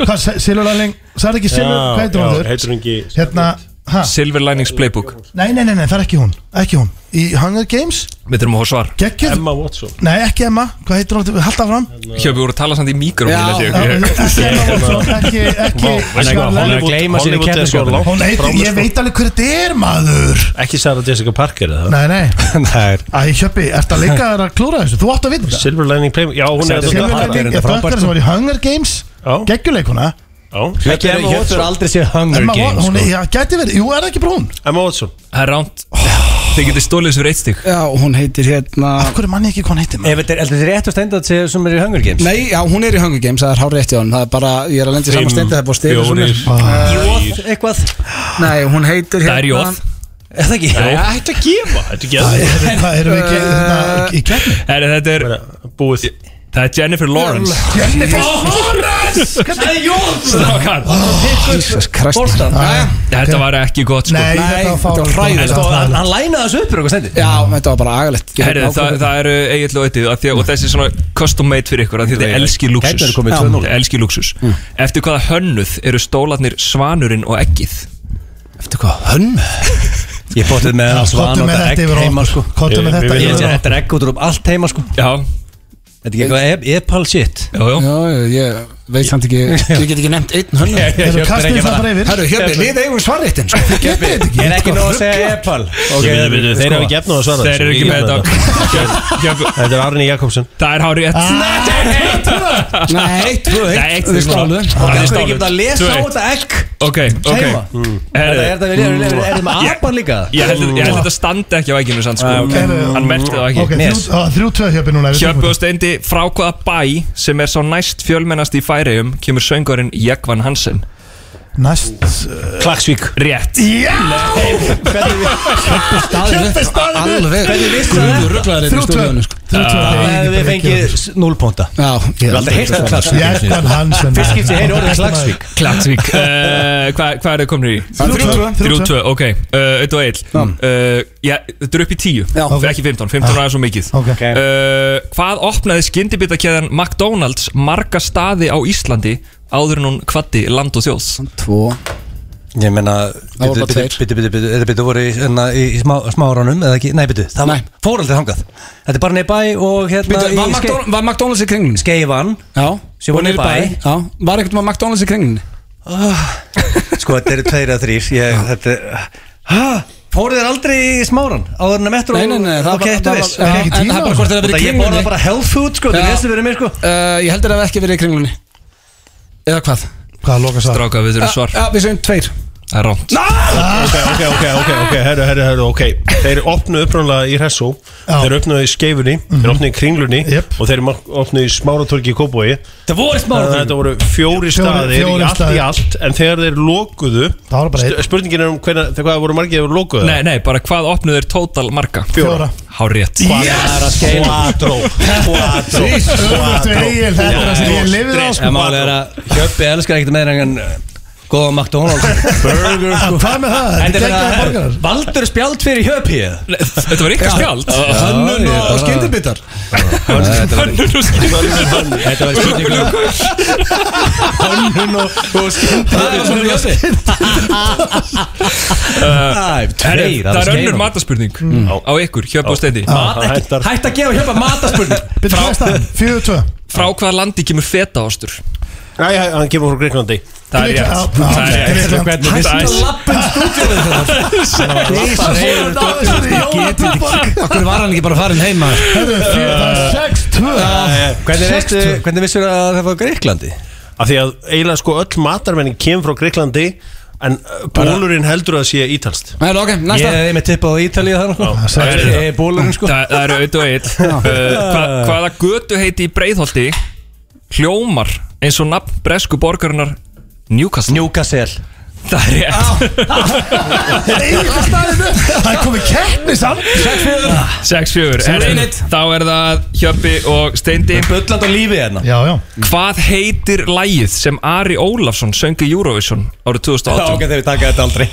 S2: Hvað, Silur Læling, sagði ekki Silur, hvað heitir hún aftur?
S4: heitur hún ekki
S2: Hérna, hæ?
S10: Silver Linings Playbook
S2: Nei, nei, nei, nei, það er ekki hún, ekki hún Í Hunger Games,
S10: Við þurfum að hóða svar
S2: geggjöð
S4: Emma Watson
S2: Nei, ekki Emma, hvað heitir hún aftur? Halda fram
S10: Hjörvar voru að tala samt í mikrofónu
S1: Já.
S10: held ég.
S2: Ekki Emma Watson, ekki, ekki
S3: Sko,
S2: Scarlett.
S3: Hollywood- Hollywood er svo langt
S2: Hún heitir, ég
S3: sko.
S2: veit alveg hver þetta er maður
S4: Ekki Sarah Jessica Parker eða það
S2: Nei, nei,
S3: Það er
S2: æ, Hjöppi, ert að leika þér að klúra þessu? Þú átt að vinna þetta
S4: Silver Lining Playbook Já, hún er
S2: Silvur
S3: Parker er
S2: Læling er
S3: þetta frábært, sko.
S2: dökkar sem var
S10: sko?
S2: í Hunger Games
S4: Já.
S2: Geggjuleikuna
S4: Já.
S3: Ekki Emma Watson aldrei séð Hunger
S2: Emma,
S3: Games
S2: hún
S3: sko.
S2: er, já, gæti verið, jú, er það ekki bara hún?
S4: Emma Watson
S10: Það er ránt Þið getið stólið þessu fyrir eitt stík
S1: Já, hún heitir hérna
S2: Af hverju manni ekki hvað hann heitir maður?
S3: Ef þetta er er þetta rétt að stenda að séð sem er í Hunger Games
S1: Nei, já, hún er í Hunger Games, það er hár rétti á hún Það er bara, ég er að lendi saman
S4: Fimm,
S2: Ah.
S1: stendi Það er búið að stila svo
S4: fjórir
S1: mér
S4: Jóð
S3: Eitthvað
S1: Nei, hún heitir
S10: Það er
S1: hérna
S10: jóð
S3: Er það ekki?
S4: Nei, hættu að gefa Hættu að gefa
S2: Hvað erum við ekki hérna, í kefni?
S10: Eh. Herri, þetta er
S4: Búið
S10: Það er Jennifer Lawrence
S4: Lawrence Sæði Jónsson
S10: Strákar
S1: Jesus Christ
S10: Þetta var ekki gott sko
S2: Nei, þetta var fáránlegt. Þetta
S1: þetta var hræðilegt. Sko,
S2: var
S3: Hann
S2: hræðilegt.
S3: hann lænaði þessu uppur eitthvað stendir
S1: Já, þetta var bara agalegt Ég
S10: Herri,
S1: ákveð-
S10: það, það eru eiginlega auðvitað að því að og þessi er svona custom made fyrir ykkur að því að þetta elski lúksus
S3: Gætnar komið 2-0.
S10: elski lúksus Eftir hvaða hönnuð eru stólarnir svanurinn og eggið?
S1: Eftir hvað, hönn?
S3: Ég bóttið með það svan
S2: Kottu
S3: og
S2: með
S3: þetta
S2: þetta
S3: egg
S2: yfir
S3: heima sko
S2: okkur Kottu
S4: Ég-
S2: með
S4: við
S2: þetta
S4: viljum
S3: Ég
S2: yfir
S3: sé
S2: okkur
S3: þetta er egg út úr um allt heima sko
S10: Já,
S3: Þetta er ekki eitthvað ep- epal shit
S10: já, já
S1: Já, ég- ég veit samt ekki Ég get ekki nefnt einn hönn
S2: Þegar við kastum það bara yfir
S1: Herru, hérna, Hjöbbi, lið eigum svarréttin sko. Þið getið þetta
S3: Ég er ekki
S1: Sko,
S3: nóg að segja epal
S4: Ok, við- við- við- Þeir
S3: sko,
S4: eru ekki efnað að svara
S10: Þeir eru
S4: þessu.
S10: ekki
S4: Ég
S10: með
S4: gef
S10: þetta Jöp- jöp-
S4: Þetta er Arni Jakobsen
S10: Það er hárið
S1: Nei, tvö,
S10: Nei, eitt,
S1: eitt Þið
S10: þið
S1: stálu
S3: Það
S10: Þeir
S3: er
S10: stálu.
S3: ekki eftir að lesa á
S10: Tvö eitt.
S3: þetta egg
S10: Ok, ok
S3: Heima. Þetta
S10: Herri,
S3: er þetta við erum Er þetta með apan líka? Mm. Ah,
S10: Ég held, ég held að þetta standi ekki á egginu sann sko. Hann merkti það ekki
S2: Ok, þrjú- á, þrjú tvö hjöpi núna við tökum
S10: Hjöppu og
S2: þetta.
S10: Steindi frá hvaða bæ sem er sá næst fjölmennast í færiðum kemur söngurinn Jekvan Hansen
S2: Næst uh,
S4: Klagsvík
S10: Rétt
S1: Alveg Guður rugglaður einn í
S2: Þrjú tvö
S1: stúdíónu sko.
S2: Þrjú tvö þegar ég
S3: Ef
S2: get
S3: við
S2: bara ekki
S3: fengið s- 0 púnta
S1: Já, ég
S3: Við aldrei heyrst það klagsvík
S2: Jekkan Hansen
S3: Fyrst skipti heyri orðið klagsvík
S10: Klagsvík
S1: Eh,
S10: uh, Hvað hva er þið komin í?
S2: Þrjú tvö, þrjú
S10: 3-2, ok Uh, Auðvitað og eil uh, já, Þetta er upp í 10
S1: Já.
S10: Ekki 15, 15 er aðeins svo mikið
S2: Ok.
S10: uh, Hvað opnaði skyndibitakeðan McDonalds marga staði á Íslandi áður en hún kvatti land og þjóðs?
S1: Tvo
S3: Ég meina
S1: Það voru bara
S3: Bitu,
S1: tveir.
S3: bitu, bitu, bitu Þetta bitu voru í, hérna, í smá, smáránum Eða ekki, nei bitu Það
S1: Nei.
S3: fór aldrei þangað Þetta er bara neirbæ og hérna
S1: Bíddu, var
S3: í Skei-
S1: McDonald- Var McDonalds í kringlunni?
S3: Skeivan
S1: Já
S3: Sem var
S1: Og niður í
S3: niður í
S1: Já, var ekkert maður McDonalds í kringlunni?
S3: Sko þetta eru tveir að þrýr Ég, þetta er Hæ? Fóruð þér aldrei í smáran? Áður en að metro
S1: Nei, nei, nei, það
S3: Ok,
S1: var-
S3: þetta
S1: það
S3: viss
S1: var- já,
S2: Ekki
S1: en
S2: tíma
S1: það er
S2: á
S1: bara hvort það hafi verið í
S3: Ég
S1: kringlunni
S3: borða bara health food sko Þetta
S1: Já.
S3: er þessi verið mér sko
S1: Uh, Ég heldur að það hafi ekki verið í kringlunni Eða hvað?
S2: Hvað loka svar?
S10: Dráka við þurfum svar
S1: Já, við segjum tveir
S10: Það er rámt
S4: Ok, ok, ok, ok, ok, herru, herru, herru, ok Þeir opnu uppræðanlega í Hressó
S2: Já. Mhm.
S4: Þeir opnu í Skeifunni, þeir opnu í Kringlunni
S2: Jep.
S4: Og þeir opnu í Smáratorgi í Kópói
S3: Það voru í smáran
S4: Þetta voru fjóri staðir í
S2: fjórir
S4: allt í
S2: staðir.
S4: allt En þegar þeir lokuðu
S2: Það var bara
S4: st-
S2: einn.
S4: Spurningin er um hvernig, þegar hvað voru margir þegar voru lokuðu
S10: Nei, nei, bara hvað opnuð er total marga?
S2: Fjóra
S10: Hárétt
S3: Yes!
S4: Quattro
S3: sko.
S4: Quattro
S2: Öfugt við Egil, þetta er það sem ég lifið á
S4: Stress.
S2: sko
S3: En málið er að Hjöppi elskar ekkert meira en uh, Góða McDonalds Burger sko
S2: Hvað með það? Þetta er geggjað borgarar
S3: Valdur spjald fyrir Hjöppi eða?
S10: Nei, Þetta var ykkar spjald
S1: Hönnun
S3: ég
S1: og- og skyndibitar
S10: Hönnun og skyndibitar
S3: Þetta var skynningu Hönnun og, og skynningu
S10: Eh, Herri,
S3: Tveir
S10: Það er önnur mataspurning
S2: Mm.
S10: á ykkur, Hjöppu og Steindi
S4: Hættar
S3: Hætt að gefa Hjöppa mataspurning
S2: Byrðu hvað er staðan? Fjögur tvö
S10: Frá hvaða landi kemur fetaostur?
S4: Æ, hæ, hann kemur frá Greiklandi
S10: Það er
S2: Já,
S10: rétt
S2: já,
S10: Það er rétt
S2: Grikkland.
S10: Hvernig vissi-
S2: Hættu að
S1: Akkur var hann ekki bara farin heima
S2: Herru, fjö- það er sex tvö
S3: Hvernig veistu, hvernig vissur að það var Greiklandi?
S4: Af því að eiginlega sko öll matarmenning kemur frá Greiklandi En uh, bólurinn heldur að sé ítalst
S1: Nei, ok,
S3: Ég
S1: næsta
S3: hefði með tippað á Ítalíu sko. þannig Það er bólurinn sko
S10: Það það eru auðvitað eitt Hvaða götu heiti í Breiðholti hljómar eins og nafn bresku borgarinnar Newcastle
S3: Newcastle
S10: Það er rétt
S2: Það er komið keppni samt
S10: 6-4 Herri, Þá er það Hjöppi og Steindi
S3: Bölland á lífi hérna
S2: Já, já
S10: Hvað heitir lægið sem Ari Ólafsson söngi Eurovision árið 2018?
S3: þegar við taka þetta aldrei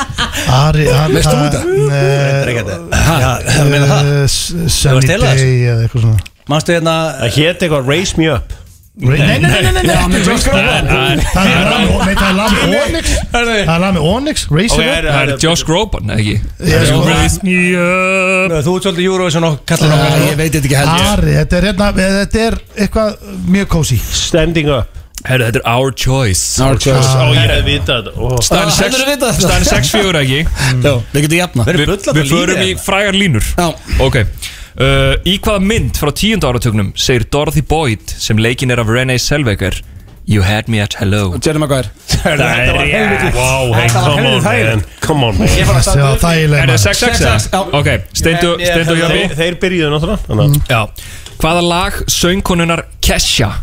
S3: Ah.
S2: Ari, hann eh,
S1: Veist þú þetta?
S3: þetta
S2: Sunny
S3: Þú varst heilaður?
S2: Day eða eitthvað svona
S3: Manstu hérna
S4: Það hét eitthvað Raise Me Up
S2: Nei, nei, nei, nei,
S1: Já,
S2: nei
S1: með Josh Groban
S10: Það er-
S2: Það er lag með- nei, það er lag með Onyx Það er lag með Onyx, Racer Up
S10: Það er Josh Groban, ekki?
S2: Ég sko-
S10: Raise me up
S3: Þú ert svolítið Eurovision og kallar
S1: Já,
S3: okkur
S1: Ég veit þetta ekki held
S2: Ari, þetta er hérna Þetta er eitthvað mjög kósi
S4: Standing Up
S10: Herru, þetta er Our Choice
S4: Ó, ég hefði vitað þetta. Ó.
S10: Staðan
S1: Ah, hefurðu vitað þetta?
S10: 6-4, ekki?
S1: ég Við getum jafna
S10: Vi,
S3: bullandi
S10: við
S3: lífi
S10: förum í
S3: hérna.
S10: frægar línur
S1: Já.
S10: Ok uh, Í hvaða mynd frá tíundu áratögnum segir Dorothy Boyd sem leikinn er af Renee Selvegar You had me at hello
S1: Jerry Maguire
S10: Það er rétt
S4: Wow, hey, come on man Come on man
S2: Það er þægileg
S10: Er það
S2: maður.
S10: 6-6?
S1: Já.
S10: eða? Ok, steindu,
S3: You had me
S10: steindu
S3: at
S10: Jöpi
S4: Þeir, þeir byrjuðu náttúrulega þannig að-
S10: Já Hvaða lag söngkonunar Kesha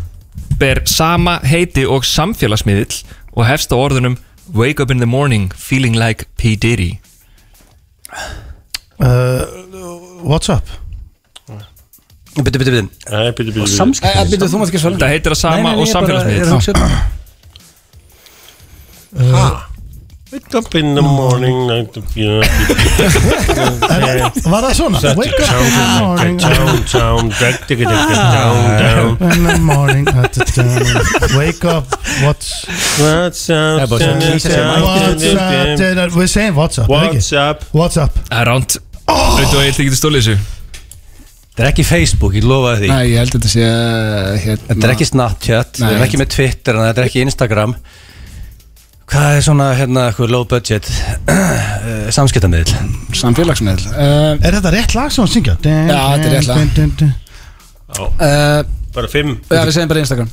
S10: ber sama heiti og samfélagsmiðill og hefst á orðunum Wake up in the morning feeling like P. Diddy
S2: uh, What's up?
S3: Bitti, bitti, bitti
S4: Nei, bitti, bitti
S1: Æ, æ, bíddu, Eh, þú mátt ekki svara.
S10: Það heitir að sama
S1: Nei, nei, nei,
S10: og
S1: ég bara- ég er að hugsa. um-
S10: samfélagsmiðl
S4: Eh,
S2: Ah.
S4: Wake up in the morning night of you
S2: Eh,
S4: Eh,
S2: Var það svona?
S4: Such
S2: Wake
S4: a
S2: up in the
S4: town
S2: morning
S4: Town, town Drag, dig, dig, dig, down, down
S2: In the morning at the time. Wake up What's
S4: What's
S3: Það er
S4: up
S3: bara
S2: What's
S3: sem lýsa sem
S4: What's
S2: up dinner? We're saying what's up ekki?
S4: up
S2: What's up Oh!
S10: Það er ránt Þú veit, ég ætla ekki til stólið þessu
S3: Það er ekki Facebook, ég lofaði því
S1: Nei, ég held að þetta sé uh, hérna,
S3: Þetta er ekki Snapchat,
S1: Nei.
S3: við erum ekki með Twitter þannig að Þetta er ekki Instagram Hvað er svona, hérna, eitthvað low budget eh, samskiptamiðl?
S1: samfélagsmiðl uh,
S2: Er þetta rétt lag sem hún syngja?
S1: Já, þetta er rétt lag. uh,
S4: Bara fimm
S1: Já, við segjum bara Instagram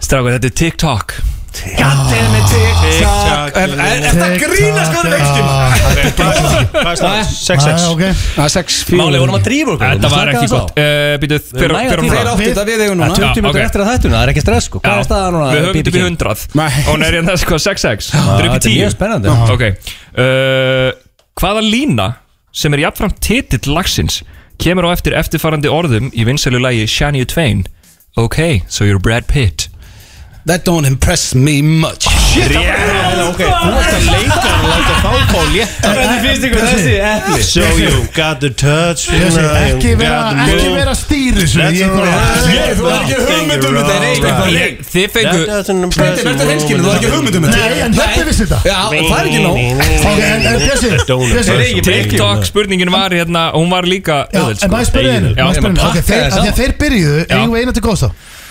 S10: Strákur, þetta er TikTok
S4: TikTok
S1: Þetta grínast góður vextum
S4: Hvað er
S10: eh,
S4: það? Sex, sex
S2: Ah, ok
S1: Það er 6, 4
S3: Máli, vorum að drífa okkur
S10: Þetta var ekki gott Eh, Býtu, hver
S3: næga
S10: hver hún frá?
S3: tíma.
S1: Þeir áttu þetta við eigum núna
S3: 20
S10: Já,
S3: minnur
S10: ok.
S3: eftir að þættuna, það er ekki stress sko Hvað
S10: Já.
S3: er staðan núna?
S10: Við höfum
S3: BBK?
S10: þetta við 100
S1: Nei.
S10: Og hún er hérna sko 6x Það er upp í
S3: Þetta er
S10: 10
S3: mjög spennandi
S10: Ok uh, Hvaða lína sem er jafnframt titill lagsins kemur á eftir eftirfarandi orðum í vinsælu lægi Shania Twain Ok, so you're Brad Pitt
S1: That don't impress me much
S4: Shit, það var það Ok, þú ert að leika og láta þá fá létta
S3: Hvernig finnst ykkur þessi epli?
S4: So you got the touch
S2: Ég segi, Ekki vera Ekki vera stýri Svo
S4: That's
S2: ég
S4: all right.
S2: Ég-
S4: Ég- þú hefur ekki hugmynd um þetta, nei,
S10: Ég-
S4: bara
S10: ég- Þið fengu
S1: Þetta er þetta heimskilin, þú er ekki hugmyndum
S2: Nei, en hérna vissi þetta
S1: Já, og það er ekki nóg
S2: Ok, en en Bjössi Bjössi
S10: TikTok spurningin var hérna og Hún var líka
S2: Já,
S10: öðvöld
S2: en maður
S10: sko.
S2: spyrir einu
S10: Já,
S2: maður
S10: ég
S2: spyrir
S10: meina,
S2: einu. Ok,
S10: pakka
S2: þeir- af
S10: þessu
S2: því að þeir byrjuðu Eigum við eina til góðs þá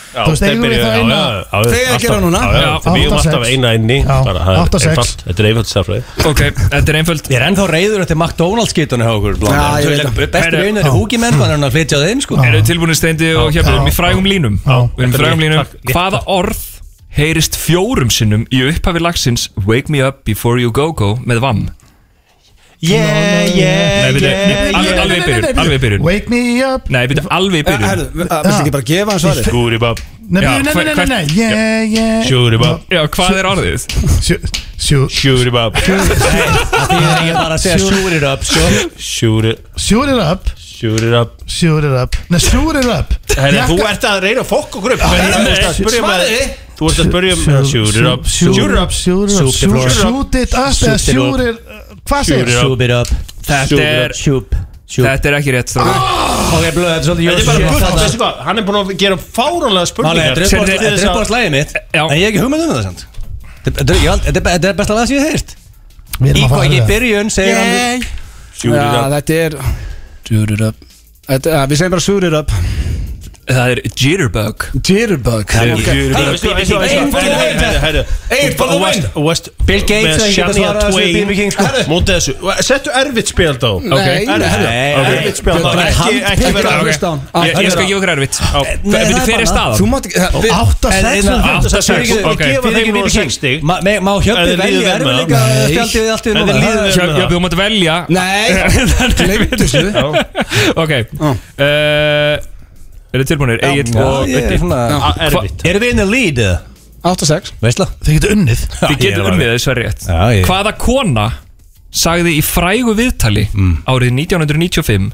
S2: Þú veist, eigum við það eina
S1: Þegar gera núna.
S10: Já,
S4: Við
S2: átta,
S4: erum alltaf
S2: sex.
S4: eina inni
S2: Já,
S4: bara, það er
S2: átta, sex.
S4: einfalt. Þetta er einfalt stafræði
S10: Ok, þetta er einföld
S3: Ég er ennþá reyður eftir McDonalds skitunni hjá okkur
S1: Já, ég veit það.
S3: Bestur
S10: Herru,
S3: einu er húki menn Hann er að flytja á þeim sko
S10: Eru tilbúinir steindi og hérna Við erum í frægum línum Við erum í frægum línum
S4: Takk.
S10: Hvaða orð heyrist fjórum sinnum í upphafi lagsins Wake me up before you go go með vamm
S7: Eh,
S3: Yeah, yeah,
S10: Nei, við
S3: yeah
S10: alveg alveg í byrjun Alveg í byrjun
S2: Wake me up
S10: Nei, við alveg í byrjun
S1: Herðu, viltu ekki bara gefa hann svarið?
S4: Gúri bab,
S2: Nei,
S10: Já,
S2: nei, nei, nei,
S10: hver-
S2: nei, nei Yeah, yeah
S4: sjúri bab,
S10: Já, hvað er orðið?
S2: Sjú- Sjú
S4: sjúri bab
S3: Því er ég bara að segja Sure it up sko
S4: Sjúri,
S2: Sjúr it up
S4: sjúri bab
S2: Sjúr it up Nei, sjúr it up
S4: Herri,
S2: Jakka-
S4: þú ert að reyna að fokka okkur upp en þú ert að spyrja um að- Þú ert að spyrja um
S2: Sjú-
S4: Sjúri bab,
S2: sjú-
S4: sjúri bab
S2: Sjúr it up
S3: Shoot the floor.
S2: sjú- Shoot it up eða
S3: Shoot the
S2: Sjúr
S3: floor.
S2: it Hvað segir
S4: Sjúr it up.
S3: Sube it up
S10: Þetta er
S3: Sjúb Sjúb
S10: Þetta er ekki rétt strákur
S3: Ok, blöð, þetta er svolítið
S4: Þetta er bara gull,
S3: Þetta er
S4: veistu hvað, hann er búin að gera fáránlega
S3: Máli,
S4: spurningar
S3: þetta er uppáhalds-
S4: Til
S3: þetta
S4: þess
S3: er
S4: að-
S3: uppáhalds lægið mitt
S10: Já.
S3: En ég hef ekki hugmynd um það samt Þetta þetta er- ég held- þetta er be- þetta er besta lag sem ég hef heyrt
S2: Við
S3: Í
S2: erum að
S3: hvað
S2: fara
S3: ekki í
S2: yfir það.
S3: byrjun segir hann
S4: Sjúri
S1: Já,
S4: bab,
S1: þetta er Júrir upp Þetta, ja, Við segjum bara surir upp
S10: Það er jitterbug
S1: Jitterbug
S4: sjúri bab Herri,
S1: Egil, bara þú
S4: West, West
S3: Bill Gates
S4: með
S1: hérna
S3: hefði getað
S4: Shania
S3: svarað þessu BB King, sko.
S4: Twain Mótið þessu, settu erfitt spjald á
S1: Nei,
S4: Herri, herri,
S1: nei
S4: erfitt spjald á
S1: Bara
S4: Ekki, ekki
S1: handpikka
S4: vera
S1: á
S4: Ok.
S1: Kristján.
S10: Ég ég skal gefa ykkur erfitt Veitu, hver er
S1: Þú
S10: staðan?
S1: mátt ekki það- við-
S2: Átta,
S3: En-
S2: sex
S3: en-
S2: og-
S10: Átta,
S4: Þetta
S10: sex,
S4: segir
S10: ok.
S4: ekki gefa
S3: Fyrir
S4: þeim
S3: ekki
S4: núna
S3: BB King.
S4: 6 stig
S3: Ma- me- Má
S4: Ef
S3: hjálpi
S4: þið líður
S3: velja
S4: vel með
S3: erfiðleika
S4: það.
S3: spjaldið við allt í
S4: Ef þið líður
S3: núna
S4: vel-
S10: Já, já, við mátt velja
S1: Nei, glemdu þessu
S10: Ok uh, Er þið tilbúinir? Egil og
S3: Þetta er
S10: Viti
S3: svona
S1: Já.
S4: Á, Erfitt
S3: Erum við in the lead?
S1: 8-6
S3: Veistla?
S2: Þið getur unnið
S10: Þið getur unnið þessu er rétt
S3: Já, ég-
S10: Hvaða kona sagði í frægu viðtali
S3: Mm.
S10: árið 1995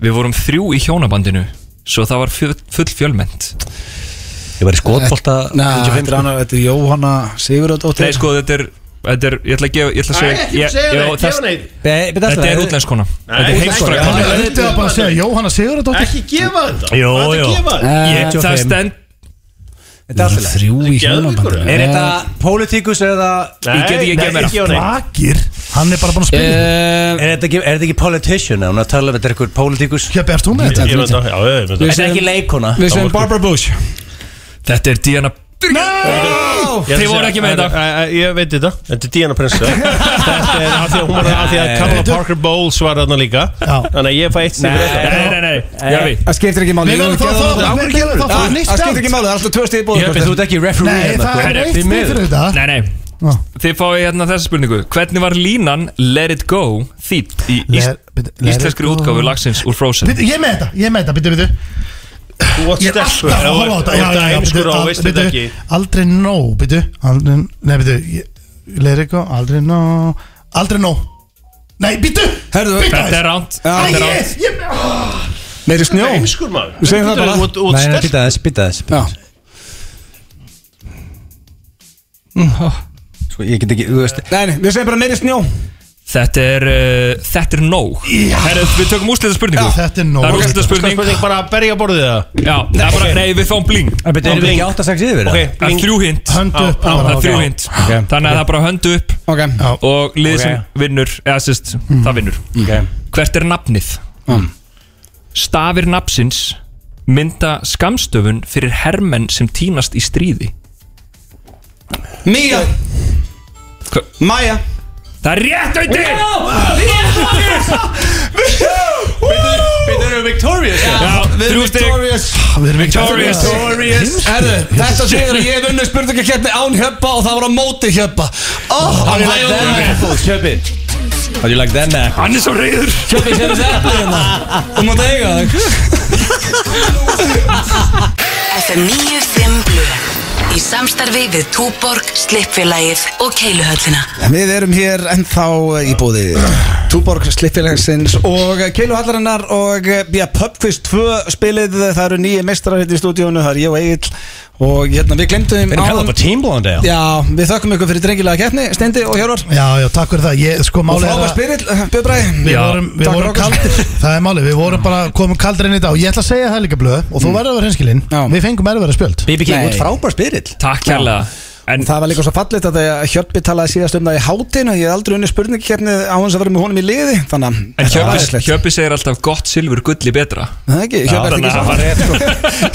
S10: Við vorum þrjú í hjónabandinu Svo það var full, full fjölmennt
S3: Ég var í skotbolta
S1: Nei, þetta er
S2: sko.
S1: annar- þetta er Jóhanna Sigurðardóttir
S10: Nei sko þetta er, þetta er Ég ætla að gefa Ég ætla að segja
S4: Ekki
S10: ég- ég-
S4: segja neitt, gefa
S10: þess-
S4: neitt
S10: Þetta er útlenskona Þetta er heimsfræg
S2: Hann
S10: kona
S2: er auðvitað að bara að segja Jóhanna Sigurðardóttir
S4: Ekki gefa þetta
S3: Jó,
S4: Hvað er
S3: jó.
S4: að gefa þetta?
S1: Eh,
S10: Ég- Það stend
S3: Eh, Þetta er alltaf
S1: Þrjú
S4: Geðveikur,
S1: í hjónabandi
S3: Er þetta pólitíkus eða
S10: Ég get ekki
S4: Nei,
S10: gefið meira.
S4: nei, gefa neitt.
S2: Bakir Hann er bara búin að spila
S1: Eh,
S3: Er þetta ekki, er þetta ekki politician? Hún er að tala um þetta er eitthvað pólitíkus
S2: Hér berst hún með þetta
S4: Ég veit það, já, ég veit það.
S3: Þetta er ekki leikona
S1: Við segjum Barbara Bush
S10: Þetta er Diana
S4: Ég ætla
S10: Þið voru
S4: að
S10: ekki
S4: segja-
S10: með þetta
S4: Æ, æ, æ, Ég veit þetta, þetta er Diana Prince Þetta er af því að hún var af því
S1: Eh.
S4: að Kamala Parker Bowles var þarna líka
S2: Já.
S4: Þannig að ég fæ eitt sem þetta
S10: Nei, nei, nei Javi
S1: Það skiptir ekki máli
S2: Við verðum þá að fá- við verðum þá að fá nýtt
S1: Það skiptir
S2: spjald.
S1: ekki máli, það er alltaf tvö stíð
S3: Ég hef þú ert ekki referee
S2: Nei,
S3: hérna,
S2: það
S3: sko.
S2: er
S10: Herri,
S2: eitt
S3: því
S2: stig
S3: miður.
S2: fyrir þetta
S10: Nei, nei
S2: Ná.
S10: Þið fáið hérna þessa spurningu Hvernig var línan Let it go þýtt í ís
S2: Let- bíddu, let it
S10: íslenskri
S2: go.
S10: útgáfu lagsins úr Frozen
S2: Bíddu, Ég er með þetta, ég er með þetta, bitu, bitu
S4: Þú ert
S2: Ég
S4: sterkur
S2: er alltaf að horfa á þetta Já, já, já,
S4: heimskur
S2: bíddu,
S4: og
S2: al-
S4: veist þetta
S2: bíddu,
S4: ekki
S2: Aldrei no, bitu Aldrei, nei, bitu Leir eitthvað, aldrei no Aldrei no Nei, býttu
S1: Herðu,
S2: Býttu
S10: Þetta er
S2: aðeins.
S10: ránt
S1: Já.
S10: Þetta
S2: Æ,
S10: er
S2: ég-
S10: ránt
S2: ég- Ah.
S1: Meiri snjó
S4: Heimskur maður
S1: Við segjum það bara.
S4: Út- út
S3: Nei, nei,
S4: stelp-
S3: býta þess, býta þess
S1: Já
S3: Sko, ég get ekki, þú veist
S1: Mm. Nei, nei, við segjum bara meiri snjó
S10: Þetta er, uh, þetta er nóg Herru, Við tökum úrslita spurningu
S2: Þetta er nóg
S10: Það er úrslita
S4: Skal
S10: spurning
S4: spurning bara að berja borðið það
S10: Já, það er bara, nei, við fáum bling
S3: Það byrja, erum við
S4: blink.
S3: ekki 8-6 yfir
S4: Ok,
S3: eða?
S10: Það er
S4: bling
S10: þrjú hint
S2: Höndu upp
S10: Það
S2: bara,
S10: er
S2: ok.
S10: þrjú hint
S3: Ok.
S10: Þannig að það er bara höndu upp Mm.
S1: Ok
S10: og liðið sem vinnur eða sérst, það vinnur
S3: Ok.
S10: hvert er nafnið Mm. stafir nafnsins mynda skamstöfun fyrir hermenn sem týnast í stríði
S1: Mía
S10: Hva-
S1: Maja
S10: það er rétt auðvitað
S4: Við erum Victorious
S10: þrjú stig
S3: Ah,
S2: Við erum ekki
S10: Victorious
S1: Herðu, þetta segir að ég hef unnið spurningakeppni án hjöppa og það var á móti hjöppa oh, Hann er
S3: Kjöpi How do you like them apple?
S10: hann er svo reyður
S1: Hjöppi sem þetta er hérna Þú mátt eiga þig
S9: FM 95 Blu Í samstarfi við Túborg, Slippfélagið og Keiluhöllina
S1: Við erum hér ennþá eh, í bóði Túborg Slippfélagsins og eh, Keilu Hallarinnar og eh, ja, Pubquiz 2 spilið það eru nýju mestrar hérna í stúdíónu, það er ég og Egil og hérna við glemdum
S3: Við erum hefðið bara Team Blondale
S1: Já, við þökkum ykkur fyrir drengilega keppni, Steindi og Hjörvar
S2: Já, já, takk fyrir það Ég, sko,
S1: og
S2: málið er
S1: frábær
S2: að
S1: spyrill, Bjöbræ
S2: Við
S10: Já,
S2: vorum, við
S1: takk
S2: vorum
S1: fyrir okkur.
S2: kaldir Það er málið, við vorum bara komum kaldir inn í dag og Ég ætla að segja það líka blöð Og þú verður að vera hinskilinn
S1: Mm. Já.
S2: Við fengum erfæra spjöld
S3: BB King,
S1: Nei.
S3: út frábær spyrill
S10: takk kærlega en
S1: Það var líka svo fallit að þegar Hjörpi talaði síðast um það í hátinu Ég hef aldrei unni spurningkeppni á hans að vera með honum í liði Þannig að
S10: En
S1: þetta var
S10: Hjöppi,
S1: æðislegt.
S10: Hjöppi segir alltaf gott silfur gulli betra
S1: Það er ekki, Hjörpi er
S10: þannig að
S1: ekki svo
S10: hann var rétt,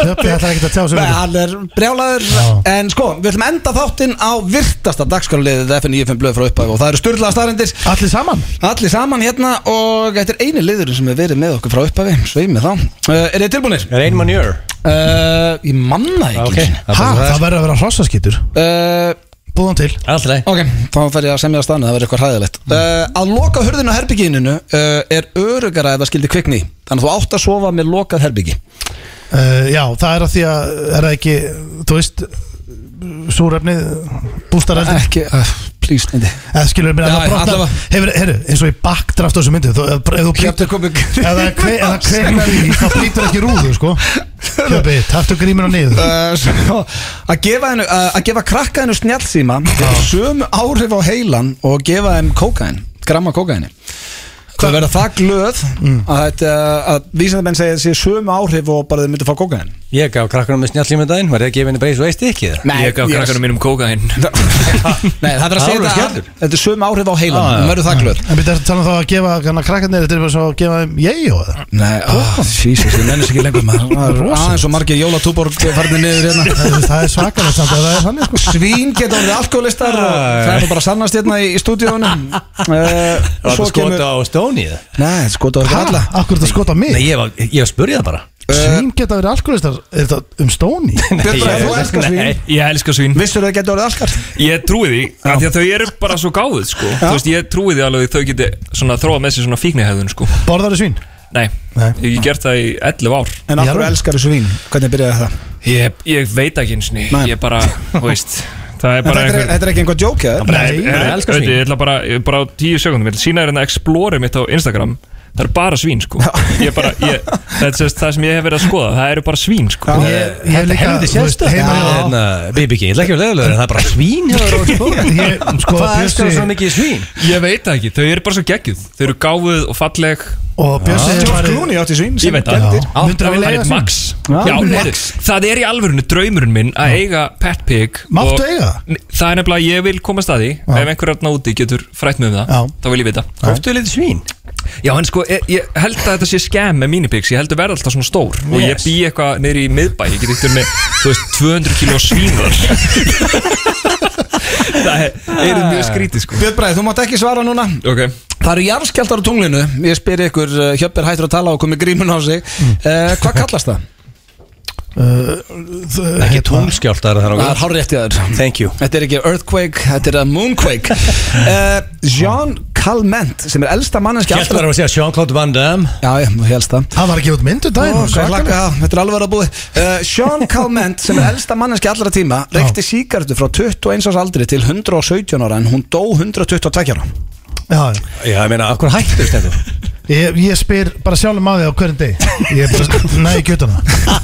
S2: Hjöppi ætlar ekki að tjá sig um
S1: Nei,
S2: þetta.
S1: hann er brjálaður
S2: Já.
S1: En sko, við ætlum að enda þáttinn á virtasta dagskaraliðið FN95 blöð frá upphæf og það eru sturlaða staðrendir
S2: Allir saman
S1: Allir saman hérna og þetta er eini liðurinn sem hefur verið með okkur frá upphæfi Sveimi þá uh,
S3: Eh,
S1: Er þið tilbúinir?
S3: Er ein manjör Eh,
S1: Uh, ég manna
S3: Ah,
S1: ekki okay.
S2: Ha, það verður að vera hrossaskýtur
S1: uh,
S2: Búðan til
S3: Alltaf leið
S1: Ok, þá fer ég að semja á staðinu, það verður eitthvað hræðilegt uh, Að loka hurðinu á herbygginu uh, er örugara ef það skildi kvikni í. Þannig að þú átt að sofa með lokað herbyggi
S2: Uh, já, það er að því að er það ekki, þú veist súrefnið, Eh, bústareldin
S1: Ekki, uh, please, neindi
S2: eða skilur mér að
S1: Já,
S2: það
S1: já,
S2: brotna
S1: allavega.
S2: hefur, herru, eins og í backdraft á þessu myndu þú, ef, ef þú
S1: Kjöptu
S2: brýtur
S1: komið
S2: ef það er kve- ef það kveiknar í, þá brýtur ekki rúðu sko Kjöpi, taktu grímina niður
S1: Uh, svo, að, gefa hennu, uh, að gefa krakka hennu snjallsíma hefur sömu áhrif á heilan og gefa henn kókain, gramma kókaini Það verða það glöð
S2: Mm.
S1: að, þetta, að vísindamenn segja að það sé sömu áhrif og bara þau myndu að fá kókain
S3: Ég gaf krakkanum með snjallíma daginn Var ég að gefa henni breys og eitt ekki það?
S10: Ég gaf krakkanum mínum kókaðinn
S1: Nei, það er að segja
S3: Alveg
S1: þetta
S3: skellur.
S1: að þetta er sömu áhrif á heilan ah, verður það glöð
S2: en byrja að tala um þá að gefa kannar krakkarnir þetta er bara svo að gefa þeim ég og það
S1: Nei, oh, Jesus, ég nennis ekki lengur maður Það er
S2: Rosalegt.
S1: aðeins og margir jólatúborg farnir niður hérna
S2: þú veist, það er svakalega samt að það er þannig sko
S1: Svín geta orðið alkoholistar og það er nú bara sannast hérna í, í stúdíónu uh,
S3: Það var skota á Stóni eða?
S1: Nei, skota á okkur alla
S2: Hæ, akkur þetta skota mig
S3: Nei, ég var, ég var að spurja það bara
S2: svín geta verið alkoholistar, er þetta um stóni
S1: Björn Bragi,
S3: Ég-
S1: þú elskar
S3: Nei.
S1: svín.
S10: Ég elska svín
S1: Vissur það geta orðið alkar?
S10: Ég trúi því, af því að þau eru bara svo gáðið sko. Þú veist, ég trúi því alveg að þau geti svona, þróa með sér svona fíknihæðun sko.
S2: borðar svín
S10: Nei,
S2: Nei.
S10: ég hef gert það í 11 ár
S1: En af hverju
S2: Jarðar.
S1: elskar þessu vín? Hvernig byrjaði það?
S10: Ég, ég veit ekki eins og
S1: Nei.
S10: ég bara, þú veist Það er
S1: En
S10: bara
S1: Þetta er,
S10: einhver
S1: þetta er ekki einhver joke, eða?
S2: nei,
S10: Herru,
S3: Ég elska svín.
S10: Ég ætla bara, ég- bara á tíu sekundum Ég ætla að sína þér hérna Explorer mitt á Instagram Það eru bara svín sko Ég bara, ég, þetta er sem sagt það sem ég hef verið að skoða Það eru bara svín sko
S1: Já.
S2: ég, ég hef
S3: Þetta
S2: líka,
S3: helviti
S2: þú veist,
S3: sérstök
S2: heima
S3: Já.
S2: hjá
S3: Hérna, BB King, ég ætla ekki að vera leðulegur En það er bara svín hjá þér og stóni
S2: Ég, sko,
S3: Hvað elskar þú
S2: Bjössi-
S3: svo mikið í svín?
S10: Ég veit það ekki, þau eru bara svo geggjuð Þau eru gáfuð og falleg
S2: og Bjössi hefur
S1: George
S2: farið
S1: Clooney átti svín
S10: Ég
S1: sem
S10: veit það
S1: gældir.
S10: Á-
S2: Myndirðu vilja
S10: Það
S2: eiga
S10: er
S2: svín?
S10: Max
S1: Já,
S10: Já,
S1: Max.
S10: heyrðu, Það er í alvörinu draumurinn minn að eiga pet pig
S2: Máttu
S10: og-
S2: eiga það?
S10: Nei, Það er nefnilega, ég vil komast að því Ef einhver hérna úti getur frætt mig um það
S2: Já.
S10: Þá vil ég vita
S3: Hóftu litið svín?
S10: Já, en sko, ég, ég held að þetta sé skemm með minipigs, ég held að verða alltaf svona stór og ég bý eitthvað neyri í miðbæ, ég get eitthvað með, þú veist, 200 kíló svínar Það er, er mjög skrítið, sko
S1: Eh, Björn Bræði, þú mátt ekki svara núna
S10: Ok,
S1: Það eru jarðskjaldar á tunglinu Ég spyr ykkur, Hjöpp er hættur að tala og komið grímun á sig
S2: Mm.
S1: uh, Hvað kallast það?
S3: Ekki tunglskjáltar þar á
S1: Það er hár rétt í aður
S3: Thank you
S1: Þetta er ekki earthquake, þetta er að moonquake uh, Jean Calment sem er elsta manneski
S3: Gjallt var að segja Jean-Claude Van Damme
S1: Já, ég ég helst það
S2: Hann var að gefa út myndu daginn
S1: Ó,
S2: oh,
S1: hvað ég hlakka, já, Þetta er alveg verið að búið uh, Sean Calment sem er elsta manneski allra tíma reykti síkartu frá 21 árs aldri til 117 ára en hún dó 122 ára
S2: Já, já.
S3: Já, ég meina, af hverju hættur þetta?
S2: Ég, ég spyr bara sjálfum á því á hverjum deg Ég er bara sko, næði kjötuna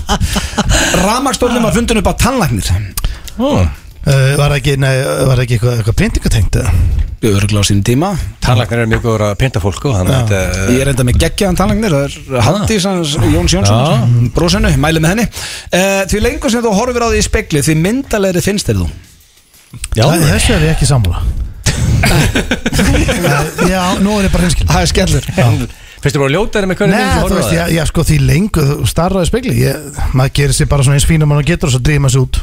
S1: Ramakstólnum var fundin upp á tannlagnir
S2: uh, Var það ekki, nei, var það ekki eitthvað, eitthvað pyntingatengt eða?
S1: Við verðum gláð sín tíma
S3: Tannlagnar er mjög góður að pynta fólk og þannig að þetta
S1: Eh, Ég er enda með geggjaðan tannlagnir Það er Handís, hans, Jóns Jónsson Brósinu, mæli með henni uh, Því lengur sem þú horfir á því í spegli Því myndalegri finnst þér þú
S2: Já, Æ, þessu er ég ekki sammála Eh, Já, nú er ég bara hinskil
S1: Það er skellur
S3: Fyrstu bara að ljóta þeirra með hvernig
S2: Nei, þú veist, ég, ég sko því lengur þú starrar í spegli ég, Maður gerir sér bara svona eins fínum og getur og svo drýma sér út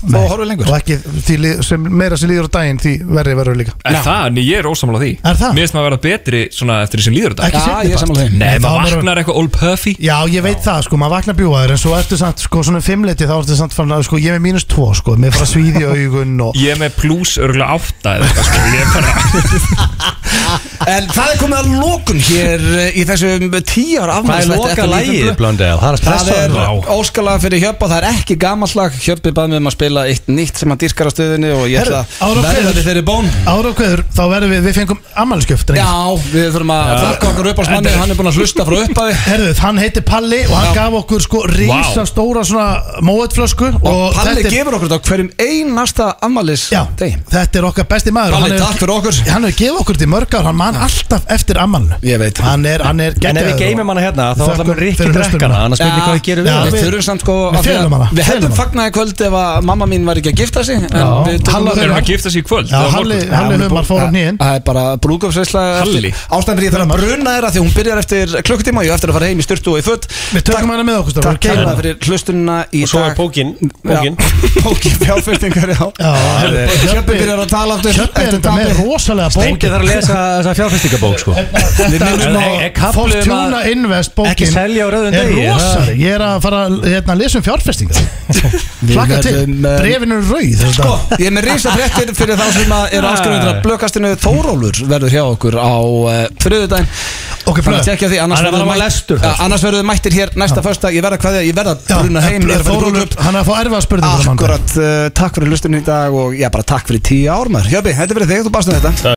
S1: Þú horfir lengur
S2: Og ekki, því li- sem meira sem líður á daginn því verri verður líka
S10: Er það, en ég er ósamála því
S2: Er það?
S10: Mér finnst maður að vera betri svona eftir því sem líður þetta
S2: Ekki seinni part.
S10: Nei,
S2: þá
S10: maður
S2: verður-
S10: vaknar eitthvað old puffy
S2: Já, ég veit það, sko, maður vaknar bjúaður en svo ertu samt, sko, svona um fimmleiti þá ertu samt fann að, sko, ég er með mínus tvo, sko mér fara svíði augun og
S10: Ég er með pluss örgulega átta eða eitthvað sko Ég er bara
S1: En það er komið að lokun hér eh, Í þessum tíu
S3: Hvað er
S1: ára afmælisvætti
S3: loka lægið, Blondel? Það er að
S1: Það
S3: stressa
S1: er
S3: þarna.
S1: óskalag fyrir Hjöpp og það er ekki gamanslag Hjöppi bað mig um að spila eitt nýtt sem hann dýrkar á stöðunni og ég ætla að verða þér þeirri bón
S2: Ára og kveður, þá verðum við, við fengum ammælisgjöft
S1: Já, við þurfum að þakka okkar upp á smanni Hann er búin að hlusta frá upphafi
S2: Herðu, hann heiti Palli og hann gaf okkur sko reysa stóra svona móetflösku og,
S1: Og Palli
S2: þetta er-
S1: gefur okkur þetta á hverjum einasta afmælis
S2: Já,
S1: degi
S2: þetta er okkar besti maður
S1: Palli,
S2: Hann hefur-
S1: takk fyrir okkur.
S2: Hann hefur gefið okkur til mörg ár, hann man alltaf eftir ammalinu
S1: Ég veit það.
S2: Hann er, hann er
S3: En ef við
S2: geggjaður
S3: geymum hana hérna, þá
S2: Þökkum
S3: ætla mér
S2: fyrir
S3: Rikki
S2: hlustunina.
S3: drekkana Annars veit ég hvað ég gerum
S2: Já,
S3: við
S1: Við
S2: við-
S1: þurfum samt sko
S2: við
S1: af því að-
S2: felum hana,
S1: Við hefðum
S2: felum hana.
S1: fagnaði kvöld ef að mamma mín var ekki að gifta sig en
S2: Já.
S1: við tókum-
S2: Halli-
S10: Þeir eru að gifta sig í kvöld
S2: Já,
S10: eða á
S2: Halli,
S10: morgun.
S2: Halli Humar fór á nýinn
S1: Það er bara brúðgöfsveisla
S10: Halli.
S1: Ástæðan fyrir ég þarf að bruna þér að því hún byrjar eftir klukkutíma og ég á eftir að fara heim í styrtu og í föt
S2: Við tökum hana með okkur strákar.
S1: Takk
S2: Kæra.
S1: hérna fyrir hlustunina í
S4: Og svo er
S1: dag
S4: pókin Pókin
S1: Pókin fjárfyrtingar, já
S2: Já, hann er-
S1: Hjöppi byrjar að tala aftur
S2: Hjöppi er
S1: eftir
S2: þetta með
S1: tapið.
S2: rosalega bókin
S3: Steindi þarf að lesa þessa fjárfestingabók, sko
S1: Við minnum á
S3: Er- er kafli um að-
S2: Fortuna Invest bókin
S3: Ekki selja á rauðum
S2: er
S3: degi,
S2: rosaleg Ég er að fara að hérna, lesa um fjárfestingar Flakka til,
S1: verðum, eh,
S2: brefin er rauð
S1: Sko, ég er með risa fréttir fyrir þá sem að
S2: Ah.
S1: eru afskrifendur að blökastinu Þórólfur verður hjá okkur á uh, þriðudaginn
S2: Ok,
S1: Þannig að
S2: blöð
S1: tekja því, annars
S3: Hann er
S1: verður
S3: bara
S1: mætt-
S3: lestur
S1: Ja, annars verður þið mættir hér næsta fösta Ég verð að kveðja, ég verð að bruna heim ég er að fara í brúðkaup.
S2: Þórólfur, hann er að fá erfa að spurða
S1: eh, Akkurat, uh, takk fyrir hlustinu í dag og já, bara takk fyrir tíu ár maður Hjöpi, þetta er fyrir þig, þú barst um þetta